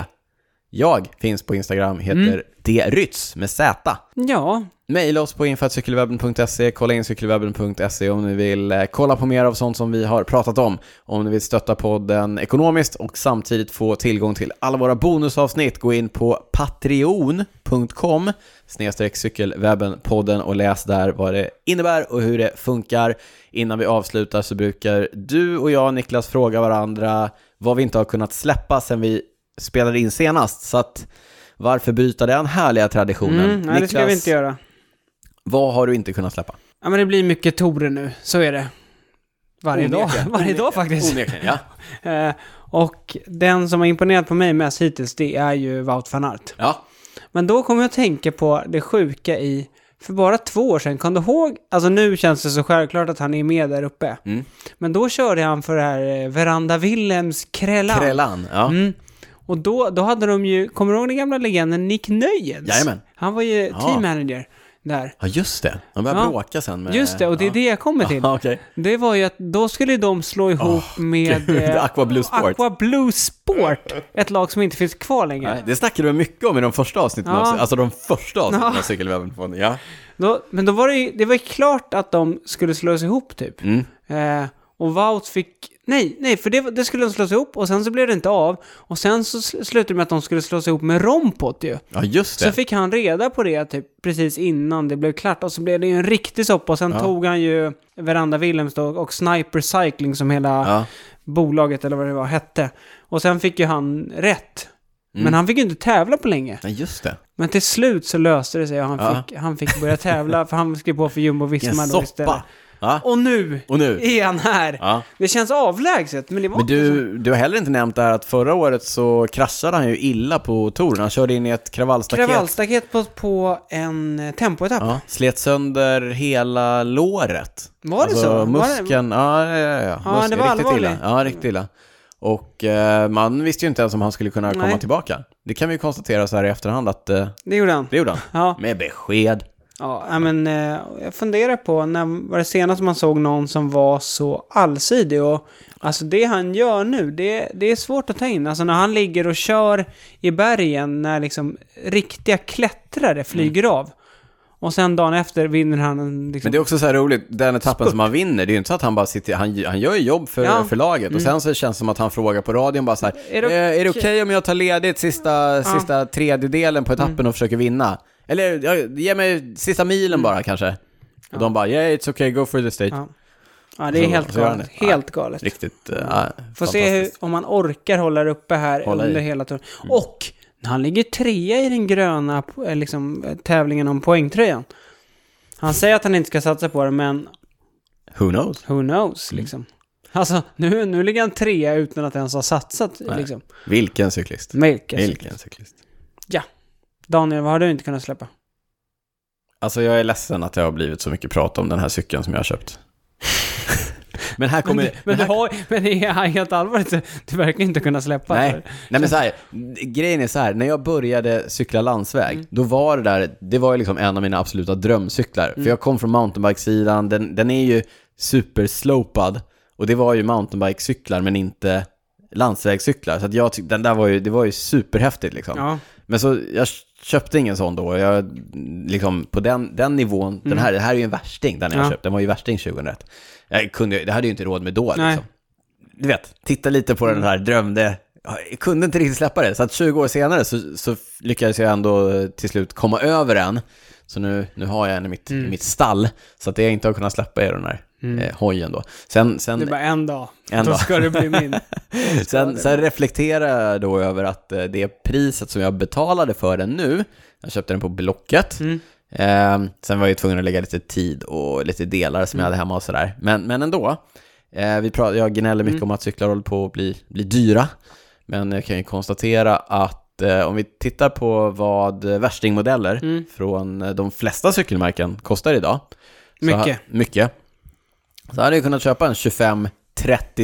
S1: Jag finns på Instagram, heter drytz med Z.
S2: Ja,
S1: Maila oss på info.cykelwebben.se, kolla in cykelwebben.se om ni vill eh, kolla på mer av sånt som vi har pratat om. Om ni vill stötta podden ekonomiskt och samtidigt få tillgång till alla våra bonusavsnitt, gå in på patreon.com snedstreck cykelwebbenpodden och läs där vad det innebär och hur det funkar. Innan vi avslutar så brukar du och jag, Niklas, fråga varandra vad vi inte har kunnat släppa sen vi spelade in senast. Så att varför bryta den härliga traditionen?
S2: mm, nej, det ska vi inte göra.
S1: Vad har du inte kunnat släppa?
S2: Ja, men det blir mycket Tore nu, så är det. Varje dag,
S1: Onekligen.
S2: *laughs* varje dag faktiskt.
S1: Onekligen, ja.
S2: *laughs* Eh, och den som har imponerat på mig mest hittills, det är ju Wout van Aert.
S1: ja.
S2: Men då kommer jag att tänka på det sjuka i, för bara två år sedan, kan du ihåg? Alltså nu känns det så självklart att han är med där uppe.
S1: Mm.
S2: Men då körde han för det här eh, Veranda Willems Krellan.
S1: Krellan, ja.
S2: Mm. Och då, då hade de ju, kommer du ihåg den gamla legenden Nick Nöjens?
S1: Jajamän.
S2: Han var ju
S1: Ja.
S2: team manager där.
S1: Ja, just det. De började
S2: Ja.
S1: bråka sen med...
S2: Just det, och det är
S1: ja.
S2: det jag kommer till.
S1: Ja, *laughs* okej.
S2: Det var ju att då skulle de slå ihop
S1: *laughs*
S2: med
S1: gud,
S2: eh,
S1: Aqua Blue Sport.
S2: Aqua Blue Sport, ett lag som inte finns kvar längre.
S1: Nej, det snackade du mycket om i de första avsnitten
S2: Ja.
S1: av, alltså de första avsnitten
S2: Ja.
S1: av Cykelwebben. Ja.
S2: Då, men då var det ju, det var ju klart att de skulle slås ihop typ.
S1: Mm.
S2: Eh, och Wout fick, nej, nej, för det, var- det skulle de slås ihop och sen så blev det inte av. Och sen så sl- slutade det med att de skulle slås ihop med Rompot ju.
S1: ja, just
S2: Så
S1: det.
S2: fick han reda på det typ precis innan det blev klart och så blev det ju en riktig soppa och sen
S1: Ja.
S2: tog han ju Veranda Williams då och Sniper Cycling som hela
S1: Ja.
S2: bolaget eller vad det var hette. Och sen fick ju han rätt.
S1: Mm.
S2: Men han fick ju inte tävla på länge.
S1: ja, just det.
S2: Men till slut så löste det sig och han,
S1: Ja.
S2: fick, han fick börja tävla för han skrev på för Jumbo Visma
S1: Vilken
S2: då istället.
S1: soppa. Ja.
S2: Och nu
S1: Och nu?
S2: är han här!
S1: Ja.
S2: Det känns avlägset, men det var
S1: Men
S2: inte så.
S1: du, du har heller inte nämnt det här att förra året så kraschade han ju illa på touren. Han körde in i ett kravallstaket.
S2: Kravallstaket på, på en eh, tempoetapp.
S1: Ja, *laughs* slet sönder hela låret. Alltså,
S2: Var det så?
S1: Muskeln, ja, ja, ja.
S2: Ja, det var
S1: riktigt
S2: allvarligt.
S1: illa. Ja, riktigt illa. Och eh, man visste ju inte ens om han skulle kunna komma
S2: Nej.
S1: tillbaka. Det kan vi ju konstatera så här i efterhand att eh,
S2: Det gjorde han.
S1: det gjorde han.
S2: Ja,
S1: Med besked.
S2: ja nej, men eh, jag funderar på när var det senast man såg någon som var så allsidig och alltså det han gör nu, det, det är svårt att ta in. Alltså när han ligger och kör i bergen när liksom riktiga
S1: Mm.
S2: klättrare flyger av och sen dagen efter vinner han en liksom,
S1: Men det är också så här roligt, den etappen som han vinner, det är ju inte så att han bara sitter, han, han gör ju jobb för,
S2: Ja. Mm.
S1: för laget och sen så känns det som att han frågar på radion bara så här,
S2: Är
S1: är
S2: det
S1: det, är det
S2: okej-
S1: okej om jag tar ledigt sista, sista tredjedelen på etappen
S2: Mm.
S1: och försöker vinna? Eller ja, ge mig sista milen bara kanske. Och de bara, yeah it's okay, go for the stage.
S2: Mm. Ja. Ja, det är
S1: Så-
S2: helt
S1: så gör han
S2: galet.
S1: det.
S2: Helt galet.
S1: Riktigt, eh, ja,
S2: Får se hur,
S1: fantastiskt.
S2: om man orkar hålla det uppe här
S1: Hålla i. Mm.
S2: under hela turen. Och när han ligger trea i den gröna po- eh, liksom, eh, tävlingen om poängtröjan. Han säger att han inte ska satsa på det, men
S1: Who knows?
S2: who knows
S1: Mm.
S2: liksom. Alltså, nu, nu ligger han trea utan att ens ha satsat liksom.
S1: Vilken cyklist.
S2: Vilken cykel.
S1: Vilken cyklist.
S2: Daniel, vad har du inte kunnat släppa?
S1: Alltså jag är ledsen att det har blivit så mycket prat om den här cykeln som jag har
S2: *laughs*
S1: köpt. men här kommer...
S2: Men, men, du har, men det är helt allvarligt, så du verkar inte kunna släppa.
S1: Nej, nej men så här, grejen är så här, när jag började cykla landsväg, då var det där, det var ju liksom en av mina absoluta drömcyklar. För jag kom från mountainbikesidan, den, den är ju superslopad och det var ju mountainbikecyklar men inte landsvägscyklar. Så att jag tyckte, den där var ju, det var ju superhäftigt liksom.
S2: Ja.
S1: Men så, jag köpte ingen sån då. Jag, liksom, på den, den nivån, den här, det här är ju en värsting, den
S2: Mm. Ja.
S1: jag köpte. Den var ju värsting 2001. Jag kunde, det hade jag ju inte råd med då.
S2: Nej. Mm.
S1: Liksom. Du vet, titta lite på den här, drömde. Jag kunde inte riktigt släppa det. Så att 20 år senare så, så lyckades jag ändå till slut komma över den. Så nu, nu har jag en i mitt,
S2: Mm.
S1: i mitt stall. Så att jag inte har kunnat släppa är den här eh, hojen då. Sen,
S2: Det är
S1: sen,
S2: bara en dag.
S1: En
S2: då
S1: dag.
S2: ska det bli
S1: *laughs*
S2: min.
S1: sen, sen reflekterar jag då över att eh, det priset som jag betalade för den nu, jag köpte den på Blocket,
S2: Mm.
S1: Eh, sen var jag ju tvungen att lägga lite tid och lite delar som jag
S2: Mm.
S1: hade hemma och sådär. Men, men ändå, eh, vi pratar, jag gnäller mycket om
S2: Mm.
S1: att cyklar håller på att bli, bli dyra. Men jag kan ju konstatera att eh, om vi tittar på vad värstingmodeller
S2: Mm.
S1: från eh, de flesta cykelmärken kostar idag. så
S2: Mycket.
S1: ha- mycket. Så hade jag kunnat köpa en 25-30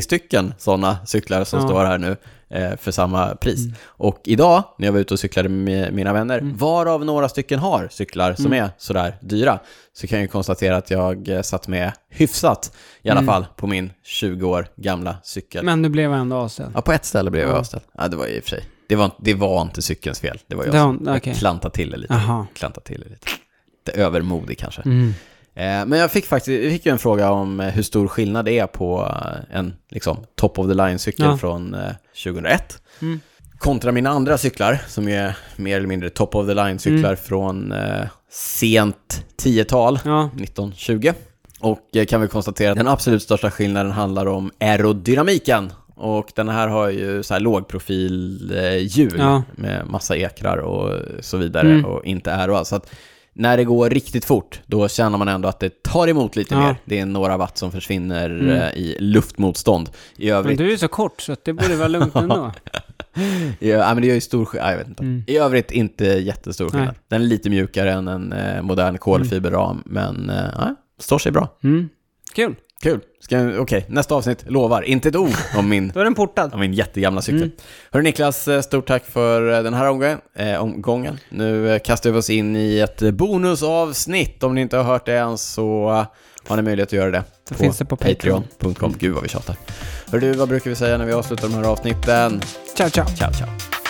S1: stycken sådana cyklar som
S2: Ja.
S1: står här nu eh, för samma pris.
S2: Mm.
S1: Och idag, när jag var ute och cyklade med mina vänner, varav några stycken har cyklar som
S2: Mm.
S1: är sådär dyra, så kan jag ju konstatera att jag eh, satt med hyfsat, i alla fall, på min 20 år gamla cykel.
S2: Mm. Men du blev ändå avställd.
S1: Ja, på ett ställe blev jag
S2: Ja.
S1: avställd. Ja, det var i och för sig. Det var, det var inte cykelns fel, det var jag
S2: Det var-
S1: som jag
S2: okej.
S1: klantade till det lite.
S2: Jaha.
S1: Klantade till det lite. Lite övermodig kanske.
S2: Mm.
S1: Eh, Men jag fick faktiskt jag fick ju en fråga om eh, hur stor skillnad det är på eh, en liksom, top of the line-cykel
S2: Ja.
S1: från eh, 2001
S2: Mm.
S1: kontra mina andra cyklar som är mer eller mindre top of the line-cyklar
S2: Mm.
S1: från eh, sent 10-tal,
S2: Ja.
S1: 1920. Och jag kan väl konstatera att den absolut största skillnaden handlar om aerodynamiken. Och den här har ju så här lågprofilhjul
S2: Ja.
S1: med massa ekrar och så vidare
S2: Mm.
S1: och inte aero alls. Så att när det går riktigt fort, då känner man ändå att det tar emot lite
S2: Ja. Mm.
S1: mer. Det är några watt som försvinner eh, i luftmotstånd. I
S2: Men
S1: övrigt,
S2: du är ju så kort så att det borde vara
S1: *laughs*
S2: lugnt ändå.
S1: ja, nej, men det gör ju stor skillnad. Jag vet inte.
S2: Mm.
S1: I övrigt inte jättestor skillnad.
S2: Nej.
S1: Den är lite mjukare än en eh, modern kolfiberram, men eh, ja, står sig bra.
S2: Mm. Kul.
S1: Kul. Ska- Okej, nästa avsnitt. Lovar. Inte ett ord om min,
S2: Då är den portad.
S1: om min jättegamla cykel.
S2: Mm.
S1: Hörru Niklas, eh, stort tack för eh, den här omgången. Eh, omgången. Nu eh, kastar vi oss in i ett eh, bonusavsnitt. Om ni inte har hört det än så eh, har ni möjlighet att göra det.
S2: Det finns det på Patreon.
S1: Patreon.com. Gud vad vi tjatar. Hörru du, vad brukar vi säga när vi avslutar de här avsnitten?
S2: Ciao, ciao.
S1: Ciao, ciao.